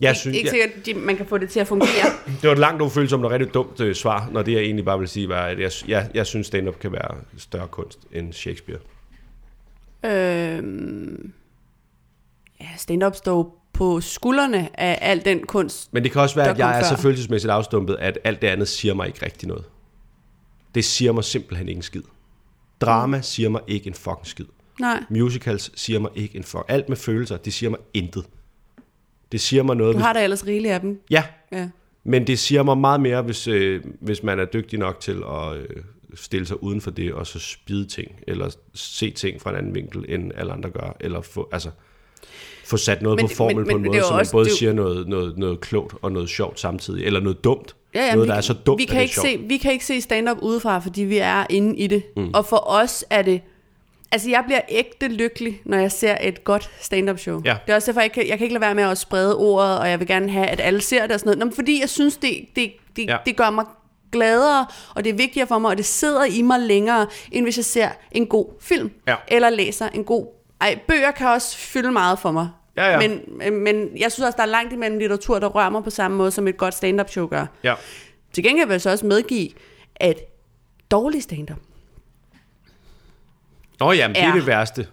[SPEAKER 2] Jeg
[SPEAKER 1] Ikke,
[SPEAKER 2] synes,
[SPEAKER 1] ikke
[SPEAKER 2] jeg,
[SPEAKER 1] sikkert, at de, man kan få det til at fungere.
[SPEAKER 2] det var et langt ufølsomt og rigtig dumt øh, svar, når det jeg egentlig bare vil sige, var, at jeg, jeg, jeg synes, stand-up kan være større kunst end Shakespeare.
[SPEAKER 1] øhm, ja, stand-up står på skuldrene af al den kunst.
[SPEAKER 2] Men det kan også være,
[SPEAKER 1] Der
[SPEAKER 2] at jeg
[SPEAKER 1] kom
[SPEAKER 2] er så
[SPEAKER 1] før.
[SPEAKER 2] følelsesmæssigt afstumpet, at alt det andet siger mig ikke rigtig noget. Det siger mig simpelthen ikke en skid. Drama siger mig ikke en fucking skid.
[SPEAKER 1] Nej.
[SPEAKER 2] Musicals siger mig ikke en fucking... Alt med følelser, det siger mig intet. Det siger mig noget...
[SPEAKER 1] Du har da ellers rigeligt af dem.
[SPEAKER 2] hvis- Ja,
[SPEAKER 1] Ja.
[SPEAKER 2] Men det siger mig meget mere, hvis, øh, hvis man er dygtig nok til at øh, stille sig uden for det, og så spide ting, eller se ting fra en anden vinkel, end alle andre gør, eller få, altså, få sat noget
[SPEAKER 1] Men-
[SPEAKER 2] på formel
[SPEAKER 1] men-
[SPEAKER 2] på en
[SPEAKER 1] men det
[SPEAKER 2] måde,
[SPEAKER 1] er jo
[SPEAKER 2] så man
[SPEAKER 1] også-
[SPEAKER 2] både
[SPEAKER 1] det er jo-
[SPEAKER 2] siger noget, noget, noget klogt og noget sjovt samtidig, eller noget dumt.
[SPEAKER 1] Ja, ja,
[SPEAKER 2] noget,
[SPEAKER 1] vi,
[SPEAKER 2] der er så dumt,
[SPEAKER 1] vi
[SPEAKER 2] at det
[SPEAKER 1] kan,
[SPEAKER 2] er
[SPEAKER 1] ikke
[SPEAKER 2] sjovt.
[SPEAKER 1] se, vi kan ikke se stand-up udefra, fordi vi er inde i det. Mm. Og for os er det... Altså, jeg bliver ægte lykkelig, når jeg ser et godt stand-up show.
[SPEAKER 2] Ja.
[SPEAKER 1] Det er også derfor, jeg kan, jeg kan ikke lade være med at sprede ordet, og jeg vil gerne have, at alle ser det og sådan noget. Nå, men fordi jeg synes, det, det, det,
[SPEAKER 2] Ja.
[SPEAKER 1] ja. det gør mig gladere, og det er vigtigere for mig, og det sidder i mig længere, end hvis jeg ser en god film,
[SPEAKER 2] Ja.
[SPEAKER 1] eller læser en god... Ej, bøger kan også fylde meget for mig.
[SPEAKER 2] Ja, ja.
[SPEAKER 1] Men, men jeg synes også, der er langt imellem litteratur, der rører mig på samme måde, som et godt stand-up show gør.
[SPEAKER 2] Ja.
[SPEAKER 1] Til gengæld vil jeg så også medgive, at dårlig stand-up,
[SPEAKER 2] Nå ja, men det er
[SPEAKER 1] Ja.
[SPEAKER 2] det værste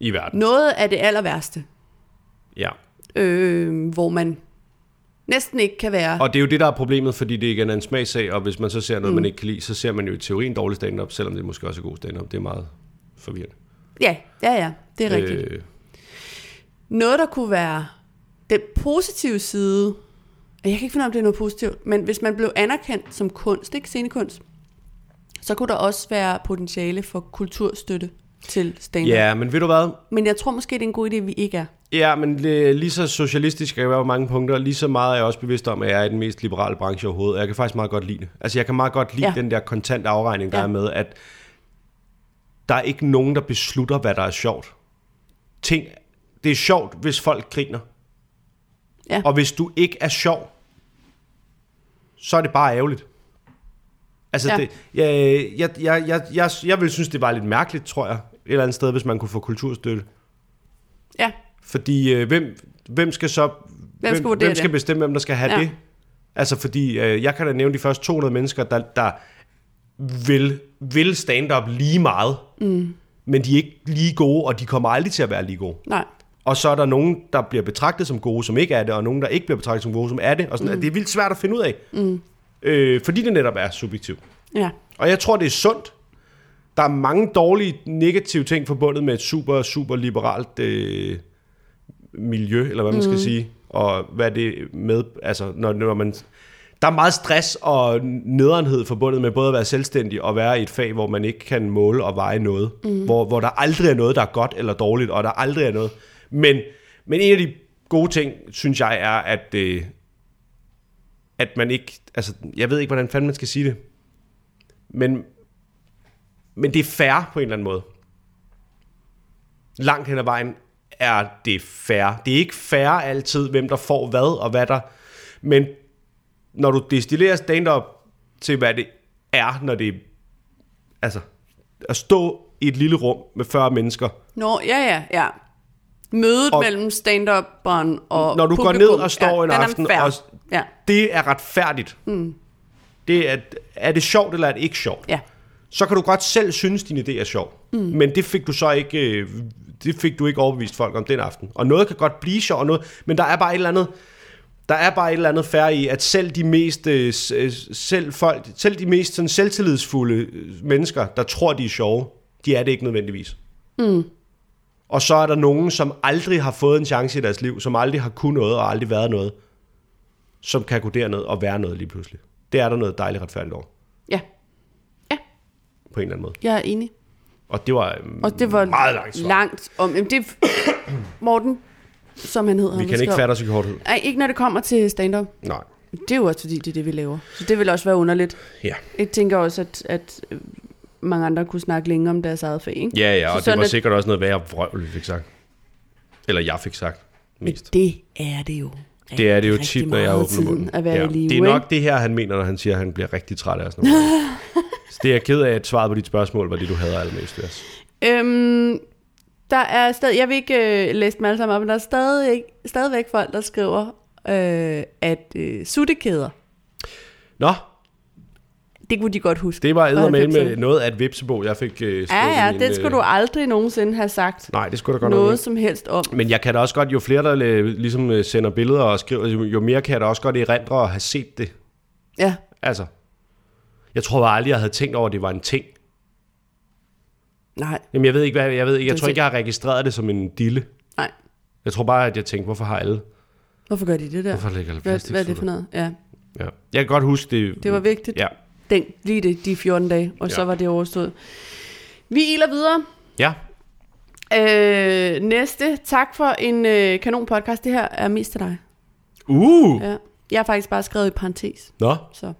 [SPEAKER 2] i verden.
[SPEAKER 1] noget af det aller værste,
[SPEAKER 2] Ja.
[SPEAKER 1] øh, hvor man næsten ikke kan være.
[SPEAKER 2] Og det er jo det, der er problemet, fordi det igen er en smagssag, og hvis man så ser noget,
[SPEAKER 1] Mm.
[SPEAKER 2] man ikke kan lide, så ser man jo i teorien dårlig stand-up, selvom det måske også er god stand-up. Det er meget forvirrende.
[SPEAKER 1] Ja, ja, ja, det er rigtigt.
[SPEAKER 2] Øh,
[SPEAKER 1] Noget, der kunne være den positive side, jeg kan ikke finde ud af, om det er noget positivt, men hvis man blev anerkendt som kunst, ikke scenekunst, så kunne der også være potentiale for kulturstøtte til stand
[SPEAKER 2] ja, men ved du hvad?
[SPEAKER 1] Men jeg tror måske, det er en god idé, at vi ikke er.
[SPEAKER 2] Ja, men li- lige så socialistisk kan jeg være på mange punkter, lige så meget er jeg også bevidst om, at jeg er i den mest liberale branche overhovedet, og jeg kan faktisk meget godt lide det. Altså, jeg kan meget godt lide ja.
[SPEAKER 1] Ja.
[SPEAKER 2] den der kontant afregning, der ja.
[SPEAKER 1] Ja.
[SPEAKER 2] er med, at der er ikke nogen, der beslutter, hvad der er sjovt. Ting, det er sjovt, hvis folk griner.
[SPEAKER 1] Ja.
[SPEAKER 2] Og hvis du ikke er sjov, så er det bare ærgerligt. Altså, ja.
[SPEAKER 1] Ja.
[SPEAKER 2] det, jeg, jeg, jeg, jeg, jeg, jeg vil synes, det var lidt mærkeligt, tror jeg, et eller andet sted, hvis man kunne få kulturstøtte.
[SPEAKER 1] Ja,
[SPEAKER 2] Fordi øh, hvem, hvem skal så... Hvem,
[SPEAKER 1] skal
[SPEAKER 2] hvem,
[SPEAKER 1] vurdere
[SPEAKER 2] hvem skal
[SPEAKER 1] det?
[SPEAKER 2] bestemme, hvem der skal have ja.
[SPEAKER 1] Ja.
[SPEAKER 2] det? Altså, fordi øh, jeg kan da nævne de første 200 mennesker, der, der vil, vil stand-up lige meget. Mm. Men de er ikke lige gode, og de kommer aldrig til at være lige gode.
[SPEAKER 1] nej.
[SPEAKER 2] Og så er der nogen, der bliver betragtet som gode, som ikke er det, og nogen, der ikke bliver betragtet som gode, som er det. Og sådan, mm. Det er vildt svært at finde ud af. Mm. Øh, fordi det netop er subjektivt.
[SPEAKER 1] Ja.
[SPEAKER 2] Og jeg tror, det er sundt. Der er mange dårlige, negative ting forbundet med et super, super liberalt øh, miljø, eller hvad man mm. skal sige. Og hvad det med, altså når, når man... Der er meget stress og nederenhed forbundet med både at være selvstændig og være i et fag, hvor man ikke kan måle og veje noget. Mm. Hvor, hvor der aldrig er noget, der er godt eller dårligt, og der aldrig er noget. Men, men en af de gode ting, synes jeg, er, at, øh, at man ikke... Altså, jeg ved ikke, hvordan fanden man skal sige det. Men, men det er fair på en eller anden måde. Langt hen ad vejen er det fair. Det er ikke fair altid, hvem der får hvad og hvad der... Men når du destillerer stand-up til, hvad det er, når det... Altså, at stå i et lille rum med 40 mennesker,
[SPEAKER 1] Nå, ja, ja, ja. Mødet og,
[SPEAKER 2] Og-
[SPEAKER 1] mellem stand up og
[SPEAKER 2] Når du går
[SPEAKER 1] publikum,
[SPEAKER 2] ned og står en
[SPEAKER 1] den er
[SPEAKER 2] aften
[SPEAKER 1] fair.
[SPEAKER 2] og-
[SPEAKER 1] Ja,
[SPEAKER 2] det er retfærdigt. Mm. Det er, er det sjovt, eller er det ikke sjovt?
[SPEAKER 1] ja.
[SPEAKER 2] Så kan du godt selv synes, din idé er sjov. Mm. Men det fik du så ikke... øh, Det fik du ikke overbevist folk om den aften. Og noget kan godt blive sjovt, og noget, men der er bare et eller andet... Der er bare et eller andet færre i, at selv de mest, øh, s- øh, selv folk, selv de mest sådan, selvtillidsfulde øh, mennesker, der tror, de er sjove, de er det ikke nødvendigvis. Og så er der nogen, som aldrig har fået en chance i deres liv, som aldrig har kunnet noget og aldrig været noget, som kan gå derned og være noget lige pludselig. Det er der noget dejligt retfærdigt over,
[SPEAKER 1] Ja,
[SPEAKER 2] på en eller anden måde.
[SPEAKER 1] jeg er enig.
[SPEAKER 2] Og det var, øhm,
[SPEAKER 1] Og det var
[SPEAKER 2] meget langt svar.
[SPEAKER 1] langt om... Jamen, det er Morten, som han hedder.
[SPEAKER 2] vi kan ikke fatte os i korthed.
[SPEAKER 1] Nej, ikke når det kommer til stand-up.
[SPEAKER 2] Nej.
[SPEAKER 1] Det er jo også fordi, det er det, vi laver. Så det vil også være underligt.
[SPEAKER 2] Ja.
[SPEAKER 1] Jeg tænker også, at, at øh, mange andre kunne snakke længe om deres eget fag, ikke?
[SPEAKER 2] Ja, ja,
[SPEAKER 1] Så
[SPEAKER 2] og det
[SPEAKER 1] sådan
[SPEAKER 2] var
[SPEAKER 1] at-
[SPEAKER 2] sikkert også noget værre vrøvl, vi fik sagt. Eller jeg fik sagt mest.
[SPEAKER 1] Det er det jo.
[SPEAKER 2] Det er det jo
[SPEAKER 1] Rigtig
[SPEAKER 2] tit, når jeg
[SPEAKER 1] meget
[SPEAKER 2] åbner munden.
[SPEAKER 1] tiden at være i live,
[SPEAKER 2] Det er
[SPEAKER 1] ikke?
[SPEAKER 2] nok det her, han mener, når han siger, at han bliver rigtig træt af os. nogle gange. Så det er jeg ked af, at svaret på dit spørgsmål var det, du hader allermest ved os.
[SPEAKER 1] Øhm, der er stadig, jeg vil ikke øh, læse dem alle sammen op, men der er stadig, ikke- stadigvæk folk, der skriver, øh, at øh, suttekæder,
[SPEAKER 2] Nå,
[SPEAKER 1] det kunne de godt huske.
[SPEAKER 2] Det var
[SPEAKER 1] fra
[SPEAKER 2] eddermame med
[SPEAKER 1] 90'erne.
[SPEAKER 2] noget af et vipsebo, jeg fik øh,
[SPEAKER 1] Ja,
[SPEAKER 2] stukket i
[SPEAKER 1] ja,
[SPEAKER 2] en,
[SPEAKER 1] det skulle
[SPEAKER 2] øh,
[SPEAKER 1] du aldrig nogensinde have sagt
[SPEAKER 2] Nej, det skulle da godt
[SPEAKER 1] noget
[SPEAKER 2] noget.
[SPEAKER 1] som helst om.
[SPEAKER 2] Men jeg kan da også godt, jo flere der øh, ligesom øh, sender billeder og skriver, jo- jo mere kan jeg da også godt erindre at have set det.
[SPEAKER 1] Ja,
[SPEAKER 2] Altså, jeg tror bare aldrig, jeg havde tænkt over, at det var en ting.
[SPEAKER 1] nej,
[SPEAKER 2] Jamen, jeg ved ikke, hvad, jeg ved ikke, jeg
[SPEAKER 1] Det er
[SPEAKER 2] tror ikke,
[SPEAKER 1] ting.
[SPEAKER 2] jeg har registreret det som en dille.
[SPEAKER 1] nej.
[SPEAKER 2] Jeg tror bare, at jeg tænkte, hvorfor har alle?
[SPEAKER 1] Hvorfor gør de det der?
[SPEAKER 2] Hvorfor ligger der
[SPEAKER 1] hvad, hvad er det for
[SPEAKER 2] plastiksutter?
[SPEAKER 1] noget? Ja,
[SPEAKER 2] Ja. Jeg kan godt huske det.
[SPEAKER 1] det var vigtigt.
[SPEAKER 2] Ja.
[SPEAKER 1] Den, lige det, de 14 dage, og ja. så
[SPEAKER 2] Ja.
[SPEAKER 1] var det overstået. Vi iler videre.
[SPEAKER 2] Ja.
[SPEAKER 1] Øh, næste, tak for en øh, kanon podcast. Det her er mest til dig.
[SPEAKER 2] Uh!
[SPEAKER 1] Ja. Jeg har faktisk bare skrevet i parentes.
[SPEAKER 2] Nå,
[SPEAKER 1] Så,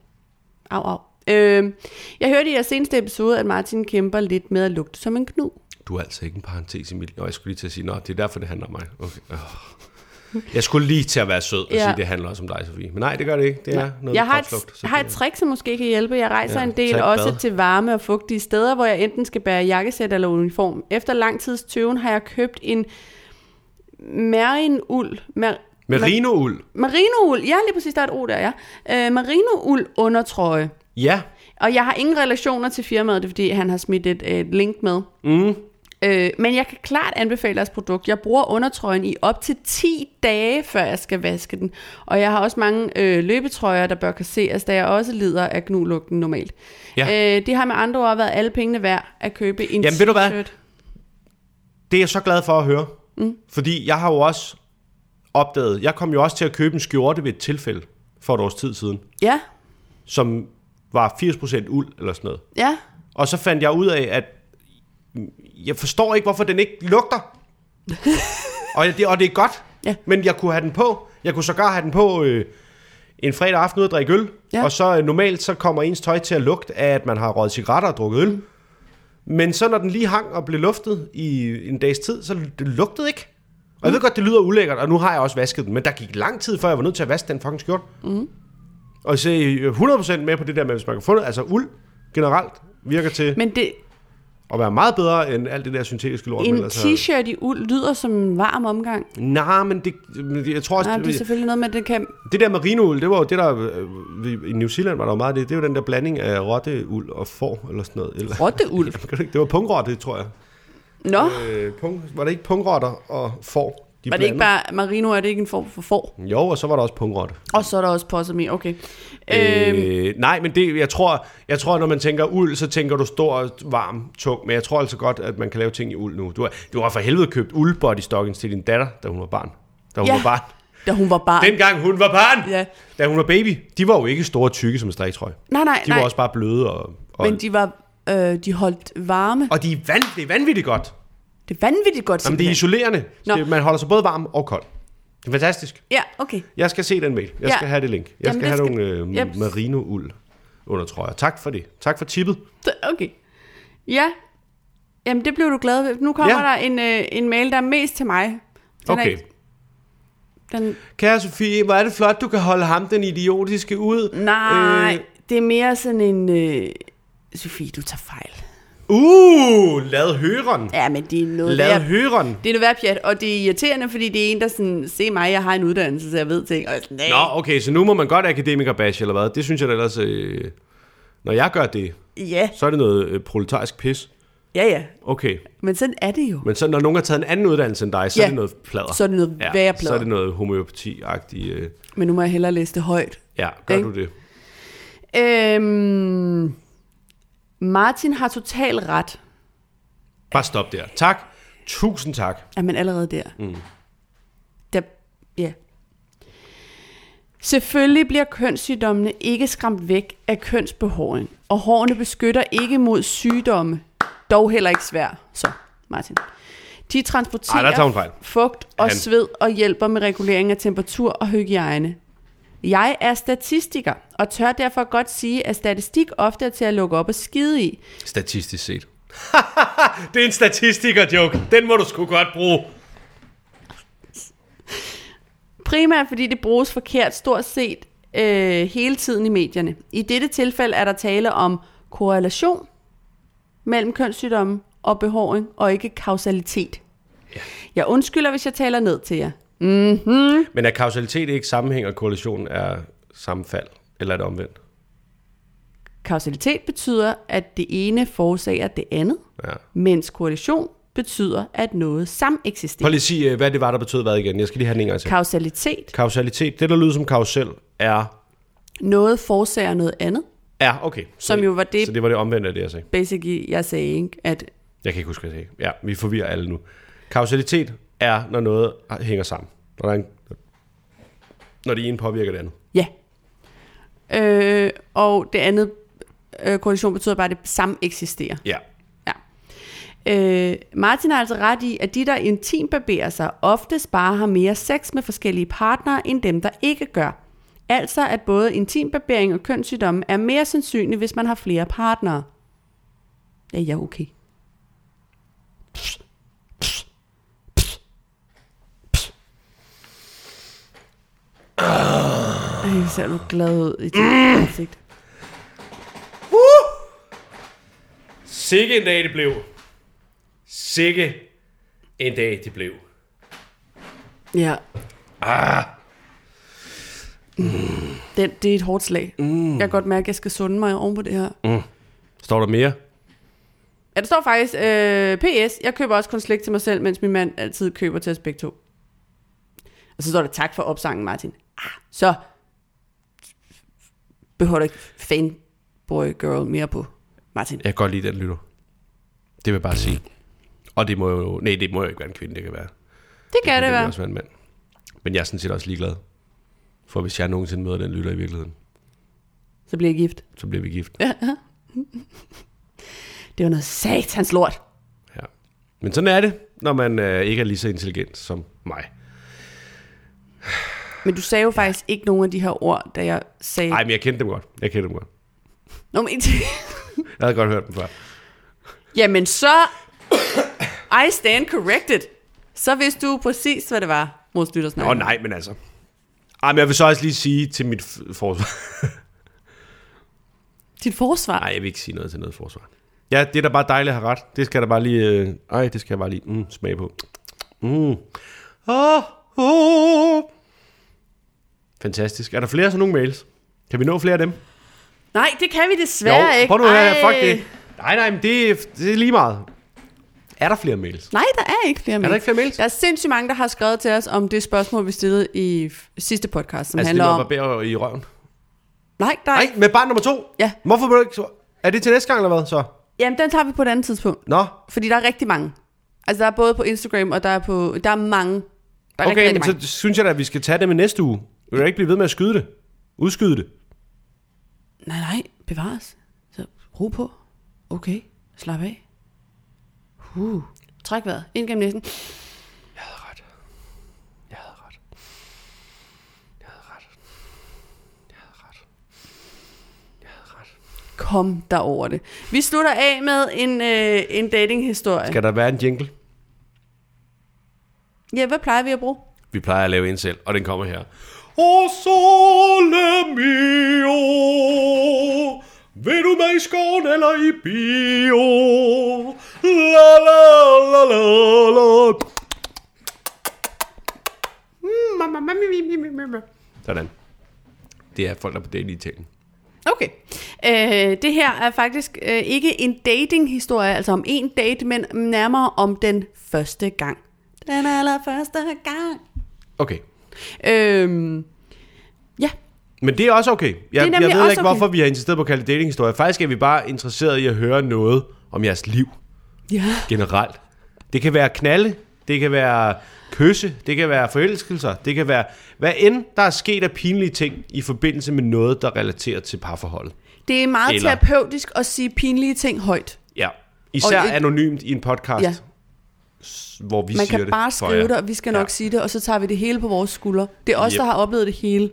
[SPEAKER 1] au, au. Øhm, jeg hørte i jeres seneste episode, at Martin kæmper lidt med at lugte som en knu.
[SPEAKER 2] Du er altså ikke en parentes i mit... Nå, jeg skulle lige til at sige, nå, det er derfor, det handler om mig. Okay. Øh. Jeg skulle lige til at være sød og
[SPEAKER 1] Ja.
[SPEAKER 2] ja. sige, det handler også om dig, Sofie. Men nej, det gør det ikke. Det er noget
[SPEAKER 1] jeg
[SPEAKER 2] med
[SPEAKER 1] har et,
[SPEAKER 2] kropslugt, så
[SPEAKER 1] har
[SPEAKER 2] det
[SPEAKER 1] et trick, som måske kan hjælpe. Jeg rejser ja,
[SPEAKER 2] Ja,
[SPEAKER 1] en
[SPEAKER 2] tag
[SPEAKER 1] del
[SPEAKER 2] et
[SPEAKER 1] også bad.
[SPEAKER 2] bad.
[SPEAKER 1] til varme og fugtige steder, hvor jeg enten skal bære jakkesæt eller uniform. Efter lang tids tøven har jeg købt en merinuld. Mer-
[SPEAKER 2] er. Merinould.
[SPEAKER 1] Marinould, ja lige præcis, der er et O der, ja. Øh, marinould undertrøje.
[SPEAKER 2] Ja.
[SPEAKER 1] Og jeg har ingen relationer til firmaet, det er fordi, han har smidt et, et link med. Mm. Øh, men jeg kan klart anbefale jeres produkt. Jeg bruger undertrøjen i op til 10 dage, før jeg skal vaske den. Og jeg har også mange øh, løbetrøjer, der bør kasseres, da jeg også lider af gnulugten normalt.
[SPEAKER 2] Ja.
[SPEAKER 1] Øh, det har med andre ord været alle pengene værd at købe en
[SPEAKER 2] Jamen, ved du hvad?
[SPEAKER 1] t-shirt.
[SPEAKER 2] Det er jeg så glad for at høre. Mm. Fordi jeg har jo også opdaget... Jeg kom jo også til at købe en skjorte ved et tilfælde for et års tid siden,
[SPEAKER 1] Ja,
[SPEAKER 2] som var 80% uld eller sådan noget.
[SPEAKER 1] ja.
[SPEAKER 2] Og så fandt jeg ud af, at jeg forstår ikke, hvorfor den ikke lugter. og, det, og det er godt,
[SPEAKER 1] Ja.
[SPEAKER 2] men jeg kunne have den på. Jeg kunne sågar have den på øh, en fredag aften ud og drikke øl.
[SPEAKER 1] Ja.
[SPEAKER 2] Og så øh, normalt så kommer ens tøj til at lugte af, at man har røget cigaretter og drukket øl. Mm. Men så når den lige hang og blev luftet i en dags tid, så l- det lugtede ikke. Og jeg ved godt, det lyder ulækkert, og nu har jeg også vasket den. Men der gik lang tid, før jeg var nødt til at vaske den fucking skjorte.
[SPEAKER 1] Mhm.
[SPEAKER 2] Og så er I 100% med på det der med, hvis man kan få noget. Altså uld generelt virker til
[SPEAKER 1] Men det,
[SPEAKER 2] at være meget bedre end alt det der syntetiske lort.
[SPEAKER 1] en
[SPEAKER 2] men
[SPEAKER 1] t-shirt i uld lyder som en varm omgang.
[SPEAKER 2] Nej, men det, men det- jeg tror også,
[SPEAKER 1] Nej,
[SPEAKER 2] Nej,
[SPEAKER 1] det er
[SPEAKER 2] det,
[SPEAKER 1] selvfølgelig noget med, at det kan...
[SPEAKER 2] det der merinould, det var jo det der, øh, vi- i New Zealand var der jo meget af det, det var den der blanding af rotteuld og får, eller sådan noget. Eller,
[SPEAKER 1] Rotteuld.
[SPEAKER 2] Kan du ikke- det var pungrotte, tror jeg.
[SPEAKER 1] Nå,
[SPEAKER 2] Øh, pung, var det ikke pungrotter og får? De
[SPEAKER 1] var det ikke
[SPEAKER 2] blandede?
[SPEAKER 1] bare... Marino, er det ikke en form for får?
[SPEAKER 2] Jo, og så var der også pungrotte.
[SPEAKER 1] Og så er der også posami, okay. Øhm,
[SPEAKER 2] Øh, nej, men det, jeg, tror, jeg tror, når man tænker uld, så tænker du stor, varm, tung. Men jeg tror altså godt, at man kan lave ting i uld nu. Du har, du har for helvede købt uldbodystockings til din datter, da hun var barn. Da hun
[SPEAKER 1] Ja.
[SPEAKER 2] ja. var barn.
[SPEAKER 1] da hun var barn. Den...
[SPEAKER 2] Dengang hun var barn!
[SPEAKER 1] Ja.
[SPEAKER 2] Da hun var baby. De var jo ikke store tykke som en striktrøje.
[SPEAKER 1] Nej, nej,
[SPEAKER 2] De
[SPEAKER 1] nej.
[SPEAKER 2] var også bare bløde og... og
[SPEAKER 1] Men de var... Øh, de holdt varme.
[SPEAKER 2] og de er, van, det er vanvittigt godt.
[SPEAKER 1] Det er vanvittigt godt,
[SPEAKER 2] Jamen, det er
[SPEAKER 1] simpelthen.
[SPEAKER 2] isolerende.
[SPEAKER 1] Nå.
[SPEAKER 2] Så Det, man holder sig både varm og kold. Det er fantastisk.
[SPEAKER 1] Ja, okay.
[SPEAKER 2] Jeg skal se den mail. Jeg
[SPEAKER 1] Ja.
[SPEAKER 2] skal have det link. Jeg
[SPEAKER 1] Jamen,
[SPEAKER 2] skal have
[SPEAKER 1] det skal-
[SPEAKER 2] nogle øh,
[SPEAKER 1] Jeps.
[SPEAKER 2] merino-uld undertrøjer. Tak for det. Tak for tippet.
[SPEAKER 1] Så, okay. Ja. Jamen, det blev du glad ved. Nu kommer
[SPEAKER 2] Ja.
[SPEAKER 1] ja. der en, øh, en mail, der er mest til mig. Den Er
[SPEAKER 2] Okay.
[SPEAKER 1] ikke, den,
[SPEAKER 2] Kære Sofie, hvor er det flot, du kan holde ham den idiotiske ud.
[SPEAKER 1] nej,
[SPEAKER 2] Øh.
[SPEAKER 1] øh. det er mere sådan en... Øh, Sofie, du tager fejl.
[SPEAKER 2] Uh, lad høren.
[SPEAKER 1] Ja, men det er noget
[SPEAKER 2] Lad
[SPEAKER 1] værd.
[SPEAKER 2] høren.
[SPEAKER 1] Det er noget værd pjat, og det er irriterende, fordi det er en, der sådan, se mig, jeg har en uddannelse, så jeg ved ting. Og jeg er sådan,
[SPEAKER 2] Nå, okay, så nu må man godt akademikerbash eller hvad. Det synes jeg da ellers... Øh, når jeg gør det,
[SPEAKER 1] Ja,
[SPEAKER 2] så er det noget øh, proletarisk pis.
[SPEAKER 1] ja, ja.
[SPEAKER 2] Okay,
[SPEAKER 1] Men sådan er det jo.
[SPEAKER 2] men så når nogen har taget en anden uddannelse end dig, så ja. er
[SPEAKER 1] Ja.
[SPEAKER 2] det noget plader.
[SPEAKER 1] Så er det noget værre plader.
[SPEAKER 2] Så er det noget homøopati-agtigt. Øh.
[SPEAKER 1] Men nu må jeg hellere læse det højt.
[SPEAKER 2] Ja, gør
[SPEAKER 1] Ikke?
[SPEAKER 2] du det?
[SPEAKER 1] Øhm, Martin har total ret.
[SPEAKER 2] Bare stop der. Tak. Tusind tak.
[SPEAKER 1] Er man allerede der? Mm. der ja. Selvfølgelig bliver kønssygdommene ikke skræmt væk af kønsbehåring, og hårene beskytter ikke mod sygdomme, dog heller ikke svær. Så, Martin. De transporterer
[SPEAKER 2] Ej, der tager hun fejl.
[SPEAKER 1] fugt og
[SPEAKER 2] Han-
[SPEAKER 1] sved og hjælper med regulering af temperatur og hygiejne. Jeg er statistiker, og tør derfor godt sige, at statistik ofte er til at lukke op og skide i.
[SPEAKER 2] Statistisk set. det er en statistiker-joke. Den må du sgu godt bruge.
[SPEAKER 1] Primært fordi det bruges forkert stort set øh, hele tiden i medierne. I dette tilfælde er der tale om korrelation mellem kønssygdomme og behåring, og ikke kausalitet. Jeg undskylder, hvis jeg taler ned til jer.
[SPEAKER 2] Men er kausalitet ikke sammenhæng, og korrelation er sammenfald? Eller er det omvendt?
[SPEAKER 1] Kausalitet betyder, at det ene forårsager det andet,
[SPEAKER 2] Ja.
[SPEAKER 1] mens korrelation betyder, at noget
[SPEAKER 2] Prøv
[SPEAKER 1] sameksisterer.
[SPEAKER 2] lige at sige, øh, hvad det var, der betød hvad igen. Jeg skal lige have den en gang til.
[SPEAKER 1] Kausalitet,
[SPEAKER 2] Kausalitet, det der lyder som karusel, er...
[SPEAKER 1] noget forårsager noget andet,
[SPEAKER 2] Ja, okay. Så,
[SPEAKER 1] som jo var det,
[SPEAKER 2] så det var det omvendte af det, jeg sagde.
[SPEAKER 1] basically, jeg sagde, ikke? at
[SPEAKER 2] Jeg kan ikke huske, hvad jeg sagde. Ja, vi forvirrer alle nu. Kausalitet er, når noget hænger sammen. Når, der er en, når det ene påvirker det andet.
[SPEAKER 1] Ja. Øh, og det andet øh, koalition betyder bare, at det samme eksisterer.
[SPEAKER 2] Ja.
[SPEAKER 1] Ja. Øh, Martin har altså ret i, at de, der intim barberer sig, oftest bare har mere sex med forskellige partnere, end dem, der ikke gør. Altså, at både intimbarbering og kønssygdomme er mere sandsynlige, hvis man har flere partnere. Ja, ja, okay. Ej, ser du glad ud i dit ansigt.
[SPEAKER 4] Sikke en dag det blev. Sikke en dag det blev.
[SPEAKER 1] Ja. Ah. Den, det er et hårdt slag. Mm. Jeg kan godt mærke, at jeg skal sunde mig oven på det her. Mm.
[SPEAKER 2] Står der mere?
[SPEAKER 1] Ja, der står faktisk, øh, PS, jeg køber også kun slik til mig selv, mens min mand altid køber til os begge to. Og så står der, tak for opsangen, Martin. Ah, så behøver du ikke fanboy girl mere på, Martin.
[SPEAKER 2] Jeg kan godt lide den lytter. Det vil jeg bare sige. Og det må jo... Nej, det må jo ikke være en kvinde, det kan være.
[SPEAKER 1] Det kan det
[SPEAKER 2] det kan
[SPEAKER 1] være.
[SPEAKER 2] også være en mand. Men jeg er sådan set også ligeglad. For hvis jeg nogensinde møder den lytter i virkeligheden,
[SPEAKER 1] Så bliver jeg gift.
[SPEAKER 2] så bliver vi gift.
[SPEAKER 1] Det var noget satans lort.
[SPEAKER 2] Ja. Men sådan er det, når man øh, ikke er lige så intelligent som mig.
[SPEAKER 1] Men du sagde jo faktisk ikke nogen af de her ord, da jeg sagde...
[SPEAKER 2] Nej, men jeg kendte dem godt. Jeg kendte dem godt.
[SPEAKER 1] Nå, men...
[SPEAKER 2] Jeg havde godt hørt dem før.
[SPEAKER 1] Jamen så, I stand corrected. Så vidste du præcis, hvad det var, Mås Lyttersnak.
[SPEAKER 2] Åh oh, nej, men altså. Ej, men jeg vil så også lige sige til mit f- forsvar.
[SPEAKER 1] Dit forsvar.
[SPEAKER 2] Nej, jeg vil ikke sige noget til noget forsvar. Ja, det er da bare dejligt at have ret. Det skal der bare lige... Øh, ej, det skal jeg bare lige mm, smage på. Mm. Oh, oh. Fantastisk. Er der flere af sådan nogle mails? Kan vi nå flere af dem?
[SPEAKER 1] Nej, det kan vi desværre ikke.
[SPEAKER 2] prøv nu her,
[SPEAKER 1] Ej.
[SPEAKER 2] fuck det. Nej, nej, men det, er- det er lige meget. Er der flere mails?
[SPEAKER 1] Nej, der er ikke flere mails.
[SPEAKER 2] ikke flere mails?
[SPEAKER 1] Der er sindssygt mange, der har skrevet til os om det spørgsmål, vi stillede i f- sidste podcast, som
[SPEAKER 2] Altså, det
[SPEAKER 1] handler
[SPEAKER 2] er
[SPEAKER 1] om...
[SPEAKER 2] noget barber i røven.
[SPEAKER 1] Nej, der er
[SPEAKER 2] Nej,
[SPEAKER 1] ikke.
[SPEAKER 2] med barn nummer to?
[SPEAKER 1] Ja.
[SPEAKER 2] Hvorfor blev du ikke... Er det til næste gang, eller hvad, så?
[SPEAKER 1] Jamen, den tager vi på et andet tidspunkt.
[SPEAKER 2] Nå,
[SPEAKER 1] Fordi der er rigtig mange. Altså, der er både på Instagram, og der er på... Der er mange. Der er
[SPEAKER 2] okay,
[SPEAKER 1] rigtig,
[SPEAKER 2] men
[SPEAKER 1] rigtig
[SPEAKER 2] så
[SPEAKER 1] mange.
[SPEAKER 2] synes jeg da, at vi skal tage det med næste uge. Vi kan ikke blive ved med at skyde det. Udskyde det.
[SPEAKER 1] Nej, nej, bevares. Så ro på. Okay, slap af. Uh. Træk vejret. Ind gennem næsen.
[SPEAKER 2] Jeg havde ret. Jeg havde ret. Jeg havde ret. Jeg havde ret.
[SPEAKER 1] kom der over det. Vi slutter af med en, øh, en datinghistorie.
[SPEAKER 2] Skal der være en jingle?
[SPEAKER 1] Ja, hvad plejer vi at bruge?
[SPEAKER 2] Vi plejer at lave en selv, og den kommer her. O sole mio, vil du med i skoven eller i bio? La la la la la. Sådan. Det er folk, der er på date i Italien.
[SPEAKER 1] Okay. Øh, det her er faktisk øh, ikke en datinghistorie, altså om en date, men nærmere om den første gang. Den allerførste gang.
[SPEAKER 2] Okay.
[SPEAKER 1] Øhm, ja,
[SPEAKER 2] Men det er også okay. Jeg,
[SPEAKER 1] er
[SPEAKER 2] jeg
[SPEAKER 1] nemlig
[SPEAKER 2] ved ikke,
[SPEAKER 1] også
[SPEAKER 2] okay.
[SPEAKER 1] okay.
[SPEAKER 2] hvorfor vi har insisteret på at kalde det datinghistorie. Faktisk er vi bare interesseret i at høre noget om jeres liv.
[SPEAKER 1] ja.
[SPEAKER 2] generelt. Det kan være knalde, det kan være kysse, det kan være forelskelser, det kan være hvad end der er sket af pinlige ting i forbindelse med noget, der relaterer til parforholdet.
[SPEAKER 1] Det er meget
[SPEAKER 2] Eller-
[SPEAKER 1] Eller... terapeutisk at sige pinlige ting højt.
[SPEAKER 2] Ja. Især
[SPEAKER 1] Og
[SPEAKER 2] og,
[SPEAKER 1] et-
[SPEAKER 2] anonymt i en podcast,
[SPEAKER 1] Ja.
[SPEAKER 2] ja. hvor vi
[SPEAKER 1] Man
[SPEAKER 2] siger
[SPEAKER 1] kan
[SPEAKER 2] det
[SPEAKER 1] bare
[SPEAKER 2] for
[SPEAKER 1] skrive
[SPEAKER 2] jer.
[SPEAKER 1] det, og vi skal nok
[SPEAKER 2] Ja.
[SPEAKER 1] ja. sige det, og så tager vi det hele på vores skuldre. Det er os,
[SPEAKER 2] Yep.
[SPEAKER 1] yep. der har oplevet det hele.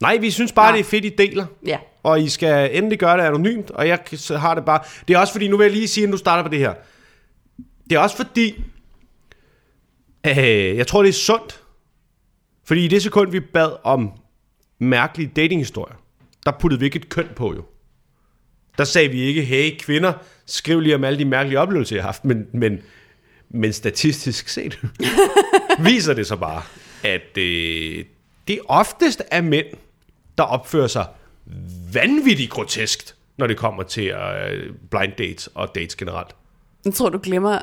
[SPEAKER 2] Nej, vi synes bare,
[SPEAKER 1] Nej.
[SPEAKER 2] det er fedt, I deler.
[SPEAKER 1] Ja.
[SPEAKER 2] Og I skal endelig gøre det anonymt, og jeg kan- så har det bare... Det er også fordi, nu vil jeg lige sige, inden du starter på det her. Det er også fordi, øh, jeg tror, det er sundt. Fordi i det sekund, vi bad om mærkelige datinghistorier, der puttede vi ikke et køn på jo. Der sagde vi ikke, hey kvinder, skriv lige om alle de mærkelige oplevelser, jeg har haft. Men, men, men statistisk set viser det så bare, at øh, det oftest er mænd, der opfører sig vanvittigt groteskt, når det kommer til øh, blind dates og dates generelt.
[SPEAKER 1] Jeg tror, du glemmer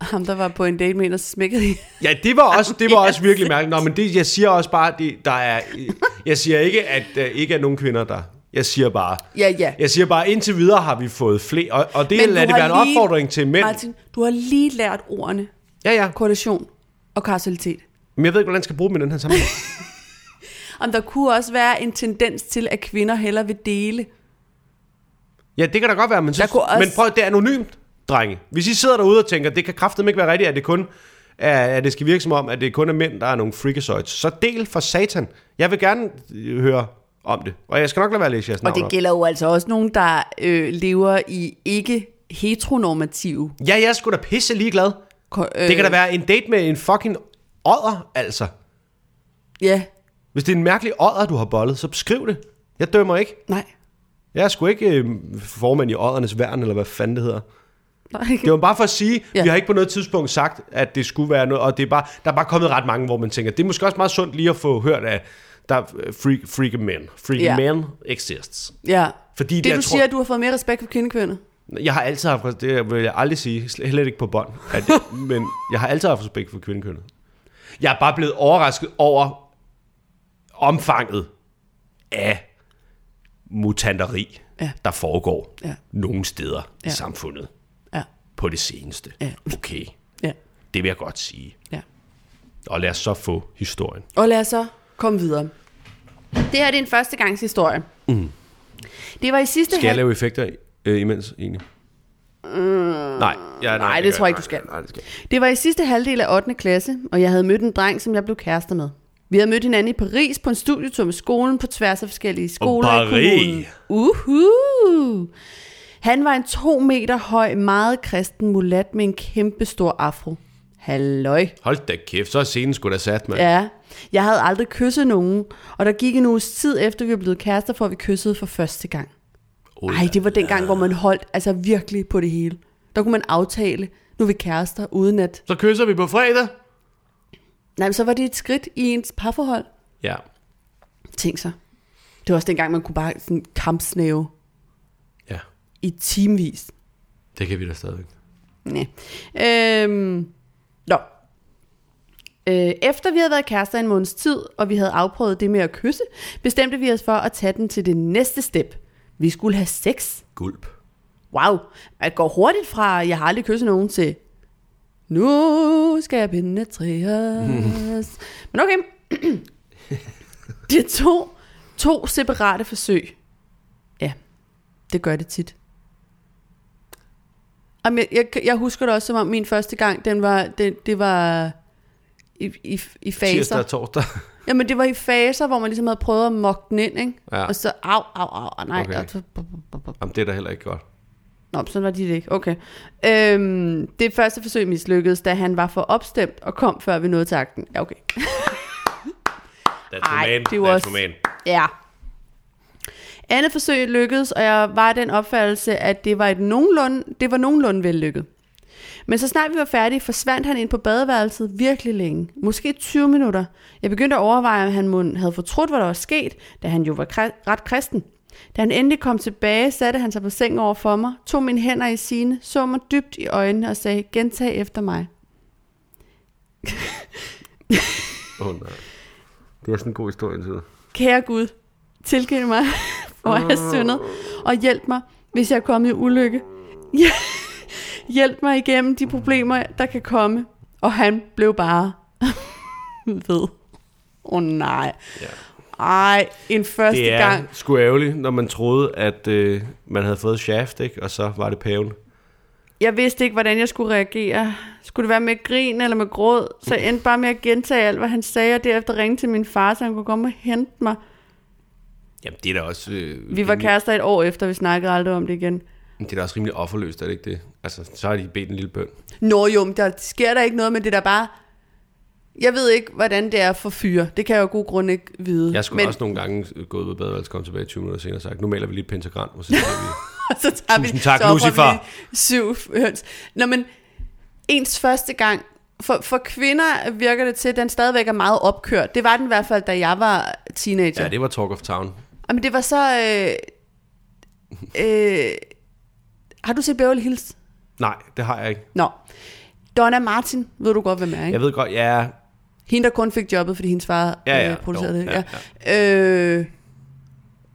[SPEAKER 1] ham, der var på en date med en og smækkede i.
[SPEAKER 2] Ja, det var også, det var også virkelig mærkeligt. Nå, men det, jeg siger også bare, det, der er, øh, jeg siger ikke, at der ikke er nogen kvinder, der... Jeg siger bare,
[SPEAKER 1] Ja, ja.
[SPEAKER 2] jeg siger bare indtil videre har vi fået flere, og, og det
[SPEAKER 1] Men
[SPEAKER 2] lader
[SPEAKER 1] du
[SPEAKER 2] det
[SPEAKER 1] har
[SPEAKER 2] være en
[SPEAKER 1] lige-
[SPEAKER 2] opfordring til mænd.
[SPEAKER 1] Martin, du har lige lært ordene.
[SPEAKER 2] Ja, ja.
[SPEAKER 1] Korrelation og kausalitet.
[SPEAKER 2] Men jeg ved ikke, hvordan jeg skal bruge dem i den her sammenhæng.
[SPEAKER 1] Om der kunne også være en tendens til, at kvinder hellere vil dele.
[SPEAKER 2] Ja, det kan da godt være, men, så,
[SPEAKER 1] Der kunne også-
[SPEAKER 2] men prøv, det er anonymt, drenge. Hvis I sidder derude og tænker, det kan kraftedeme ikke være rigtigt, at det kun er, at det skal virke som om, at det kun er mænd, der er nogle freakazoids. Så del for satan. Jeg vil gerne øh, høre om det. Og jeg skal nok lade være at læse jeres
[SPEAKER 1] Og
[SPEAKER 2] navn
[SPEAKER 1] det
[SPEAKER 2] op.
[SPEAKER 1] gælder jo altså også nogen, der øh, lever i ikke heteronormative.
[SPEAKER 2] Ja, jeg er sgu da pisse ligeglad.
[SPEAKER 1] ko- Øh,
[SPEAKER 2] Det kan da være en date med en fucking odder, altså.
[SPEAKER 1] Ja,
[SPEAKER 2] Hvis det er en mærkelig odder, du har bollet, så skriv det. Jeg dømmer ikke.
[SPEAKER 1] nej.
[SPEAKER 2] Jeg er sgu ikke øh, formand i oddernes værn, eller hvad fanden det hedder.
[SPEAKER 1] nej.
[SPEAKER 2] Det var bare for at sige, ja.
[SPEAKER 1] Ja.
[SPEAKER 2] vi har ikke på noget tidspunkt sagt, at det skulle være noget, og det er bare, der er bare kommet ret mange, hvor man tænker, det er måske også meget sundt lige at få hørt af, der er freak, freak men. Freak ja.
[SPEAKER 1] Ja.
[SPEAKER 2] men exists.
[SPEAKER 1] Ja.
[SPEAKER 2] Fordi
[SPEAKER 1] det,
[SPEAKER 2] det, jeg
[SPEAKER 1] du
[SPEAKER 2] tror-
[SPEAKER 1] siger, at du har fået mere respekt for kvindekvinder.
[SPEAKER 2] Jeg har altid haft, det vil jeg aldrig sige, slet slet ikke på bånd, at, men jeg har altid haft respekt for kvindekønnet. Jeg er bare blevet overrasket over omfanget af mutanteri,
[SPEAKER 1] Ja.
[SPEAKER 2] der foregår
[SPEAKER 1] Ja.
[SPEAKER 2] nogle steder ja.
[SPEAKER 1] Ja.
[SPEAKER 2] i samfundet
[SPEAKER 1] Ja.
[SPEAKER 2] på det seneste.
[SPEAKER 1] Ja.
[SPEAKER 2] Okay,
[SPEAKER 1] Ja.
[SPEAKER 2] det vil jeg godt sige.
[SPEAKER 1] ja.
[SPEAKER 2] Og lad os så få historien.
[SPEAKER 1] Og lad os så komme videre. Det her det er en førstegangshistorie. Mm. Det var i sidste
[SPEAKER 2] Skal jeg
[SPEAKER 1] halv...
[SPEAKER 2] lave effekter øh, imens egentlig? Mm, nej, ja,
[SPEAKER 1] nej, det tror
[SPEAKER 2] gør
[SPEAKER 1] jeg
[SPEAKER 2] jeg
[SPEAKER 1] ikke, du skal.
[SPEAKER 2] Nej, nej, det skal. jeg ikke.
[SPEAKER 1] Det var i sidste halvdel af 8. klasse, og jeg havde mødt en dreng, som jeg blev kærester med. Vi havde mødt hinanden i Paris på en studietur med skolen på tværs af forskellige skoler
[SPEAKER 2] Paris.
[SPEAKER 1] i kommunen. Uhu! Han var en to meter høj, meget kristen mulat med en kæmpe stor afro. Halløj.
[SPEAKER 2] Hold da kæft, så er scenen sgu da sat, mand. Ja.
[SPEAKER 1] Ja, jeg havde aldrig kysset nogen, og der gik en uges tid efter, vi var blevet kærester, for at vi kyssede for første gang.
[SPEAKER 2] Oh,
[SPEAKER 1] Ej, det var den gang, hvor man holdt altså virkelig på det hele. Der kunne man aftale, nu er vi kærester, uden at...
[SPEAKER 2] Så kysser vi på fredag.
[SPEAKER 1] Nej, men så var det et skridt i ens parforhold.
[SPEAKER 2] Ja.
[SPEAKER 1] Tænk sig. Det var også dengang, man kunne bare sådan kampsnæve
[SPEAKER 2] ja,
[SPEAKER 1] i timevis.
[SPEAKER 2] det kan vi da stadigvæk.
[SPEAKER 1] Næh. Øhm, nå. Øh, efter vi havde været kærester en måneds tid, og vi havde afprøvet det med at kysse, bestemte vi os for at tage den til det næste step. Vi skulle have sex.
[SPEAKER 2] Gulp.
[SPEAKER 1] Wow, at gå hurtigt fra, jeg har aldrig kysset nogen, til, nu skal jeg penetreres. Men okay. det er to, to separate forsøg. Ja, det gør det tit. Jamen, jeg, jeg, jeg husker det også, som om min første gang, den var, det, det var i, i, i
[SPEAKER 2] Tirsdag
[SPEAKER 1] faser.
[SPEAKER 2] og torsdag.
[SPEAKER 1] Jamen, det var i faser, hvor man ligesom havde prøvet at mokke den ind, ikke?
[SPEAKER 2] Ja.
[SPEAKER 1] Og så, au, au, au, og nej.
[SPEAKER 2] Okay.
[SPEAKER 1] Og så, bu- bu- bu- bu-
[SPEAKER 2] Jamen, det er da heller ikke godt.
[SPEAKER 1] Nå, sådan var de det ikke. Okay. Øhm, det første forsøg mislykkedes, da han var for opstemt og kom, før vi nåede til akten. Ja, okay.
[SPEAKER 4] That's
[SPEAKER 1] Ej,
[SPEAKER 4] Ej, man.
[SPEAKER 1] det er jo
[SPEAKER 4] That's
[SPEAKER 1] også-
[SPEAKER 4] the man.
[SPEAKER 1] Ja. Andet forsøg lykkedes, og jeg var af den opfattelse, at det var, et nogenlunde, det var nogenlunde vellykket. Men så snart vi var færdige, forsvandt han ind på badeværelset virkelig længe. Måske 20 minutter. Jeg begyndte at overveje, om han mon havde fortrudt, hvad der var sket, da han jo var kre- ret kristen. Da han endelig kom tilbage, satte han sig på sengen over for mig, tog mine hænder i sine, så mig dybt i øjnene og sagde, gentag efter mig.
[SPEAKER 2] Åh, oh, nej. Det er sådan en god historie indtil videre.
[SPEAKER 1] Kære Gud, tilgiv mig, hvor jeg har syndet, og hjælp mig, hvis jeg er kommet i ulykke. Ja, hjælp mig igennem de problemer, der kan komme. Og han blev bare ved. Åh oh, nej.
[SPEAKER 2] Ja.
[SPEAKER 1] Ej, en første
[SPEAKER 2] Det
[SPEAKER 1] gang.
[SPEAKER 2] er sgu ærgerligt, når man troede, at øh, man havde fået shaft, ikke? og så var det paven.
[SPEAKER 1] Jeg vidste ikke, hvordan jeg skulle reagere. Skulle det være med grin eller med gråd? Så jeg endte bare med at gentage alt, hvad han sagde, og derefter ringe til min far, så han kunne komme og hente mig.
[SPEAKER 2] Jamen, det er da også... Øh,
[SPEAKER 1] Vi var
[SPEAKER 2] rimelig-
[SPEAKER 1] kærester et år efter, vi snakkede aldrig om det igen.
[SPEAKER 2] Det er da også rimelig offerløst, er det ikke det? Altså, så har de bedt en lille bøn.
[SPEAKER 1] Nå jo, men der sker der ikke noget, men det er da bare... Jeg ved ikke, hvordan det er for fyre. Det kan jeg jo af god grund ikke vide.
[SPEAKER 2] Jeg skulle
[SPEAKER 1] Mm-hmm. men
[SPEAKER 2] men... også nogle gange øh, gået ud af badeværelset, komme tilbage 20 minutter senere og sagt, nu maler vi lige et pentagram, og så siger vi,
[SPEAKER 1] så tager vi,
[SPEAKER 2] Tusind tak,
[SPEAKER 1] så oprer vi
[SPEAKER 2] Lucifer.
[SPEAKER 1] lige Syv høns. Nå, men ens første gang... For, for kvinder virker det til, at den stadigvæk er meget opkørt. Det var den i hvert fald, da jeg var teenager.
[SPEAKER 2] ja, det var talk of town.
[SPEAKER 1] Jamen, det var så... Øh, øh, har du set Beverly Hills?
[SPEAKER 2] Nej, det har jeg ikke.
[SPEAKER 1] Nå. Donna Martin, ved du godt, hvem er, ikke?
[SPEAKER 2] Jeg ved godt, ja,
[SPEAKER 1] Hende, der kun fik jobbet, fordi hendes far
[SPEAKER 2] Ja, ja,
[SPEAKER 1] Øh, producerede
[SPEAKER 2] dog,
[SPEAKER 1] det. Ja, ja. Øh,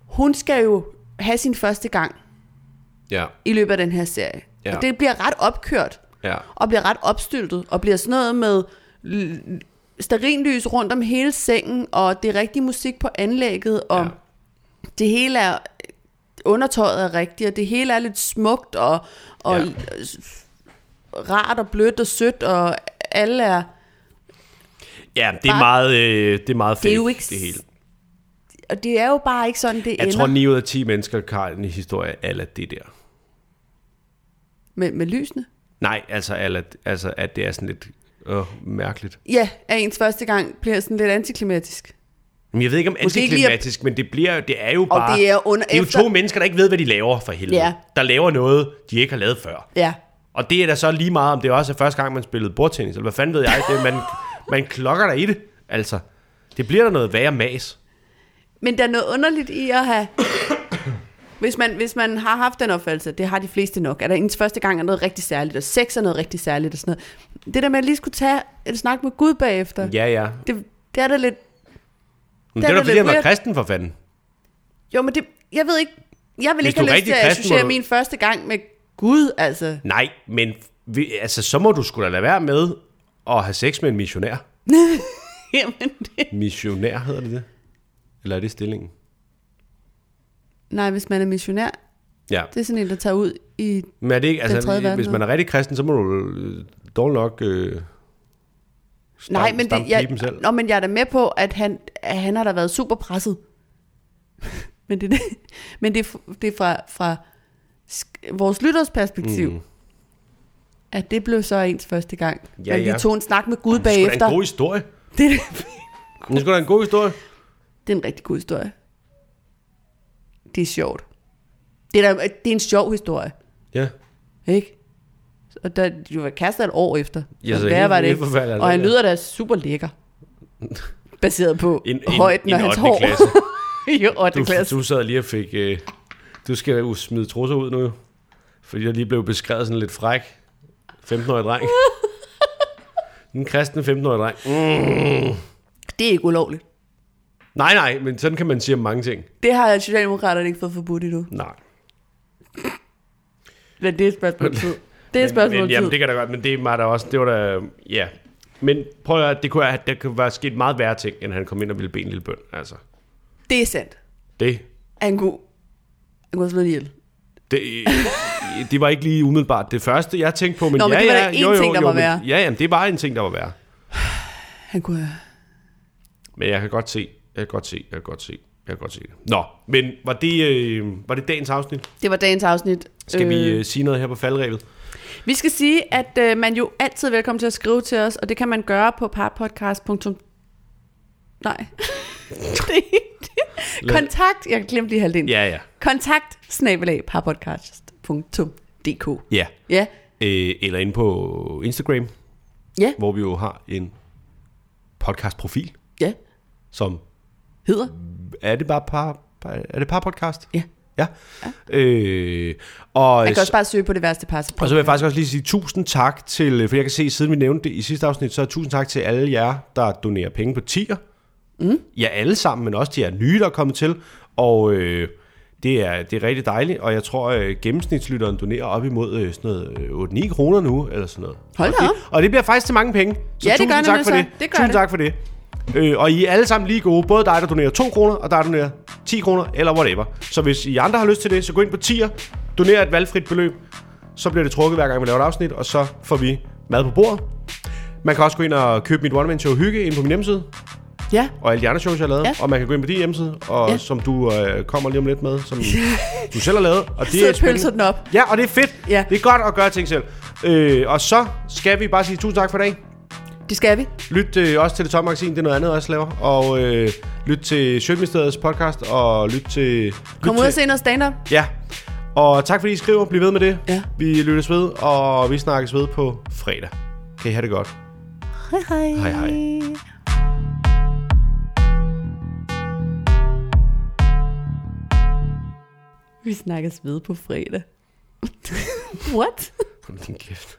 [SPEAKER 1] hun skal jo have sin første gang
[SPEAKER 2] ja,
[SPEAKER 1] i løbet af den her serie.
[SPEAKER 2] Ja.
[SPEAKER 1] Ja. Og det bliver ret opkørt,
[SPEAKER 2] ja.
[SPEAKER 1] og bliver ret opstyltet, og bliver sådan noget med l- sterinlys rundt om hele sengen, og det er rigtig musik på anlægget, og
[SPEAKER 2] Ja.
[SPEAKER 1] ja. det hele er undertøjet er rigtigt, og det hele er lidt smukt, og, og
[SPEAKER 2] Ja.
[SPEAKER 1] ja. rart og blødt og sødt, og alle er...
[SPEAKER 2] Ja, det er
[SPEAKER 1] Bare-
[SPEAKER 2] meget, øh, det er meget fake,
[SPEAKER 1] Det er jo ikke...
[SPEAKER 2] det hele.
[SPEAKER 1] Og det er jo bare ikke sådan, det
[SPEAKER 2] Jeg
[SPEAKER 1] ender
[SPEAKER 2] tror, 9 ud af 10 mennesker har en historie ala det der.
[SPEAKER 1] med, med lysene.
[SPEAKER 2] Nej, altså, ala, altså at det er sådan lidt øh, mærkeligt.
[SPEAKER 1] Ja, at ens første gang bliver sådan lidt antiklimatisk.
[SPEAKER 2] Men jeg ved ikke om
[SPEAKER 1] Måske ikke lige at-
[SPEAKER 2] antiklimatisk, men det, bliver, det er jo bare...
[SPEAKER 1] det er under-
[SPEAKER 2] det er jo
[SPEAKER 1] efter-
[SPEAKER 2] to mennesker, der ikke ved, hvad de laver for helvede.
[SPEAKER 1] Ja.
[SPEAKER 2] Der laver noget, de ikke har lavet før.
[SPEAKER 1] Ja.
[SPEAKER 2] Og det er da så lige meget, om det også er første gang, man spillede bordtennis, eller hvad fanden ved jeg, det, er, man, man klokker dig i det, altså. Det bliver der noget værre mas.
[SPEAKER 1] Men der er noget underligt i at have... Hvis man, hvis man har haft den opfattelse, det har de fleste nok, at der ens første gang er noget rigtig særligt, og sex er noget rigtig særligt og sådan noget. Det der med at lige skulle tage en snak med Gud bagefter,
[SPEAKER 2] Ja, ja.
[SPEAKER 1] det, det er da lidt...
[SPEAKER 2] Men
[SPEAKER 1] Der
[SPEAKER 2] det er
[SPEAKER 1] er
[SPEAKER 2] da
[SPEAKER 1] det
[SPEAKER 2] fordi, han
[SPEAKER 1] lidt
[SPEAKER 2] var
[SPEAKER 1] weird.
[SPEAKER 2] kristen for fanden.
[SPEAKER 1] Jo, men det... Jeg ved ikke... Jeg vil
[SPEAKER 2] Hvis
[SPEAKER 1] ikke
[SPEAKER 2] du er
[SPEAKER 1] have lyst
[SPEAKER 2] rigtig
[SPEAKER 1] til at
[SPEAKER 2] kristen, må
[SPEAKER 1] associere
[SPEAKER 2] du-
[SPEAKER 1] min første gang med Gud, altså.
[SPEAKER 2] Nej, men vi, altså, så må du skulle da lade være med at have sex med en missionær.
[SPEAKER 1] Jamen, det...
[SPEAKER 2] Missionær hedder det det? Eller er det stillingen?
[SPEAKER 1] Nej, hvis man er missionær,
[SPEAKER 2] Ja.
[SPEAKER 1] det er sådan en, der tager ud i...
[SPEAKER 2] Men er det ikke, altså,
[SPEAKER 1] tredje verden
[SPEAKER 2] hvis man er rigtig kristen, så må du øh, dårligt nok øh, stam,
[SPEAKER 1] Nej, men,
[SPEAKER 2] stamme
[SPEAKER 1] det, jeg,
[SPEAKER 2] piben selv.
[SPEAKER 1] Nå, men jeg er da med på, at han, at han har da været super presset. men det, det, men det, er f- det er fra, fra sk- vores lytters perspektiv, mm. at det blev så ens første gang.
[SPEAKER 2] Ja,
[SPEAKER 1] Ja, men
[SPEAKER 2] ja.
[SPEAKER 1] vi tog en snak med Gud
[SPEAKER 2] Det er sgu da
[SPEAKER 1] bagefter.
[SPEAKER 2] en god historie.
[SPEAKER 1] Det, er,
[SPEAKER 2] Det er sgu da en god historie.
[SPEAKER 1] det er en rigtig god historie. Det er sjovt. Det er, da, det er en sjov historie,
[SPEAKER 2] Ja.
[SPEAKER 1] ikke? Og der, de var kastet et år efter.
[SPEAKER 2] Ja,
[SPEAKER 1] Ja, så
[SPEAKER 2] så
[SPEAKER 1] værre
[SPEAKER 2] helt-
[SPEAKER 1] var det
[SPEAKER 2] helt
[SPEAKER 1] ikke.
[SPEAKER 2] forfærdeligt altså. er
[SPEAKER 1] Og
[SPEAKER 2] det
[SPEAKER 1] han
[SPEAKER 2] ikke.
[SPEAKER 1] lyder da super lækker. Baseret på højden og hans
[SPEAKER 2] ottende
[SPEAKER 1] hår.
[SPEAKER 2] klasse.
[SPEAKER 1] jo, 8. klasse.
[SPEAKER 2] Du, du sad lige og fik... Øh, du skal jo smide trusser ud nu, jo. Fordi jeg lige blev beskrevet sådan lidt fræk. 15-årig dreng. En kristen 15-årig dreng. Mm.
[SPEAKER 1] Det er ikke ulovligt.
[SPEAKER 2] Nej, nej, men sådan kan man sige om mange ting.
[SPEAKER 1] Det har Socialdemokraterne ikke fået forbudt endnu.
[SPEAKER 2] Nej.
[SPEAKER 1] Men det er et spørgsmål om tid. Det er et spørgsmål
[SPEAKER 2] men,
[SPEAKER 1] om
[SPEAKER 2] men, jamen,
[SPEAKER 1] tid.
[SPEAKER 2] det kan da godt, men det var da også, det var da, ja. Men prøv at høre, det kunne, have- der kunne være sket meget værre ting, end han kom ind og ville bede en lille bøn, altså.
[SPEAKER 1] Det er sandt.
[SPEAKER 2] Det,
[SPEAKER 1] Han kunne, han kunne have slået ihjel.
[SPEAKER 2] det, det var ikke lige umiddelbart det første, jeg tænkte på, men,
[SPEAKER 1] Nå, men
[SPEAKER 2] ja,
[SPEAKER 1] det var da
[SPEAKER 2] ja,
[SPEAKER 1] én
[SPEAKER 2] jo, jo,
[SPEAKER 1] ting, der
[SPEAKER 2] jo,
[SPEAKER 1] var
[SPEAKER 2] men-
[SPEAKER 1] værre.
[SPEAKER 2] Ja, jamen, det var en ting, der var værre.
[SPEAKER 1] Han kunne have...
[SPEAKER 2] Men jeg kan godt se, jeg kan godt se, jeg kan godt se, jeg kan godt se det. Nå, men var det, øh, var det dagens afsnit?
[SPEAKER 1] Det var dagens afsnit.
[SPEAKER 2] Skal øh. vi øh, sige noget her på faldrevet?
[SPEAKER 1] Vi skal sige, at øh, man jo altid er velkommen til at skrive til os, og det kan man gøre på parpodcast. Nej. det er ikke det. Kontakt, jeg glemte lige halvdelen.
[SPEAKER 2] Ja, ja.
[SPEAKER 1] Kontakt, snabelag, parpodcast.dk.
[SPEAKER 2] Ja.
[SPEAKER 1] Ja,
[SPEAKER 2] Øh, eller inde på Instagram,
[SPEAKER 1] ja,
[SPEAKER 2] hvor vi jo har en podcastprofil,
[SPEAKER 1] ja.
[SPEAKER 2] som
[SPEAKER 1] Hedder?
[SPEAKER 2] er det bare par, par er det par podcast?
[SPEAKER 1] Ja.
[SPEAKER 2] Ja. ja. Øh, og,
[SPEAKER 1] Man kan også bare søge på det værste par.
[SPEAKER 2] og så vil jeg faktisk også lige sige tusind tak til, for jeg kan se, siden vi nævnte det i sidste afsnit, så tusind tak til alle jer, der donerer penge på tier. Mm. Ja, alle sammen, men også de her nye, der er kommet til. Og øh, det, er, det er rigtig dejligt, og jeg tror, øh, gennemsnitslytteren donerer op imod øh, sådan noget øh, 8-9 kroner nu, eller sådan noget.
[SPEAKER 1] Hold da
[SPEAKER 2] og, det,
[SPEAKER 1] op.
[SPEAKER 2] og det bliver faktisk til mange penge. Så
[SPEAKER 1] Ja, det
[SPEAKER 2] tusind
[SPEAKER 1] gør
[SPEAKER 2] tak
[SPEAKER 1] nemlig
[SPEAKER 2] for
[SPEAKER 1] så.
[SPEAKER 2] det.
[SPEAKER 1] Det gør
[SPEAKER 2] tusind
[SPEAKER 1] det.
[SPEAKER 2] tak for det. Øh, og I er alle sammen lige gode. Både dig, der donerer 2 kroner, og dig, der donerer 10 kroner, eller whatever. Så hvis I andre har lyst til det, så gå ind på tier, doner et valgfrit beløb, så bliver det trukket hver gang, vi laver et afsnit, og så får vi mad på bordet. Man kan også gå ind og købe mit one-man-show Hygge ind på min hjemmeside,
[SPEAKER 1] Ja,
[SPEAKER 2] og alle de andre shows, jeg har lavet. Ja.
[SPEAKER 1] Ja.
[SPEAKER 2] Og man kan gå ind på din hjemmeside, og ja.
[SPEAKER 1] Ja.
[SPEAKER 2] som du øh, kommer lige om lidt med, som du selv har lavet. Og det
[SPEAKER 1] Sidder
[SPEAKER 2] er
[SPEAKER 1] og pølser den
[SPEAKER 2] spændende.
[SPEAKER 1] op.
[SPEAKER 2] Ja, og det er fedt.
[SPEAKER 1] Ja.
[SPEAKER 2] Det er godt at gøre ting selv. Øh, og så skal vi bare sige tusind tak for i dag.
[SPEAKER 1] det skal vi.
[SPEAKER 2] Lyt øh, også til det tomme magasin, det er noget andet, jeg også laver. Og øh, lyt til Sjøtministeriets podcast, og lyt til... Lyt
[SPEAKER 1] Kom
[SPEAKER 2] til,
[SPEAKER 1] ud og se noget stand-up.
[SPEAKER 2] Ja. Og tak fordi I skriver. Bliv ved med det.
[SPEAKER 1] Ja.
[SPEAKER 2] Vi lyttes ved, og vi snakkes ved på fredag. Kan I have det godt.
[SPEAKER 1] Hej hej.
[SPEAKER 2] Hej, hej.
[SPEAKER 1] Vi snakkes ved på fredag. What?
[SPEAKER 2] Hold din kæft.